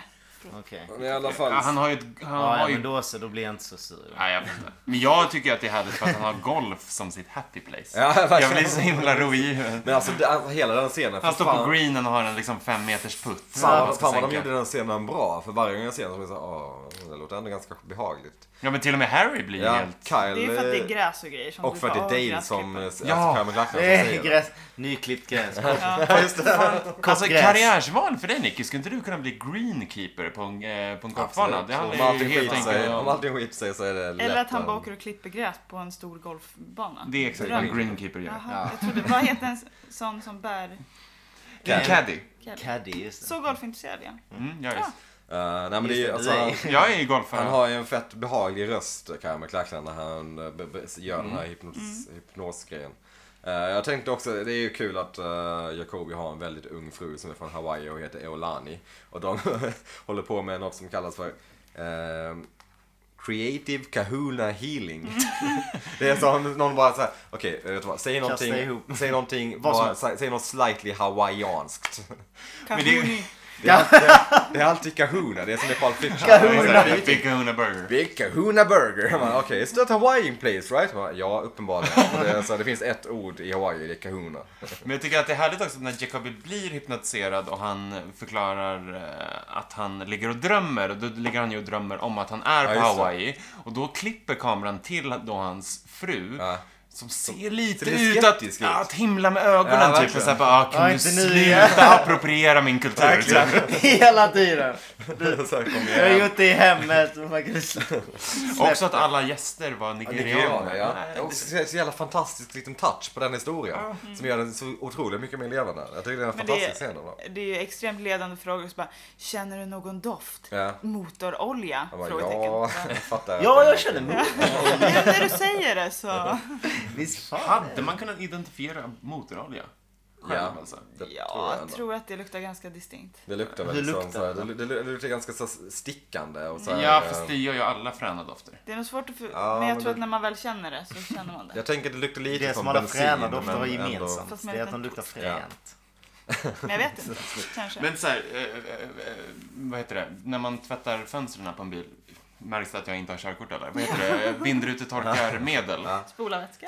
S3: Okej.
S2: Men I alla
S1: Ja,
S2: fall,
S1: han har ju ett... Han
S3: Ja, ja,
S1: har ju...
S3: men då så, då blir jag inte så sur.
S1: Nej, jag vet inte. Men jag tycker att det är härligt för att han har golf som sitt happy place.
S2: Ja, verkligen.
S1: jag blir så himla ro i huvudet.
S2: men alltså det, alltså, hela den scenen.
S1: Han
S2: för
S1: står på
S2: fan-
S1: greenen och har en liksom fem meters putt. som
S2: Fan,
S1: han
S2: vad-
S1: ska
S2: fan vad de
S1: sänka.
S2: gjorde den scenen bra. För varje gång jag ser den så blir jag såhär, åh, det låter ändå ganska behagligt.
S1: Ja, men till och med Harry blir
S2: Ja,
S1: helt...
S2: Kyle.
S4: Det är ju för att det är
S2: eh,
S4: gräs och grejer. Som
S2: och
S4: du
S2: för att det
S4: bara,
S2: är
S4: "Åh,
S2: Dale som,
S4: gräsklippare."
S2: alltså
S1: Ja.
S2: Kyle MacLachlan som
S3: Det
S2: säger
S3: är
S2: det.
S3: gräs, nyklippt gräs.
S2: Ja, just det.
S1: Alltså
S3: gräs.
S1: karriärsval för dig Nicky, skulle inte du kunna bli greenkeeper på en, eh, på en golfbana? Det
S2: Om
S1: handlar ju
S2: allting
S1: helt
S2: skiter sig,
S1: enkelt
S2: om
S1: om...
S2: allting skiter sig så är det lätt.
S4: Eller att han
S2: en-
S4: bara åker och klipper gräs på en stor golfbana.
S1: Det är exakt vad en greenkeeper gör.
S4: Jaha, jag trodde, vad heter en sån som bär?
S1: Det är en caddy.
S3: Caddy, just det.
S4: Så golfintresserad igen.
S1: Mm, jag, är,
S2: Eh, nej men det är ju,
S3: Just
S2: alltså,
S3: det, det är-
S2: han,
S1: jag är ju golfare.
S2: han har ju en fett behaglig röst, Kyle MacLachlan, när han eh, be, be, gör den
S3: Mm.
S2: här hypnos, hypnosgrejen. Eh, jag tänkte också, det är ju kul att uh, Jacobi har en väldigt ung fru som är från Hawaii och heter Eolani. Och de håller på med något som kallas för eh, Creative Kahuna Healing. det är som någon bara såhär, okej, eh, vet du vad, säg
S3: Kasta
S2: någonting,
S3: ihop.
S2: säg någonting,
S3: Vad som
S2: bara, säg säg något slightly hawaiianskt.
S1: Men
S4: Kanske
S1: det är-
S4: hon-
S2: Det är alltid, det är alltid kahuna, det är som i Pulp Fiction.
S1: Kahuna. Big Kahuna Burger.
S2: Big Kahuna Burger. Man, Okej, okay, it's not Hawaiian place right? Man, ja, uppenbarligen. Och Det, så det finns ett ord i Hawaii, det är kahuna.
S1: Men jag tycker att det är härligt också när Jacobi blir hypnotiserad och han förklarar eh, att han ligger och drömmer. Och då ligger han ju och drömmer om att han är
S2: Ja,
S1: på
S2: just det.
S1: Hawaii. Och då klipper kameran till då hans fru.
S2: Ja.
S1: Som ser lite
S2: ser
S1: ut
S2: lite skeptisk
S1: att,
S2: ut.
S1: att himla med
S2: Ja,
S1: ögonen typ.
S2: verkligen.
S1: Och såhär bara, ah, kan
S3: Ja,
S1: du
S3: inte nu
S1: sluta appropriera min kultur? Typ.
S3: Hela tiden.
S2: så här, kom
S3: Jag har
S2: igen.
S3: gjort det i hemmet. och man kan-
S1: Också att alla gäster var
S2: Nigerianer,
S1: nigerianer.
S2: ja.
S1: Nej,
S2: Det är också en så jävla fantastisk liten touch på den historien. Som gör den så otroligt mycket mer levande. Jag tycker det är en
S4: Men
S2: fantastisk
S4: det,
S2: scen. va?
S4: det är ju extremt ledande frågor. Så bara, Känner du någon doft?
S2: Ja.
S4: Motorolja?
S2: Jag bara, ja,
S4: Frågetecken.
S2: jag fattar.
S3: Ja, jag känner mig.
S4: Nu när du säger det så.
S3: Visst fan.
S1: Hade man kunnat identifiera motorolja? Själv
S2: Ja,
S1: alltså.
S2: det tror
S4: Ja,
S2: jag
S4: jag
S2: ändå.
S4: tror att det luktar ganska distinkt.
S2: Det luktar
S3: Hur
S2: väl som
S3: luktar
S2: så här,
S3: det?
S2: det, det, det luktar ganska så här stickande och så här,
S1: Ja,
S2: eh,
S1: fast det gör ju alla fräna dofter.
S4: Det är nog svårt att för...
S2: Ja,
S4: Men
S2: men
S4: jag tror
S2: det-
S4: att när man väl känner det så känner man det.
S2: eh, Jag tänker att det luktar lite
S3: Det
S2: som
S3: som alla
S2: bensin,
S3: fräna dofter
S2: men
S3: har
S2: ändå-
S3: gemensamt.
S4: Fast med
S3: Det är
S4: en
S3: att de luktar
S4: liten-
S3: fränt.
S4: Men jag vet inte. Kanske.
S1: Men så här, eh, eh, eh, vad heter det? När man tvättar fönstren på en bil, märks det att jag inte har körkort eller? Vad heter det? Vindrutetorkarmedel?
S4: Spolarvätska?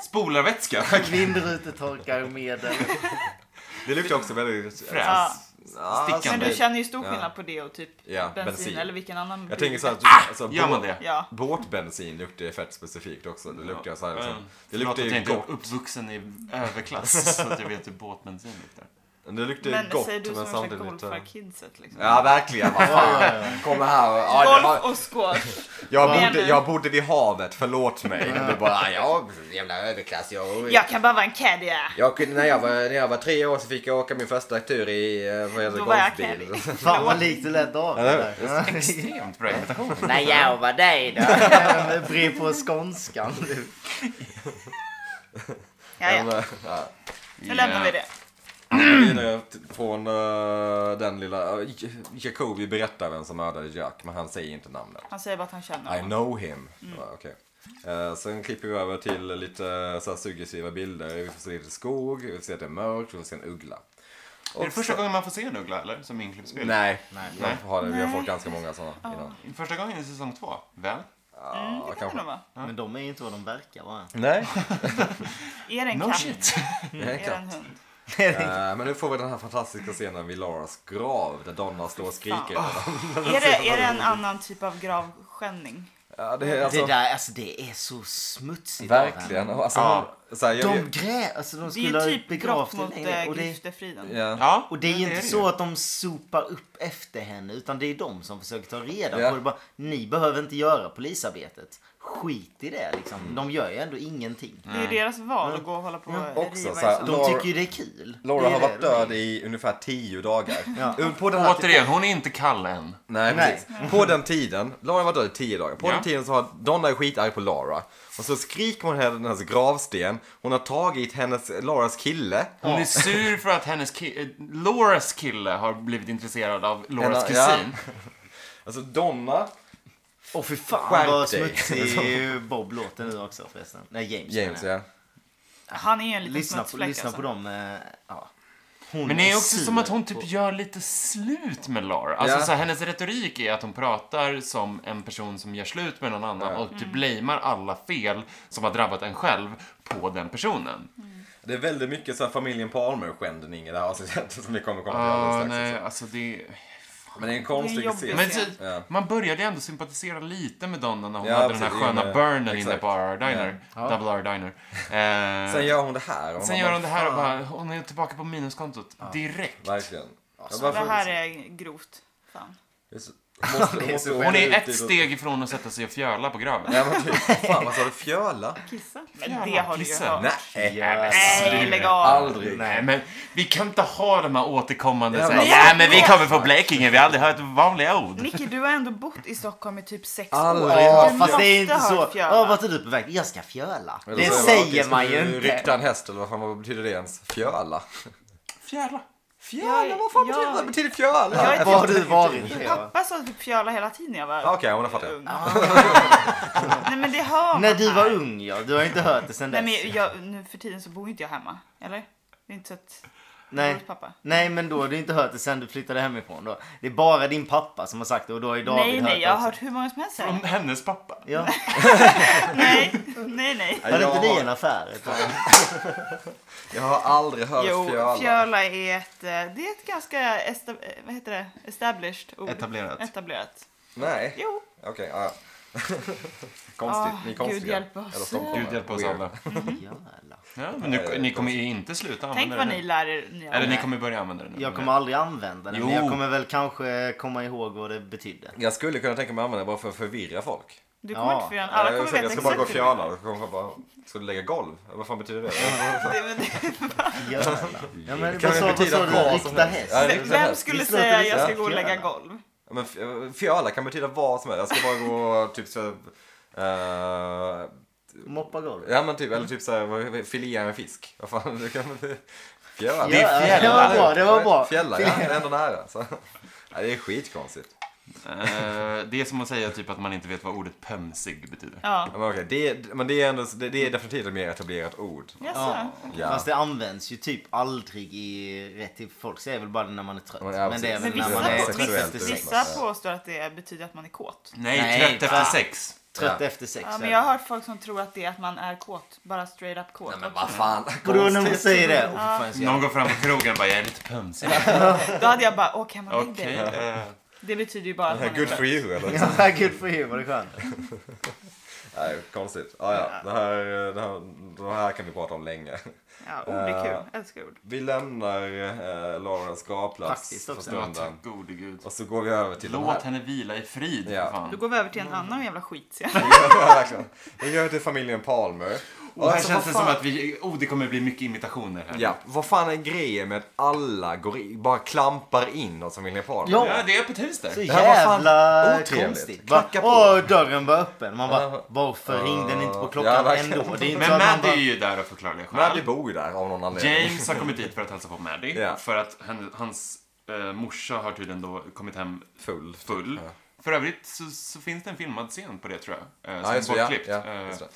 S1: Spolarvätska?
S3: Vindrutetorkarmedel.
S2: Det luktar också väldigt... eh,
S1: Fräs.
S2: Ja,
S1: Stickande.
S4: Men
S1: Kan
S4: du
S1: det-
S4: känner ju stor
S2: Ja.
S4: skillnad på det och typ
S2: Ja,
S4: bensin,
S2: bensin.
S4: eller vilken annan
S2: Jag tänker så här att alltså,
S1: Ah! Gör man
S2: båt-
S1: det?
S4: Ja.
S2: Båtbensin luktar ju fett specifikt också. Det luktar så här liksom.
S1: Mm.
S2: Det
S1: Förlåt
S2: luktar
S1: att jag
S2: ju
S1: inte är
S2: gott.
S1: uppvuxen i överklass, så att jag vet hur båtbensin luktar.
S2: Det luktar
S4: Men
S2: gott
S4: säger du
S2: men
S4: som
S2: samtidigt
S4: försöker golfa
S2: lite...
S4: kidset liksom.
S2: Ja verkligen, vad fan. Kommer här och... Ja, det var-
S4: Golf och squash.
S2: jag,
S4: Men-
S2: bodde, jag bodde vid havet, förlåt mig. Du bara, ja, jävla överklass. Jag,
S4: Jag kan bara vara en caddy.
S2: Jag kunde, när, jag var, när jag var tre år så fick jag åka min första tur i eh, vad heter det,
S4: Då var jag
S2: golfbil.
S3: Fan vad likt det lät av det där.
S1: Extremt bra imitation.
S3: När jag var dig då. Brer på skånskan.
S4: Ja,
S2: Men,
S4: ja.
S2: eh, ja.
S4: Nu lämnar vi det.
S2: Vidare t- Från eh, den lilla... eh, J- Jacobi berättar vem som mördade Jack, men han säger inte namnet.
S4: Han säger bara att han känner
S2: I
S4: honom.
S2: know him. Ja, okej. Eh, sen klipper vi över till lite eh, så här, suggestiva bilder. Vi får se lite skog, vi får se att det är mörkt, vi får se en uggla.
S1: Är det första gången man får se en uggla, eller? Som inklippsbild?
S2: Nej,
S3: Nej.
S2: Man får ha det. vi har fått ganska många sådana innan.
S1: Första gången i säsong två, väl?
S4: Mm, det kan det
S2: kanske.
S4: nog vara.
S3: Men de är ju inte vad de verkar vara.
S2: Nej,
S4: Är det en
S1: No
S4: katt?
S1: shit.
S2: det är en
S4: Är det
S2: katt.
S4: en hund?
S2: Eh, men nu får vi den här fantastiska scenen vid Laras grav där Donna står och skriker.
S4: Är det, är det en annan typ av gravskändning?
S2: Ja, det är
S3: Det
S2: alltså...
S3: där, alltså det är så smutsigt av
S2: Verkligen. Och Alltså,
S1: Ja.
S2: så här, jag,
S3: henne. De grä, alltså de
S4: Det är ju
S3: skulle ha
S4: typ brott
S3: begravt
S4: mot
S3: henne.
S4: äh,
S3: Och det,
S4: griftefriden.
S2: ja.
S1: Ja,
S3: och det är ju inte
S1: ju.
S3: så att de sopar upp efter henne utan det är de som försöker ta reda
S2: Ja.
S3: på det. Bara, ni behöver inte göra polisarbetet. Skit i det
S2: Mm.
S3: liksom. De gör ju ändå ingenting.
S4: Det är ju deras val att gå och hålla på och riva
S2: Också så
S4: i
S2: här-
S4: sand.
S3: De
S2: Laura-
S3: tycker ju det är kul. det
S2: Laura
S3: är
S2: har
S3: det
S2: varit
S3: de
S2: död i ungefär tio dagar.
S3: Ja.
S2: På den här
S1: Återigen, hon är inte kall än.
S2: Nej,
S3: Nej.
S2: precis. På den tiden, Laura var död i tio dagar. På
S1: Ja.
S2: den tiden så har Donna är skitarg på Laura. Och så skriker hon henne hennes gravsten. Hon har tagit hennes, Laras kille.
S1: Hon är sur för att hennes ki- eh, Lauras kille har blivit intresserad av Lauras
S2: Henne- ja.
S1: kusin.
S2: Alltså Donna,
S3: Åh fy fan
S2: Skärp
S3: vad
S2: dig.
S3: smutsig Bob låter nu också förresten. Nej James.
S2: James
S3: menar jag.
S2: ja.
S4: Han är ju en liten
S3: Lyssna, på,
S4: smutsfläck
S3: lyssna
S4: alltså.
S3: på dem. eh, Ja. Hon
S1: Men det är också
S3: sur
S1: som att hon typ
S3: på-
S1: gör lite slut med Laura. Alltså
S2: Ja.
S1: så här, hennes retorik är att hon pratar som en person som gör slut med någon annan
S2: Ja.
S1: och typ blamear alla fel som har drabbat en själv på den personen.
S2: Det är väldigt mycket så här familjen Palmer-skändning i det här avsnittet som vi kommer komma till
S1: Ah,
S2: alldeles strax.
S1: nej,
S2: också.
S1: alltså det...
S2: Men det är en
S4: Det är
S2: konstig
S4: en jobbig
S2: scen.
S1: Men
S4: ser.
S1: så-
S2: Ja.
S1: man började ju ändå sympatisera lite med Donna när hon
S2: Ja,
S1: hade den här
S2: precis,
S1: sköna
S2: i och med-
S1: burnen
S2: exakt.
S1: inne på RR Diner. Double R Diner. Eh,
S2: Sen gör hon det här. och
S1: sen
S2: man
S1: gör
S2: bara,
S1: hon det här och bara, hon är tillbaka på minuskontot direkt.
S2: Verkligen.
S3: Alltså,
S2: Ja,
S4: Det
S2: varför-
S4: här är grovt. Fan.
S2: Måste- måste- måste- typ-
S1: Hon är ett steg ifrån att sätta sig och fjöla på graven.
S2: Ja, men typ, fan vad sa du? Fjöla?
S4: Kissa? Men det har du ju
S1: kissa.
S4: hört.
S2: Nej. Alltså,
S4: Nej, lägg av.
S2: Aldrig.
S1: Nej, men vi kan inte ha de här återkommande
S2: Jävla
S1: såhär, ja men vi kommer från Blekinge, vi har aldrig hört vanliga ord.
S4: Nicky, du har ändå bott i Stockholm i typ sex år.
S2: Aldrig.
S3: Ja,
S4: Du
S3: fast det är
S4: måste
S3: inte så.
S4: ha fjöla.
S3: Ja, vart är du på väg? Jag ska fjöla.
S2: Eller
S3: det
S2: så är bara, okej,
S3: säger
S2: ska
S3: man ju
S2: du
S3: inte.
S2: Rykta en häst eller vad fan vad betyder det ens? Fjöla?
S1: Fjärla.
S2: Fjöla? Vad fan
S4: Ja.
S2: betyder, vad betyder fjöla?
S4: Jag är
S3: Var har du varit?
S4: Min
S3: Theo?
S4: pappa sa typ fjöla hela tiden när jag var
S2: Ja, Okej, hon har fattat.
S4: ung. Nej men det har man
S3: När du
S4: här.
S3: var ung ja. Du har inte hört det sen
S4: Nej
S3: dess.
S4: men jag, nu för tiden så bor ju inte jag hemma. Eller? Det är inte så att... jag bor
S3: Nej.
S4: hos Pappa.
S3: Nej men då har du inte hört det sen du flyttade hemifrån då. Det är bara din pappa som har sagt det och då har ju David
S4: Nej
S3: hört
S4: nej,
S3: det
S4: jag har
S3: också.
S4: hört hur många som helst säga
S1: Om hennes pappa.
S3: Ja.
S4: Nej, nej nej.
S2: Ja,
S3: Hade
S2: jag,
S3: inte ni en
S2: har,
S3: affär ett tag?
S2: jag har aldrig hört
S4: Jo,
S2: fjöla.
S4: fjöla är ett, eh, det är ett ganska esta, eh, vad heter det? established ord.
S1: Etablerat.
S4: Etablerat.
S2: Nej,
S4: Jo,
S2: okej. ja, ja. Konstigt,
S4: Ah,
S2: ni är konstiga.
S4: Gud hjälp oss.
S2: Eller stockholmare.
S1: Gud hjälp oss
S2: Weird.
S1: alla.
S3: Jävlar.
S1: Ja, men nu, ni kommer ju inte sluta
S4: tänk
S1: använda
S4: vad
S1: det
S4: ni
S1: nu.
S4: lär er nya
S1: Eller ni
S4: ord.
S1: kommer börja använda det nu.
S3: Jag kommer aldrig använda den men
S1: Jo.
S3: jag kommer väl kanske komma ihåg vad det betydde.
S2: Jag skulle kunna tänka mig att använda det bara för att förvirra folk.
S4: Du kommer
S3: Ja.
S4: inte förrän alla
S2: jag,
S4: kommer
S2: ska,
S4: veta
S2: jag ska bara gå och
S4: exakt hur det
S2: fjöla. och kommer folk bara, Ska du lägga golv? Vad fan betyder det?
S3: Jävlar. Ja men
S2: kan
S3: vad sa
S2: ju
S3: vad sa
S2: betyda
S3: du?
S2: vad som
S3: Rikta
S2: helst.
S3: häst?
S2: Ja, det är
S4: Vem,
S2: så här.
S4: vem skulle
S3: Visst låter
S4: säga
S3: det
S4: jag
S3: så
S4: ska
S3: här?
S4: gå och lägga
S3: Fjöla.
S4: golv?
S2: Ja, Men f- fjöla kan betyda vad som helst. Jag ska bara gå och typ så... eh,
S3: Moppa golvet.
S2: ja men typ, eller typ såhär, filea en fisk. Vad fan, det kan man Fjöla.
S3: Det är fjällar. Det var bra, det var bra.
S2: Fjällar, ja. Det är ändå nära. Så. Ja, det är skitkonstigt.
S1: Eh, det är som att säga typ att man inte vet vad ordet pömsig betyder.
S4: Ja.
S2: Ja, Men, okej, det, är- men det, är ändå, det, det är definitivt ett mer etablerat ord.
S4: Jaså?
S2: Ja.
S3: Fast det används ju typ aldrig i rätt till folk säger väl bara det när man är trött.
S2: Ja, precis.
S3: Men det är
S4: Men
S3: väl när man
S4: vissa,
S3: är
S2: på-
S3: trött
S2: sexuellt
S3: efter
S4: vissa,
S3: sex.
S4: vissa påstår att det betyder att man är kåt.
S1: Nej,
S3: Nej,
S1: trött efter
S3: va?
S1: sex.
S3: Trött efter sex.
S4: Ja,
S3: är
S4: men jag
S3: det.
S4: har hört folk som tror att det är att man är kåt. Bara straight up kåt.
S2: Nej men vad fan.
S3: Vadå när man
S2: konstigt.
S3: säger det? Åh, för fan, så
S1: Någon
S3: jävla-
S1: går fram på krogen och bara, jag är lite pömsig.
S4: Då hade jag bara, åk hem och lägg
S1: Okej.
S4: dig.
S1: eh,
S4: Det betyder ju bara att man är
S2: Good for you eller?
S3: Ja, Gud för er vad det är skönt.
S2: Nej, konstigt. Ah, ja. det, här, det, här, det här kan vi prata om länge.
S4: Ja, ord är kul. Älskar ord.
S2: Vi lämnar eh, Laurens gravplats
S3: Faktiskt
S2: för
S3: också.
S1: Ja,
S2: stunden.
S1: tack gode gud.
S2: Och så går vi över till de
S1: Låt
S2: här.
S1: henne vila i frid,
S2: Ja.
S1: för fan.
S4: Då går vi över till en
S2: Mm.
S4: annan jävla skitserie.
S2: Ja, verkligen. Vi går över till familjen Palmer.
S1: Och här
S2: Alltså,
S1: känns det
S2: vad
S1: som
S2: fan-
S1: att vi... Oh, det kommer bli mycket imitationer här.
S2: Ja, vad fan är grejen med att alla går i, bara klampar in hos familjen Palmer?
S3: Ja.
S1: Ja, det är öppet hus där.
S3: Så
S2: Det här var fan
S3: jävla
S2: otrevligt.
S3: konstigt. Bara,
S2: Knacka på.
S3: Åh, dörren var öppen. Man
S2: Ja.
S3: bara, varför ringde den inte på
S2: Ja,
S3: klockan
S2: verkligen.
S3: ändå? Det är inte så
S1: Men
S3: att man
S1: Maddie
S3: bara,
S1: är ju där av förklarliga skäl.
S2: Maddie bor ju där av någon anledning.
S1: James har kommit dit för att hälsa på Maddie.
S2: Ja.
S1: För att han, hans eh, morsa har tydligen då kommit hem
S2: Full.
S1: full.
S2: Ja.
S1: För övrigt så, så finns det en filmad scen på det tror jag. Eh, som
S2: Ja, just
S1: är
S2: det. Ja,
S1: bortklippt.
S2: ja,
S1: Eh,
S2: just det.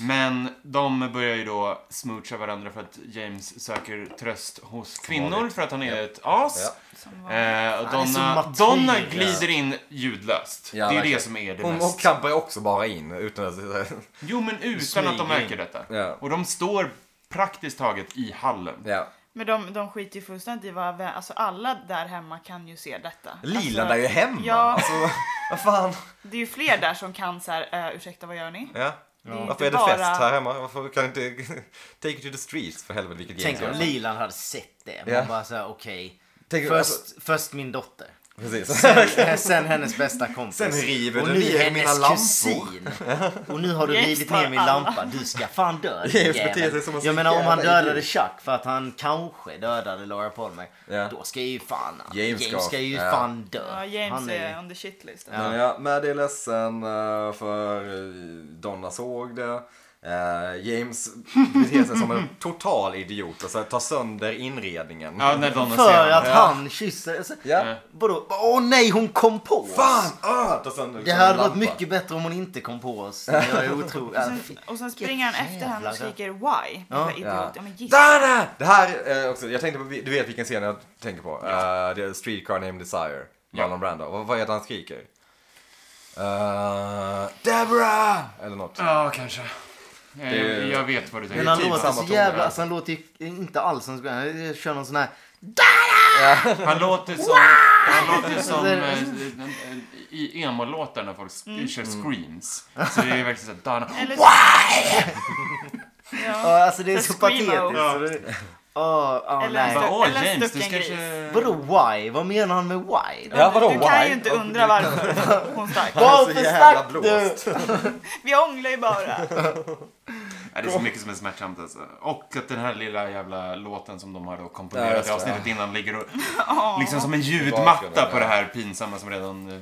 S1: men de börjar ju då smoocha varandra för att James söker tröst hos kvinnor
S2: vanligt.
S1: för att han är ett as.
S4: Som
S1: Eh,
S4: var...
S1: och
S3: Han är så
S1: Donna,
S3: matyr.
S1: Donna glider in ljudlöst.
S2: Ja,
S1: det är ju
S2: verkligen.
S1: det som är det
S2: Hon,
S1: mest.
S2: hon klampar också bara in utan att...
S1: Jo, men utan
S2: smyger
S1: att de märker detta.
S2: Ja.
S1: Och de står praktiskt taget i hallen.
S2: ja.
S4: Men de, de skiter ju fullständigt i vad... Alltså alla där hemma kan ju se detta.
S2: Lila
S4: alltså,
S2: där ju hemma.
S4: Ja.
S2: Alltså, vad fan.
S4: Det är ju fler där som kan så här, eh, ursäkta vad gör ni?
S2: Ja.
S4: Det är
S2: Varför
S4: inte
S2: är det
S4: bara-
S2: fest här hemma? Varför kan inte... Take it to the streets för helvete vilket
S3: tänk
S2: gäng
S3: om
S2: det är.
S3: Lilan hade sett det. Man
S2: Ja. alltså-
S3: bara såhär, okej.
S2: Tänk-
S3: Först, först min dotter.
S2: Precis.
S3: Eh, Sen hennes bästa kompis.
S2: Sen river
S3: och
S2: du
S3: nu
S2: ner mina
S3: hennes
S2: lampor.
S3: kusin. Och nu har du
S4: James
S3: rivit
S4: tar
S3: ner min
S4: alla.
S3: lampa. Du ska fan dö din
S2: James beter
S3: jävel.
S2: sig som en sån
S3: Jag menar om han
S2: jävla
S3: dödade
S2: idiot.
S3: Chuck för att han kanske dödade Laura Palmer.
S2: Ja.
S3: Då ska ju fan
S2: James
S3: James,
S2: ska-
S3: ska ju
S2: ja.
S3: fan dö.
S4: Ja, James
S3: han
S4: är,
S3: ju-
S4: on the shit list.
S2: Men ja, Maddie är ledsen eh, för eh, Donna såg det. Eh, James beter sig som en total idiot och så här, tar sönder inredningen.
S1: Ja, när Donna
S3: För
S1: ser
S3: att
S1: honom.
S3: han kysser. Alltså,
S2: Ja.
S3: Vadå? Åh nej, hon kom på oss!
S2: Fan! ah, tar sönder
S3: Det
S2: som
S3: hade
S2: en
S3: varit
S2: lampa.
S3: mycket bättre om hon inte kom på oss. Jag är otrolig.
S4: Och sen, och sen springer han efter henne och
S3: jävla-
S4: skriker why. Ja, idiot.
S2: Ja.
S4: Ja. men giss.
S2: Dana! Det här eh, också, jag tänkte på, du vet vilken scen jag tänker på. Eh, det är Streetcar Named Desire. Marlon Brando. Vad, vad heter han skriker? Uh, Deborah! Eller något.
S1: Ja, kanske. Jag,
S2: Det-
S1: jag vet vad du
S3: Men
S1: tänker.
S3: han
S2: typ
S3: låter
S2: samma
S3: så
S2: toner här.
S3: jävla... Alltså, han låter ju inte alls som Sven. Han kör någon sån här...
S1: Han låter som... Han låter som eh, eh, i emo-låtar när folk sk-
S3: Mm.
S1: kör screams. Så det är verkligen såhär, Dana...
S4: Eller,
S3: Ja,
S4: ja.
S3: alltså det är så
S4: Så
S3: patetiskt.
S4: screamo.
S3: så det- Åh, åh,
S4: Eller-
S3: nej.
S1: Bara, Åh,
S4: Eller
S1: James, du
S4: stucken
S1: kanske...
S3: Vadå why? Vad menar han med why?
S2: Ja, vadå,
S4: du, du kan
S2: why?
S4: ju inte undra varför hon stack.
S2: Han är så
S3: Varför
S2: jävla
S3: stack
S2: blåst.
S4: Vi ånglar ju bara.
S1: Ja, det är så mycket som är smärtsamt alltså. Och att den här lilla jävla låten som de har då
S2: Ja,
S1: komponerat
S2: just
S1: i
S2: det,
S1: avsnittet innan ligger och...
S4: Ja.
S1: Liksom som en ljudmatta
S2: Bakgrunden,
S1: på
S2: ja.
S1: det här pinsamma som redan eh,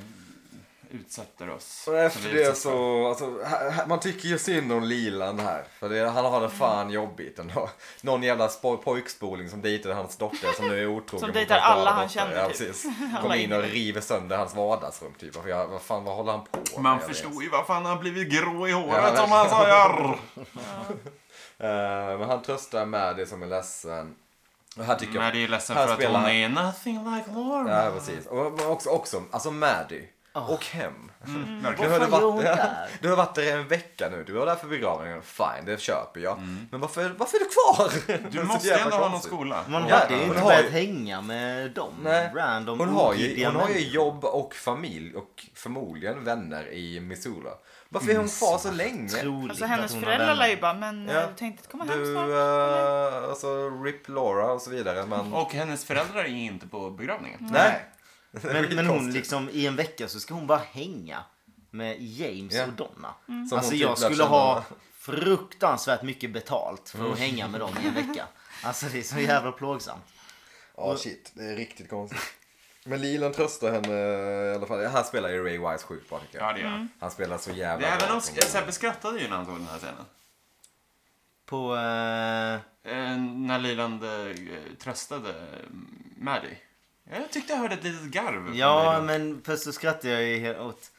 S1: utsätter oss.
S2: Och efter
S1: Som vi
S2: det
S1: utsätts för.
S2: så, alltså, här- här- man tycker ju synd om Lilan här. För det, han har det
S4: Mm.
S2: fan jobbigt ändå. Någon jävla spo- pojkspoling som dejtade hans dotter som nu är otrogen.
S4: Som
S2: mot
S4: dejtar
S2: hans döda
S4: alla han
S2: dotter.
S4: känner,
S2: Ja,
S4: typ.
S2: precis.
S4: Alla
S2: Kommer in och
S4: inne.
S2: river sönder hans vardagsrum typ. Vad fan, vad fan, vad håller han på med?
S1: Man
S2: Jag vet.
S1: förstår ju varför han har blivit grå i
S2: Ja,
S1: håret
S2: verkligen.
S1: om han sa jarr.
S2: Eh, men han tröstar med det som är ledsen. Och här tycker jag...
S1: Maddie är ledsen
S2: Här
S1: för att
S2: spelar
S1: hon
S2: han.
S1: är nothing like Laura.
S2: Ja, precis. Och men också, också alltså Maddie. Och hem.
S1: Verkligen.
S2: har
S3: Ah.
S2: varit-
S3: Mm. fan gör hon där?
S2: du har varit där i en vecka nu. Du var där för begravningen. Fine, det köper jag. Men varför, varför är du kvar? Det är
S1: Mm. Du
S2: så
S1: måste ju
S2: jävla
S1: ändå ha någon
S2: konstigt.
S1: skola.
S3: Man
S2: Ja,
S3: hade ju
S2: hon
S3: inte
S2: har ju-
S3: börjat hänga med dem.
S2: Nej.
S3: Random
S2: Hon har, ju,
S3: olydiga
S2: hon har ju
S3: människor.
S2: jobb och familj och förmodligen vänner i Missoula. Varför är hon kvar så länge?
S3: Otroligt
S4: Alltså
S3: att
S4: hennes
S3: hon har
S4: föräldrar
S3: den.
S4: lär ju bara, men
S2: Ja.
S4: ja. du tänkte inte komma hem
S2: Du,
S4: snart? eller?
S2: eh, alltså RIP Laura och så vidare. Men,
S1: Och hennes föräldrar är inte på
S3: Mm.
S1: begravningen.
S2: nej.
S3: Men, men hon
S2: Skitkonstigt.
S3: liksom i en vecka så ska hon bara hänga med James
S2: Ja.
S3: och Donna.
S4: Mm.
S2: Som
S3: alltså
S2: hon
S3: jag
S2: typ lär
S3: skulle
S2: känna. Mm.
S3: ha fruktansvärt mycket betalt för att hänga med dem i en vecka. Alltså det är så jävla plågsamt.
S2: Ja, shit. Det är riktigt konstigt. Men Lilan tröstar henne eh, i alla fall. Han spelar ju Ray Wise sjukt bra tycker jag.
S1: Ja, det gör han.
S2: Han spelar så jävla
S1: Det är även om
S2: som-
S1: Sebbe skrattade ju när han såg den här scenen.
S3: På... Eh,
S1: Eh, när Liland eh, tröstade eh, Maddie. Jag tyckte jag hörde ett litet garv. från
S3: ja
S1: Liland.
S3: men först så skrattade jag ju he- åt,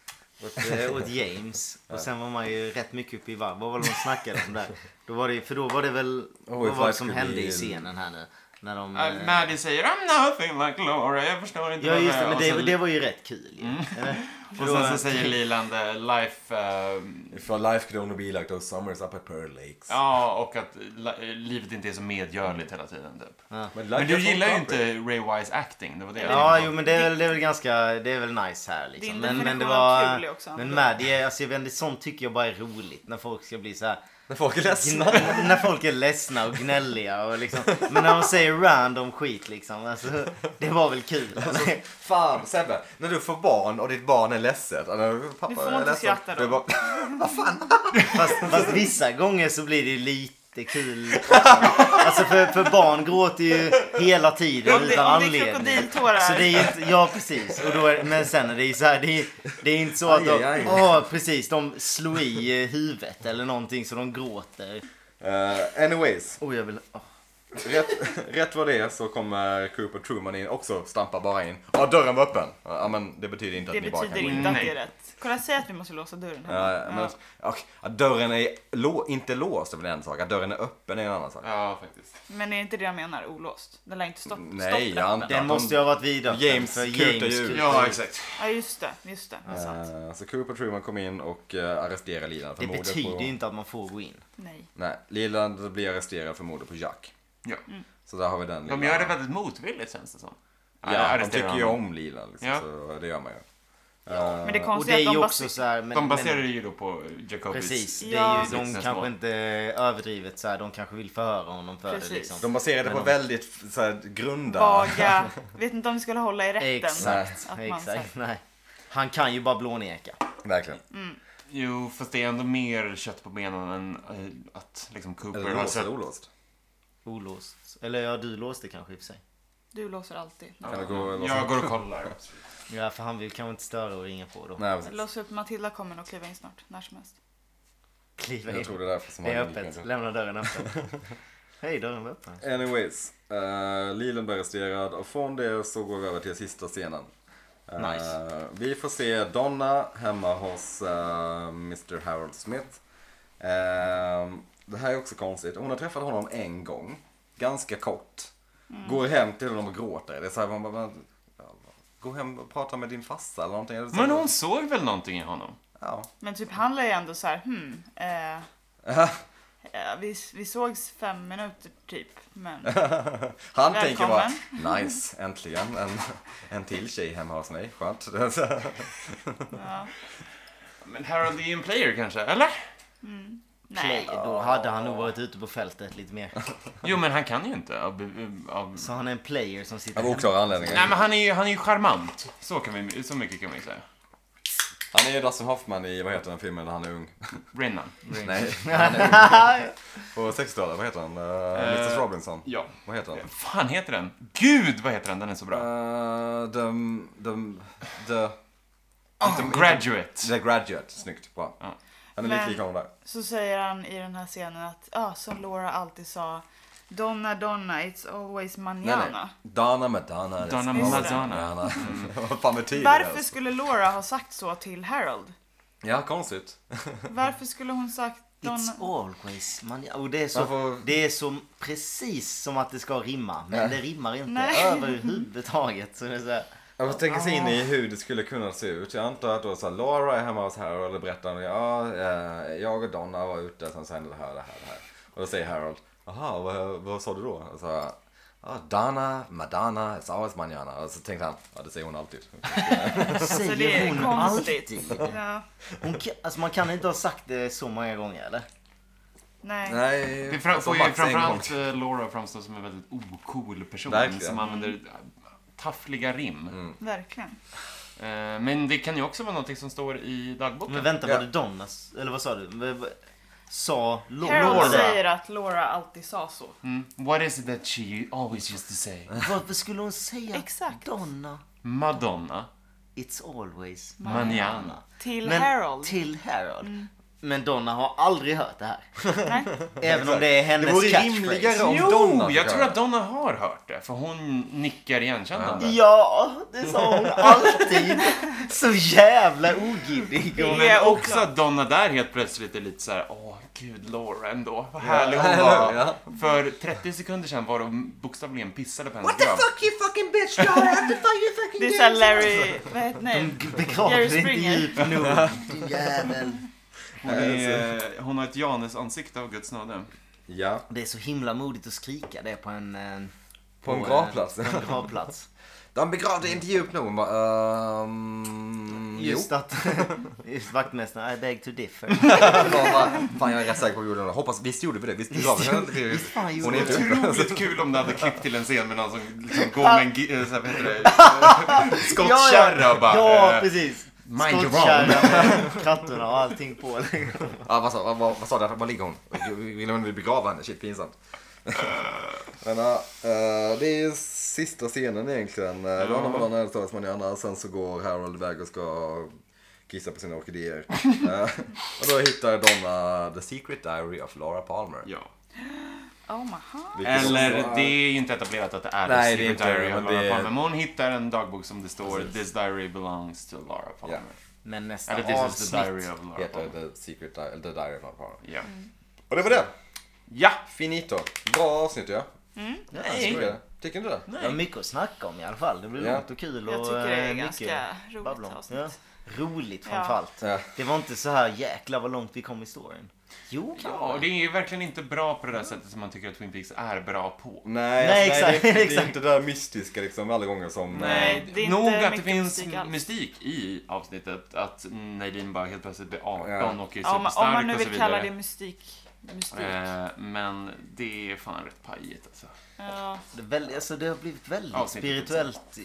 S3: åt, eh, åt James. Och sen var man ju rätt mycket uppe i varv. Vad var det de snackade om där? Då var det, för då var det väl... vad
S2: Oh, if
S3: var
S2: I
S3: det som
S2: could
S3: hände
S2: be-
S3: i scenen här nu? När de...
S1: Eh,
S3: eh,
S1: Maddie säger I'm nothing like Laura. Jag förstår inte
S3: Ja
S1: vad
S3: just det, men
S1: Och
S3: det,
S1: sen- Mm.
S3: det var ju rätt kul ju. Eller?
S1: Och sen så säger Leland eh, life... eh,
S2: If your life could only be like those summers up at Pearl Lakes.
S1: ja, och att la- livet inte är så medgörligt hela tiden typ.
S2: like
S1: Men du
S2: a folk
S1: gillar ju
S2: opera.
S1: inte Ray Wise acting, det var det jag
S3: Ja,
S1: tänkte
S3: jo
S1: på.
S3: men det är väl, det är väl ganska, det är väl nice här liksom.
S4: Din
S3: Men, men det
S4: definition av kul är
S3: var,
S4: också
S3: men
S4: annorlunda.
S3: Maddie, är- alltså jag vet inte, sånt tycker jag bara är roligt. När folk ska bli så här,
S2: När folk är ledsna.
S3: gn- när folk är ledsna och gnälliga och liksom. Men när de säger random skit liksom, alltså det var väl kul.
S4: Alltså-
S2: Fan Sebbe, när du får barn och ditt barn är ledset. eller, Pappa,
S4: Du får
S2: jag är
S4: inte
S2: ledsen.
S4: skratta då.
S2: Du bara,
S3: Fast, fast vissa gånger så blir det lite kul också. Alltså för, för barn gråter ju hela tiden
S4: Om det-
S3: utan
S4: om det är
S3: anledning.
S4: krokodiltårar.
S3: Så det är ju inte, ja precis. Och då är, men sen är det ju så här, det är, det är inte så att
S2: Aj, aj,
S3: de,
S2: aj.
S3: åh precis, de slår i eh, huvudet eller någonting så de gråter.
S2: eh, anyways,
S3: Oh jag vill, åh.
S2: rätt, rätt vad det är så kommer Cooper Truman in också, stampar bara in. Ja, dörren var öppen. Ja, men det betyder inte
S4: Det
S2: att ni bara
S4: betyder
S2: kan gå in.
S4: inte att det
S1: Nej.
S4: är rätt. Kolla, säg att vi måste låsa dörren hemma.
S2: Mm. Ja, men, alltså, och, att dörren är lå- inte låst är väl en sak, att dörren är öppen är en annan sak.
S1: Ja, faktiskt.
S4: Men är det inte det jag menar olåst? Den lär inte stopp,
S2: Mm, Nej,
S4: stoppa
S2: jag
S4: den.
S2: antar
S3: Den
S2: att
S3: måste ju ha varit vidöppen
S2: James
S3: för
S2: kutar
S3: James
S2: ju ut.
S3: kutar
S1: Ja,
S3: ut.
S1: exakt.
S4: Ja, just det. Just det. det är sant.
S2: Eh, Så Cooper Truman kom in och eh, arresterade Leland för
S3: Det
S2: mordet
S3: betyder
S2: på...
S3: ju inte att man får gå in.
S4: Nej.
S2: Nej, Leland blir arresterad för mordet på Jack.
S1: Ja.
S3: Mm.
S2: Så där har vi den
S1: De
S2: lilla-
S1: gör det väldigt motvilligt känns det som.
S2: Ja, de
S1: arresterar
S2: tycker ju
S1: honom.
S2: om Leland liksom,
S1: Ja.
S2: så det gör man ju. Eh,
S4: Men det
S3: Och det är
S4: konstiga är
S3: ju
S4: att de
S3: också
S4: baserar...
S3: så här, men,
S1: De baserar
S3: men-
S1: det ju då på Jacobis...
S3: Precis, det
S4: Ja.
S3: är ju, de
S1: Vittnesmål.
S3: kanske inte överdrivet så här, de kanske vill förhöra honom för
S4: Precis.
S3: det liksom.
S2: De baserade på
S3: Men de-
S2: väldigt så här, grunda...
S4: Vaga. Vet inte om vi skulle hålla i rätten.
S3: Exakt,
S4: Att man
S3: exakt. Nej. Han kan ju bara blåneka.
S2: Verkligen.
S3: Mm.
S1: Jo, fast det är ändå mer kött på benen än eh, att liksom Cooper
S2: Eller
S1: har
S2: låst
S1: sett...
S2: eller olåst.
S3: Olåst. Eller ja, du låste kanske i och för sig.
S4: Du låser alltid.
S2: Kan det gå eller
S1: Jag går och kollar.
S3: Ja, för han vill kanske inte störa och ringa på då.
S2: Nej, precis.
S4: Lås upp. Matilda kommer och kliva in snart. När som helst.
S3: Kliva in.
S2: Jag tror det är därför som
S3: Det är
S2: han
S3: öppet.
S2: gick.
S3: Lämna dörren öppen. Hej, dörren var öppen.
S2: Anyways, uh, Leland blir arresterad och från det så går vi över till sista scenen. Eh,
S1: Nice.
S2: Vi får se Donna hemma hos eh, Mr Harold Smith. Eh, det här är också konstigt. Hon har träffat honom en gång. Ganska kort. Går hem till honom och gråter. Det är så här, man bara, men, ja, gå hem och prata med din farsa eller någonting. Eller så-
S1: Men hon såg väl någonting i honom?
S2: Ja.
S4: Men typ han lär ju ändå så här, hmm. Eh, eh, vi, vi sågs fem minuter typ. Men
S2: Han tänker bara, nice, äntligen en, en till tjej hemma hos mig. Skönt.
S4: ja.
S1: Men Harold är ju en player kanske, eller?
S3: Play.
S4: mm, Nej.
S3: Då hade han nog varit ute på fältet lite mer.
S1: Jo, men han kan ju inte. Av, av...
S3: Så han är en player som sitter
S2: Av
S3: hemma.
S2: oklara anledningar.
S1: Nej, men han är ju, han är ju charmant. Så, kan vi, så mycket kan vi säga.
S2: Han är ju Dustin Hoffman i, vad heter den filmen där han är ung?
S1: Brennan.
S2: Nej, på 60-talet, vad heter han? Eh,
S1: Eh,
S2: Mrs Robinson?
S1: Ja.
S2: Vad heter han?
S1: Vad fan heter den? Gud, vad heter den? Den är så bra.
S2: Uh, the, the, the, Ah,
S1: Graduate.
S2: the Graduate, snyggt, bra.
S1: Ja.
S2: Han är lite
S4: Men-
S2: lik honom där.
S4: Så säger han i den här scenen att, ja som Laura alltid sa, Donna Donna, it's always
S2: Nej,
S4: manana.
S2: nej. Donna Madonna. it's
S1: Donna
S2: always
S1: Madonna.
S2: Madonna. Vad fan betyder det?
S4: Varför
S2: ens?
S4: skulle Laura ha sagt så till Harold?
S2: Ja, konstigt.
S4: Varför skulle hon sagt
S3: It's
S4: Donna?
S3: always money. Och det, är så,
S2: Varför-
S3: det är så precis som att det ska rimma. Men det rimmar inte
S4: Nej.
S3: överhuvudtaget. Så det är så här,
S2: Jag får tänka sig in i hur det skulle kunna se ut. Jag antar att då så här, Laura är hemma hos Harold och berättar ja, eh, jag och Donna var ute, sen så hände det här, det här, det här. Och då säger Harold, jaha, vad, vad sa du då? Och så, här, ja, Donna, Madonna, it's always manana. Och så tänkte han, ja det säger hon alltid.
S4: Så
S3: säger
S4: Alltså, det är
S3: hon
S4: konstigt.
S3: alltid.
S4: Ja,
S3: Hon, kan- alltså man kan inte ha sagt det så många gånger eller?
S4: nej.
S2: Nej,
S1: Vi fra-
S2: alltså,
S1: får ju
S2: max en gång.
S1: framförallt eh, Laura framstå som en väldigt ocool person
S2: Verkligen. Mm.
S1: som använder eh, taffliga rim.
S4: Verkligen.
S1: Eh, Men det kan ju också vara någonting som står i dagboken.
S3: Men vänta,
S2: Ja.
S3: var det Donnas? Eller vad sa du? V- v- Sa Laura?
S4: Harold säger att Laura alltid sa så.
S1: Mm. What is it that she always used to say?
S3: Varför skulle hon säga
S4: Exakt.
S3: Donna?
S1: Madonna.
S3: It's always
S1: Manana.
S3: Manana.
S4: Till
S3: Men
S4: Harold. Mm.
S3: Till Harold. Men Donna har aldrig hört det här.
S4: Nej.
S3: Även om det är
S2: Det
S3: hennes
S2: vore
S3: catchphrase.
S2: rimligare om Donna
S1: Jo,
S2: fick
S1: jag tror
S2: höra.
S1: att Donna har hört det. För hon nickar igenkännande.
S3: Ja, det sa hon alltid. Så jävla ogiddig.
S4: Ja,
S3: Och
S1: Men
S4: oklart.
S1: också att Donna där helt plötsligt är lite så här, åh gud Laura ändå, vad härlig hon
S2: eller
S1: var.
S2: hur? Ja.
S1: För 30 sekunder sedan var de bokstavligen pissade på hennes
S2: What the
S1: grav.
S2: fuck you fucking bitch Laura? What the fuck you fucking
S4: Det är
S2: bitch?
S4: såhär Larry, vad heter nej?
S3: Begrav
S4: Jerry
S3: dig inte
S4: Springer.
S3: djupt nog. Din jävel.
S1: Hon, är, eh, hon har ett Janes-ansikte av Guds nåde.
S2: Ja,
S3: Det är så himla modigt att skrika det på en... eh,
S2: på en
S3: eh,
S2: gravplats.
S3: På en gravplats.
S2: De begravde inte djupt nog. Hon bara, ehm... Jo.
S3: Just att... Just vaktmästaren, I beg to differ.
S2: Hon bara, Fan jag är rätt säker på att vi gjorde det. Hoppas, visst gjorde vi det? Visst begravde vi henne?
S3: Visst fan
S2: Hon
S3: gjorde
S2: är
S3: jag det?
S2: inte
S1: Otroligt kul om det hade klippt till en scen med någon som liksom går med en gi- eh, så här, vad heter det, skottkärra och bara...
S3: Ja,
S1: eh,
S3: precis.
S1: mind your own.
S3: Skottkärra med katterna och allting på. liksom.
S2: Ja, vad, sa, vad, vad, vad sa du? Var ligger hon? Vill hon begrava henne? Shit, pinsamt. Men, ja, eh, det är ju sista scenen egentligen. Uh, Då har man en talesman i andra. Sen så går Harold iväg och ska kissa på sina orkidéer. Eh, och då hittar Donna The Secret Diary of Laura Palmer.
S1: ja.
S4: Oh maha.
S2: Vilket också
S1: Eller,
S2: är-
S1: det är ju inte etablerat att det är
S2: Nej,
S1: The
S2: det är
S1: Secret
S2: inte det,
S1: Diary av
S2: men
S1: Laura
S2: det-
S1: Palmer. Men hon hittar en dagbok som det står This diary belongs to Laura Palmer.
S3: Men
S1: Eller
S3: nästa
S1: This is the
S3: avsnitt.
S1: diary of Laura
S2: Heter
S1: Palmer.
S2: The Secret Diary, eller The Diary of Laura Palmer.
S1: Ja.
S2: Och det var det!
S1: Ja!
S2: Finito. Bra avsnitt ja.
S1: Nej.
S2: Tycker du- Tycker du det?
S3: Det var mycket att snacka om i alla fall. Det blir
S2: Ja.
S3: roligt och kul och
S4: Jag tycker det är
S3: eh,
S4: ganska roligt
S3: babbla om.
S4: avsnitt.
S3: Ja. Roligt
S4: Ja.
S3: framförallt.
S2: Ja.
S3: Det var inte så här jäklar vad långt vi kom i storyn. Jo,
S1: Ja, och
S3: kanske.
S1: det är ju verkligen inte bra på det där sättet som man tycker att Twin Peaks är bra på.
S2: Nej,
S3: Nej,
S2: alltså, nej,
S3: exakt,
S2: det, är, inte- det är
S3: exakt.
S2: inte det där mystiska liksom alla gånger som...
S4: Nej,
S2: eh,
S4: det är inte
S1: Nog att det
S4: mycket
S1: finns
S4: mystik alls.
S1: mystik i avsnittet, att Nadine bara helt plötsligt blir 18
S2: Ja.
S1: och är
S4: Ja, om, om man
S1: superstark
S4: nu
S1: och så
S4: vill kalla det
S1: vidare.
S4: mystik. mystik.
S1: Eh, Men det är fan rätt pajigt alltså.
S4: Ja.
S3: Det, är väl, alltså, det har blivit väldigt
S1: Avsnittet,
S3: spirituellt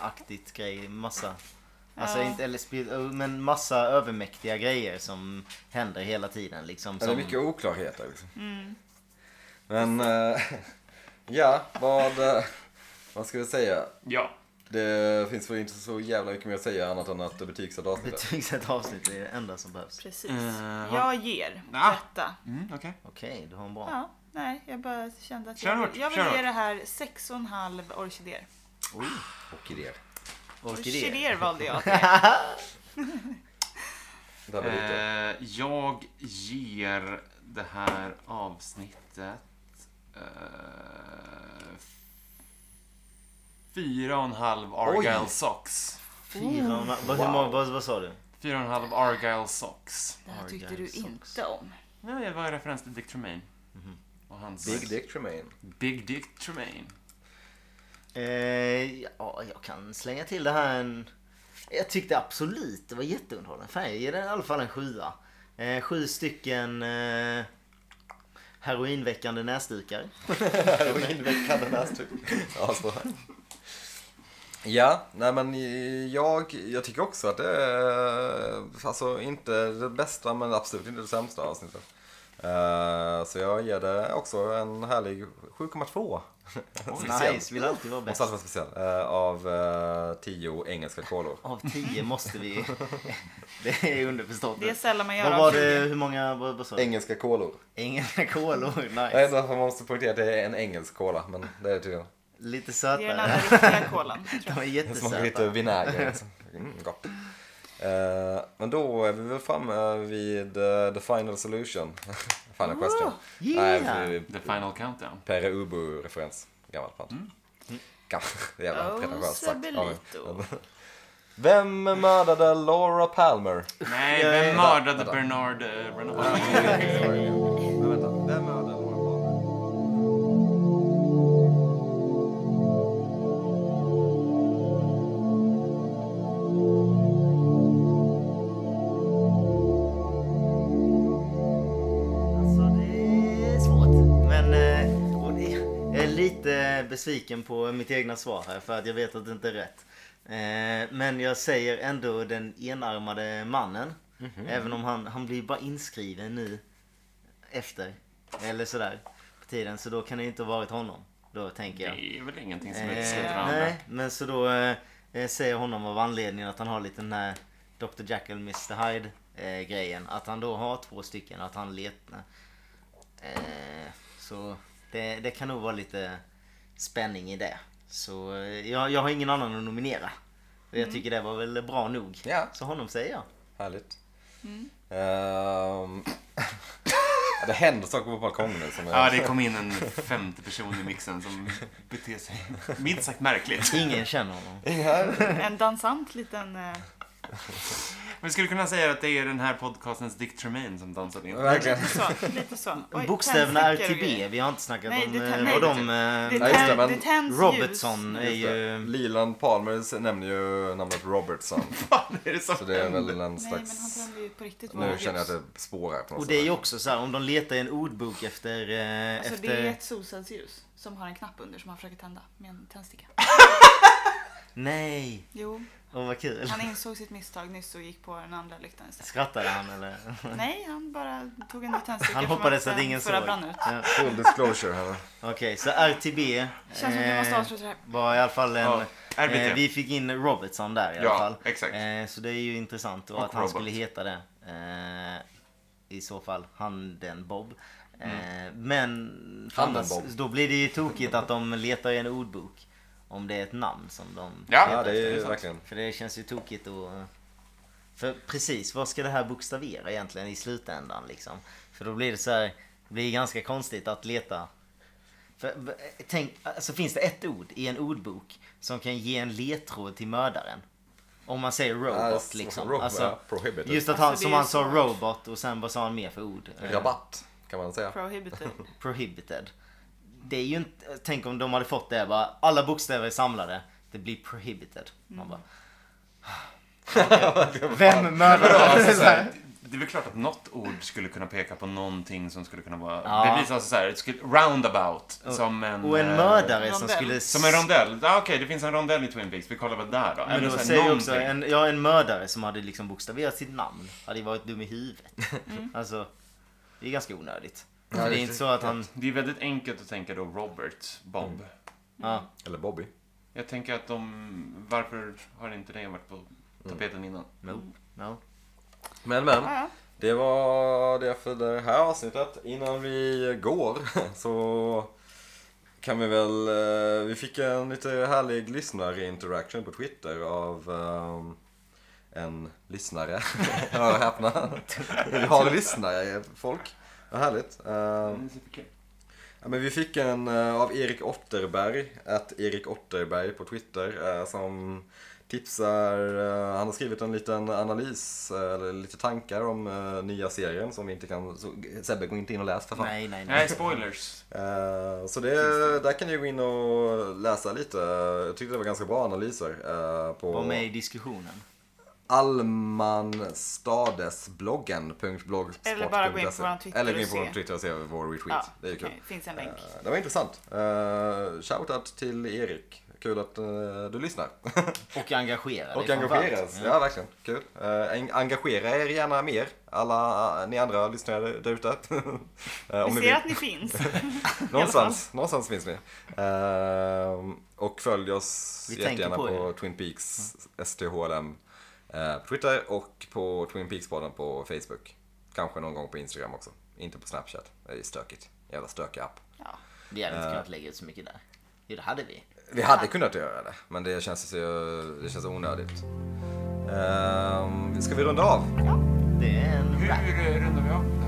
S3: aktigt grej. Massa. Alltså,
S4: Ja.
S3: inte, eller, spir- men massa övermäktiga grejer som händer hela tiden. Liksom,
S2: Ja, Det är
S3: som,
S2: mycket oklarheter liksom. Men, eh, ja, vad, eh, vad ska vi säga?
S1: Ja.
S2: Det finns väl inte så jävla mycket mer att säga annat än att betygsätta avsnittet.
S3: Betygsätt avsnitt är det enda som behövs.
S4: Precis.
S1: Eh,
S4: jag ger
S1: Ah.
S4: detta.
S1: Mm, okej.
S3: Okej, du har en bra.
S4: Ja, nej, jag bara kände att
S1: Kör
S4: jag,
S1: hårt,
S4: jag vill
S1: kör
S4: ge
S1: hårt.
S4: det här sex och en halv orkidéer.
S2: Och idéer.
S3: Orkidé.
S4: Orkidéer valde jag.
S2: Där var lite.
S1: Eh, jag ger det här avsnittet eh, fyra och en halv Argyle Socks.
S3: Fyra och en halv- vad, hur många- vad, vad sa du?
S1: Fyra och en halv Argyle Socks.
S4: Det här tyckte
S3: Argyle
S4: du
S3: socks.
S4: inte om.
S1: Nej, det var en referens till Dick Tremaine. Och hans...
S2: Eh, Big Dick Tremaine.
S1: Big Dick Tremaine.
S3: Eh, ja, jag kan slänga till det här en... Jag tyckte absolut det var jätteunderhållande. Fan, jag ger den i alla fall en sjua. Eh, sju stycken eh, heroinväckande näsdukar.
S2: Heroinväckande näsduk. Ja, så. Ja, nej men jag, jag tycker också att det är, alltså inte det bästa men absolut inte det sämsta avsnittet. Eh, så jag ger det också en härlig 7,2. Speciell.
S3: Nice, vill alltid vara
S2: Måste
S3: bäst.
S2: alltid vara speciell. Eh, av eh, 10 engelska kolor.
S3: Av tio måste vi... det är underförstått.
S4: Det är sällan man gör
S3: Vad var
S4: orkidéer.
S3: det, hur många, vad, vad sa du?
S2: Engelska kolor.
S3: Ingen kolor,
S2: Jag vet
S3: nice.
S2: inte varför man måste poängtera att det är en engelsk kola, men det är typ tydligen.
S3: Lite
S4: Det är den
S3: sötare.
S4: andra riktiga kolan. tror jag.
S3: De är
S2: Det smakar lite
S3: jättesöta.
S2: vinäger. Alltså. Mm, gott. Eh, men då är vi väl framme vid eh, the final solution. final question.
S3: yeah.
S2: Nej,
S1: The Final Countdown.
S2: Pere Ubu-referens. Gammalt band. Mm. Det är jävla
S4: Oh,
S2: pretentiöst sagt. av mig.
S4: Sebelito.
S2: Vem mördade Laura Palmer?
S1: Nej,
S3: jag-
S1: vem mördade Bernard eh, Renault?
S2: Men vänta, vem mördade Laura Palmer?
S3: Alltså det är svårt. Men eh, och det, jag är lite besviken på mitt egna svar här för att jag vet att det inte är rätt. Eh, men jag säger ändå den enarmade mannen. Även om han, han blir bara inskriven nu efter. Eller sådär. På tiden. Så då kan det inte ha varit honom. Då tänker jag.
S1: Det är väl ingenting som utesluter
S3: Eh,
S1: varandra.
S3: nej, men så då eh, eh, säger honom av anledningen att han har lite den här Dr. Jekyll Mr. Hyde eh, grejen. Att han då har två stycken och att han letar. Eh, så det, det kan nog vara lite spänning i det. Så eh, jag, jag har ingen annan att nominera. Och jag tycker det var väl bra nog.
S2: Ja.
S3: Så honom säger jag.
S2: Härligt.
S4: Mm.
S2: Ehm, det händer saker på balkongen nu som är...
S1: Ja, det kom in en femte person i mixen som beter sig minst sagt märkligt.
S3: Ingen känner honom. Eh,
S4: En dansant liten... eh,
S1: Men skulle kunna säga att det är den här podcastens Dick Tremaine som dansat in.
S2: Verkligen.
S4: Så, lite så. Oj,
S3: Bokstäverna är
S4: tändstickor och
S3: till B.
S4: grejer.
S3: Vi har inte snackat
S4: Nej,
S3: om
S4: det tar-
S3: eh,
S4: nej,
S3: vad
S4: det
S3: de...
S4: Det,
S3: eh,
S2: Ja, just det,
S4: tän-
S2: men-
S4: det tänds ljus.
S3: Robertson är
S2: Just det.
S3: ju...
S2: Leland Palmer nämner ju namnet Robertson.
S1: Fan, är det så?
S2: Så det är väl en
S4: Nej, men han
S2: slags...
S4: tänder ju på riktigt
S2: Nu
S4: vårljus.
S2: känner jag typ- att det spårar på något
S3: Och det är ju
S2: sätt.
S3: också så här, om de letar i en ordbok efter... eh,
S4: Alltså
S3: efter...
S4: det är ett solcellsljus som har en knapp under som han försöker tända med en tändsticka.
S3: Nej!
S4: Jo,
S3: Åh vad kul.
S4: han insåg sitt misstag nyss och gick på den andra lyktan istället.
S3: Skrattade han eller?
S4: Nej, han bara tog en ny tändsticka
S3: Han
S4: från
S3: hoppades
S4: den
S3: att ingen
S4: förra
S3: såg.
S4: brann ut.
S3: Ja.
S2: Full disclosure här.
S3: Okej, så RTB
S4: Känns som att vi måste
S3: eh,
S4: avsluta det här.
S3: var i alla fall en...
S1: Ja, RBT.
S3: eh, vi fick in Robertson där i alla
S1: Ja,
S3: fall.
S1: exakt.
S3: Eh, så det är ju intressant då
S1: Och
S3: att han
S1: Robert.
S3: skulle heta det. Eh, I så fall handen Bob.
S1: Mm.
S3: Eh, men för
S2: Handen
S3: annars,
S2: Bob.
S3: då blir det ju tokigt att de letar i en ordbok. Om det är ett namn som de
S2: Ja,
S1: Ja,
S2: det är ju
S1: sant.
S2: verkligen...
S3: För det känns ju tokigt att... För precis, vad ska det här bokstavera egentligen i slutändan liksom? För då blir det så här, det blir ganska konstigt att leta. För, v- tänk, alltså finns det ett ord i en ordbok som kan ge en ledtråd till mördaren? Om man säger robot
S2: Alltså,
S3: liksom.
S2: robot,
S3: alltså,
S2: ja, prohibited.
S3: just att han,
S4: Alltså, det
S3: som
S4: är
S3: han
S4: ju
S3: sa
S4: smart.
S3: robot och sen vad sa han mer för ord? Eh,
S2: Rabatt, kan man säga.
S4: Prohibited.
S3: Prohibited. Det är ju inte, tänk om de hade fått det bara, alla bokstäver är samlade, det blir prohibited. Man bara, Vem
S1: Ja,
S3: mördar
S1: alltså, så här, det är väl klart att något ord skulle kunna peka på någonting som skulle kunna vara...
S3: Ja.
S1: Det blir alltså så här, det skulle- roundabout. Som en...
S3: Och en
S1: eh,
S3: mördare som
S4: rondell.
S3: skulle...
S1: Som en rondell. Ja, Okej, det finns en rondell i Twin Peaks. Vi kollar väl där då.
S3: Men
S1: Eller
S3: då
S1: här,
S3: säger jag också,
S1: någonting.
S3: en, ja, en mördare som hade liksom bokstaverat sitt namn hade ju varit dum i huvudet. Alltså, det är ganska onödigt. För det är
S2: det är
S3: inte så att han...
S1: Mm. Det är väldigt enkelt att tänka då Robert, Bob.
S3: Mm. Ja,
S2: Eller Bobby.
S1: Jag tänker att de... Varför har inte det varit på tapeten innan?
S3: no, no.
S2: Men men,
S4: Ja, ja.
S2: det var det för det här avsnittet. Innan vi går så kan vi väl, eh, vi fick en lite härlig lyssnarinteraction på Twitter av ehm, en lyssnare. Hör och häpna. Vi har lyssnare, folk. Vad härligt. Ehm,
S3: Mm.
S1: Det är superkul.
S2: Ja, men vi fick en eh, av Erik Otterberg, att Erik Otterberg på Twitter, eh, som tipsar, eh, han har skrivit en liten analys, eh, eller lite tankar om eh, nya serien som vi inte kan, så, Sebbe går inte in och läs för fan.
S3: Nej, nej, nej.
S1: Nej, spoilers.
S2: Eh, Så det, där kan ni gå in och läsa lite, jag tyckte det var ganska bra analyser eh, på
S3: Var med i diskussionen.
S2: almanstadesbloggen.blogspot.se
S4: Eller bara gå in på vår Twitter
S2: Eller gå in
S4: och
S2: på vår
S4: se.
S2: Twitter och se vår retweet,
S4: Ja,
S2: det är ju kul.
S4: okej, finns en länk.
S2: Eh, Det var intressant. Eh, Shoutout till Erik. Kul att eh, du lyssnar.
S3: Och engagera dig
S2: och
S3: framför
S2: engageras.
S3: allt.
S2: Ja, verkligen. Kul. Eh, en- engagera er gärna mer, alla eh, ni andra lyssnare där ute. Eh,
S4: Vi
S2: ni
S4: ser att ni finns.
S2: Någonstans, någonstans finns ni. Eh, och följ oss
S3: Vi tänker
S2: jättegärna på,
S3: på
S2: Twin Peaks STHLM eh, på Twitter och på Twin Peaks-podden på Facebook. Kanske någon gång på Instagram också. Inte på Snapchat. Det är stökigt. Jävla stökig app.
S4: Ja.
S3: Vi hade inte kunnat lägga ut så mycket där. Jo, det hade vi.
S2: Vi hade kunnat göra det, men det känns, så, det känns onödigt. Um, ska vi runda av?
S3: Det är en...
S1: Hur eh, rundar vi av?
S2: Alltså,